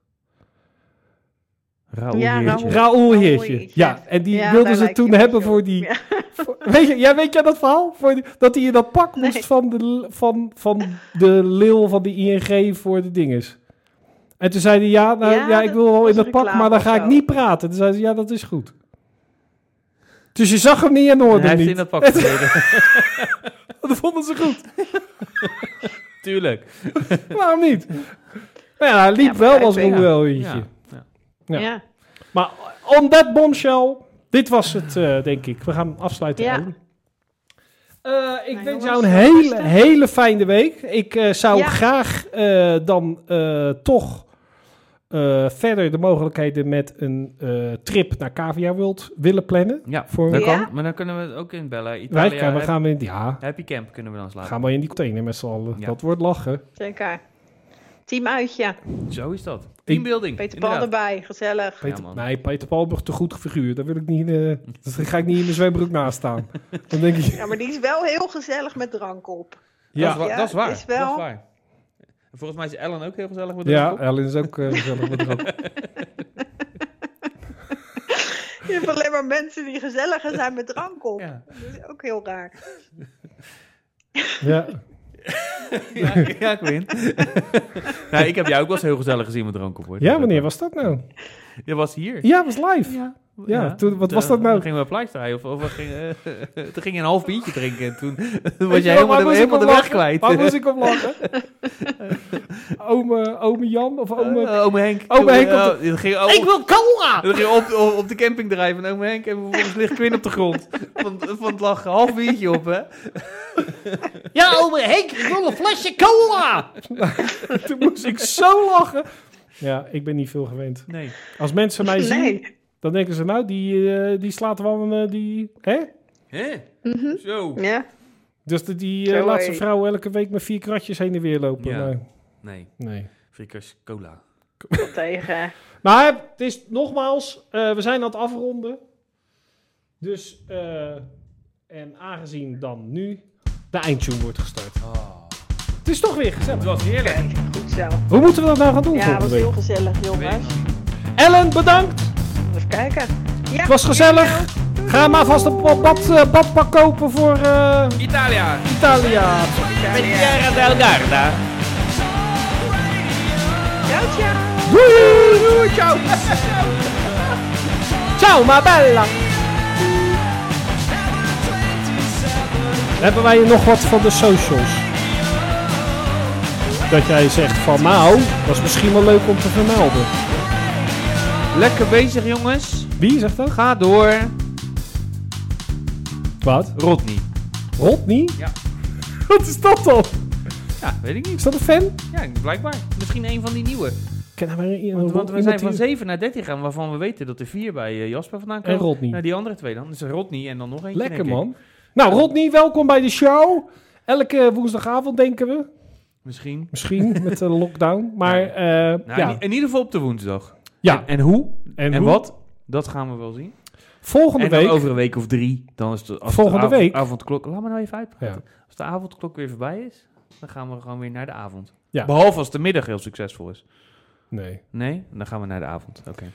Raoul
Ja,
Heertje.
Raoul.
Raoul
Raoul
Heertje.
Heertje.
Ja, en die
Ja,
wilden
daar
ze
lijkt
toen
hij
hebben
op,
voor die...
ja.
voor- weet, je, ja, weet jij dat verhaal? Voor die- dat hij in dat pak
Nee.
moest van de, l- van, van de lil van de ING voor de dinges. En toen zei hij, ja, nou, ja,
Ja,
ik
dat
wil wel in
was
dat pak,
reclame
maar dan
of
ga ik
zo.
niet praten. Toen zei ze, ja, dat is goed. Dus je zag hem niet en hoorde
En hij
hem
heeft
niet.
in dat pak gereden.
(laughs)
(laughs)
Dat vonden ze goed.
Tuurlijk.
(laughs) Waarom niet? Maar ja, hij
Ja,
liep
maar
wel
kijk,
als
ja.
Roel
Ja. Ja.
Ja.
Ja. Ja.
Maar on that bombshell, dit was het, eh, denk ik. We gaan afsluiten.
Ja.
Ellen. Eh, ik wens
Nou, jongens,
jou een
tot
hele,
rusten.
hele fijne week. Ik eh, zou
Ja.
graag eh, dan eh, toch eh, verder de mogelijkheden met een eh, trip naar Cavia World willen plannen.
Ja,
Voor-
dat
Ja?
kan. Maar dan kunnen we het ook inbellen.
Wij
Italia,
gaan, we
hap-
gaan, we in, ja,
Happy Camp kunnen we dan slapen.
gaan we in die container met z'n allen.
Ja.
Dat wordt lachen.
Zeker. Team uitje.
Zo is dat. Teambuilding.
Peter Paul
inderdaad.
erbij. Gezellig.
Peter,
man.
nee, Peter Paul wordt te goed figuur. Daar wil ik niet. eh daar ga ik niet in mijn zwembroek naast
(laughs)
staan. Dan denk ik.
Ja, maar die is wel heel gezellig met drank op.
Dat is
Ja,
wa-
Ja,
dat is waar.
is wel-
Dat is waar. En Volgens mij is Ellen ook heel gezellig met
ja,
ons.
Ellen is ook eh, gezellig met erop.
Je hebt alleen maar mensen die gezelliger zijn met drank op.
Ja.
Dat is ook heel raar.
(laughs) Ja.
Ja, (laughs) ja Quinn. nou, ik heb jou ook wel eens heel gezellig gezien met drank op. Hoor.
ja, wanneer was dat nou?
Je was hier.
Ja, was live. Ja, toen, wat
Eh,
was dat
Toen
nou?
gingen we plaatjes draaien. Of, of we gingen, eh, (laughs) toen ging je een half biertje drinken. En
(laughs)
toen, toen was
Weet
je
je wel, waar
helemaal, de,
moest ik
helemaal de
om
weg
lachen?
kwijt.
Waar
(laughs)
moest ik om lachen? ome, ome Jan of ome...
Ome, ome Henk.
Ome
Toen,
Henk op
eh, dat ging, oh,
wil cola!
dat ging op, op, op de camping drijven en ome Henk. En vervolgens ligt Quinn op de grond. Van, van het lachen. Half biertje op, hè?
Ja, ome Henk, ik wil een flesje cola! (laughs) toen moest ik zo lachen. Ja, ik ben niet veel gewend.
Nee.
Als mensen mij zien,
Nee.
dan denken ze nou, die, eh, die slaat wel een... eh, die, hè?
Hè? Zo.
Ja.
Dus de, die
Zo,
eh, laat
hé.
zijn vrouw elke week met vier kratjes heen en weer lopen.
Ja.
Nou,
Nee.
nee.
Frikkers cola.
Wat tegen.
Maar het is nogmaals, eh, we zijn aan het afronden. Dus, eh, en aangezien dan nu de eindtune wordt gestart. Het is toch weer gezellig.
Ah. was heerlijk.
Goed zo.
Hoe moeten we dat nou gaan doen
Ja, was
volgende
heel
week?
gezellig, jongens.
Ellen, bedankt.
Even kijken. Ja.
Het was gezellig. Ga maar vast een bad, bad, eh, badpak kopen voor eh,
Italia.
Italia.
Terra del Garda.
Ciao, ciao.
Doei. Doei, ciao. (laughs) ciao, ma bella. Hebben wij nog wat van de socials? Dat jij zegt van nou, dat is misschien wel leuk om te vermelden.
Lekker bezig, jongens.
Wie zegt dat?
Ga door.
Wat?
Rodney.
Rodney?
Ja.
Wat is dat dan?
Ja, weet ik niet.
Is dat een fan?
Ja, blijkbaar. Misschien een van die nieuwe.
Ken hij maar een-
Want, want we
iemand
zijn
die-
van 7 naar 13 gaan, waarvan we weten dat er 4 bij eh, Jasper vandaan
En
komen.
Rodney.
Naar die andere twee dan. Dus Rodney en dan nog eentje.
Lekker
denk ik.
man. Nou, Rodney, welkom bij de show. Elke woensdagavond denken we.
Misschien. (laughs)
Misschien met de lockdown. Maar
Nee.
eh,
Nou,
ja.
in, in ieder geval op de woensdag.
ja.
En, en hoe? En,
hoe?
wat? Dat gaan we wel zien.
Volgende
en dan
week.
over een week of drie. Dan is de, als
Volgende
de avond-
week?
avondklok. Laat me nou even uitpraten. Als de avondklok weer voorbij is, dan gaan we gewoon weer naar de avond.
Ja.
Behalve als de middag heel succesvol is.
Nee.
Nee, dan gaan we naar de avond. Oké.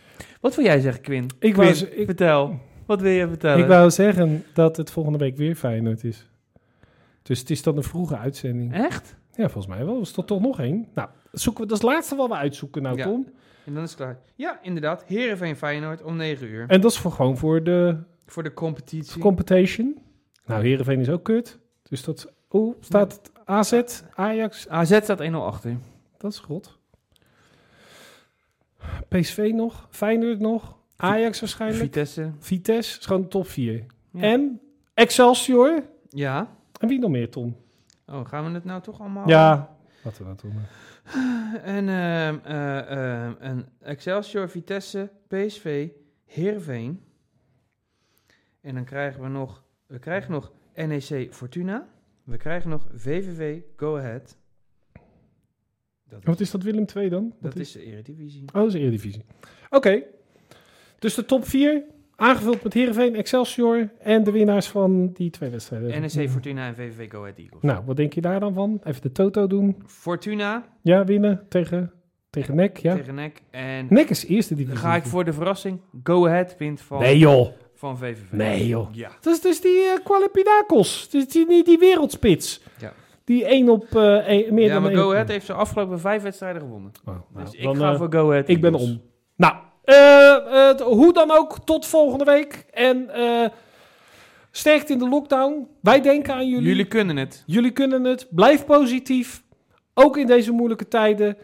Wat wil jij zeggen, Quinn?
Ik wou,
Quinn,
z- ik,
vertel. Wat wil je vertellen?
ik wou zeggen dat het volgende week weer Feyenoord is. Dus het is dan een vroege uitzending.
Echt?
Ja, volgens mij wel. Is dat toch nog één? Nou, zoeken we, dat is het laatste wat we uitzoeken nou,
Ja.
Tom.
En dan is het klaar. Ja, inderdaad. Heerenveen Feyenoord om 9 uur.
En dat is voor, gewoon voor de
Voor de competitie.
competition. Nou, Heerenveen is ook kut. Dus dat... Oeh, staat het AZ, Ajax?
AZ staat 1-0 achter.
Dat is goed. PSV nog, Feyenoord nog, Ajax waarschijnlijk.
Vitesse.
Vitesse is gewoon de top 4.
Ja.
En Excelsior.
Ja.
En wie nog meer, Tom?
Oh, gaan we het nou toch allemaal...
Ja. Wat we dat doen. eh.
En, ehm, eh, ehm, en Excelsior, Vitesse, PSV, Heerenveen. En dan krijgen we nog... We krijgen nog NEC Fortuna. We krijgen nog VVV Go Ahead. Dat is,
Wat is dat, Willem 2 dan? Wat
dat is de Eredivisie.
Oh, dat is Eredivisie. Oké. Dus de top 4, aangevuld met Heerenveen, Excelsior en de winnaars van die twee wedstrijden.
NEC E Fortuna en VVV Go Ahead Eagles.
Nou, wat denk je daar dan van? Even de toto doen.
Fortuna
Ja, winnen tegen Tegen NEC, ja. Nou,
tegen NEC. En
NEC is eerste
dan
divisie.
ga ik voor de verrassing. Go Ahead wint van,
Nee joh.
van VVV.
Nee joh.
Ja.
Dat is dus die uh, Qualipinakos. Dus die, die, die wereldspits.
Ja.
Die één op eh één- meer
ja,
dan
maar
één
Go
op-
Ahead heeft zijn afgelopen vijf wedstrijden gewonnen.
Oh, nou,
dus ik
dan,
ga
eh,
voor Go Ahead.
Ik ben
Eagles.
om. Nou, eh, eh, t- hoe dan ook, tot volgende week. En eh, sterkte in de lockdown. Wij denken aan jullie.
Jullie
jullie.
kunnen het.
kunnen het. Blijf positief. Ook in deze moeilijke tijden.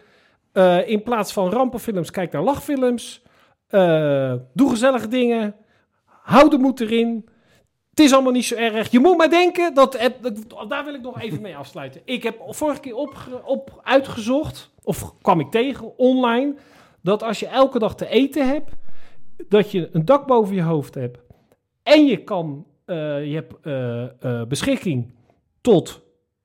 Eh, in plaats van rampenfilms, kijk naar lachfilms. Eh, doe gezellige dingen. Hou de moed erin. Het is allemaal niet zo erg. Je moet maar denken dat. Het, dat- daar wil ik nog even mee afsluiten. Ik heb vorige keer op, op uitgezocht, of kwam ik tegen online, dat als je elke dag te eten hebt, dat je een dak boven je hoofd hebt. En je kan, eh, je hebt eh, eh, beschikking tot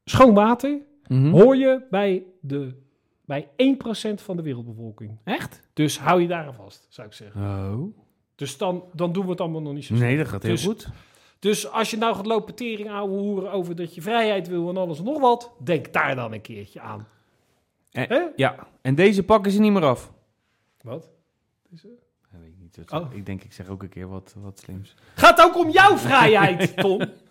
schoon water.
Mhm. Oh.
Hoor je bij, de, bij 1% van de wereldbevolking.
Echt?
Dus hou je daar aan vast, zou ik zeggen.
Oh.
Dus dan, dan doen we het allemaal nog niet zo
Nee, dat gaat heel
Dus-
goed.
dus als je nou gaat lopen tering ouwe hoeren over dat je vrijheid wil en alles en nog wat, denk daar dan een keertje aan.
Eh,
Hè?
Ja, en deze pakken ze niet meer af.
Wat?
Ik,
Oh.
Oh. ik denk, ik zeg ook een keer wat, wat slims. (laughs)
Gaat ook om jouw vrijheid, Tom.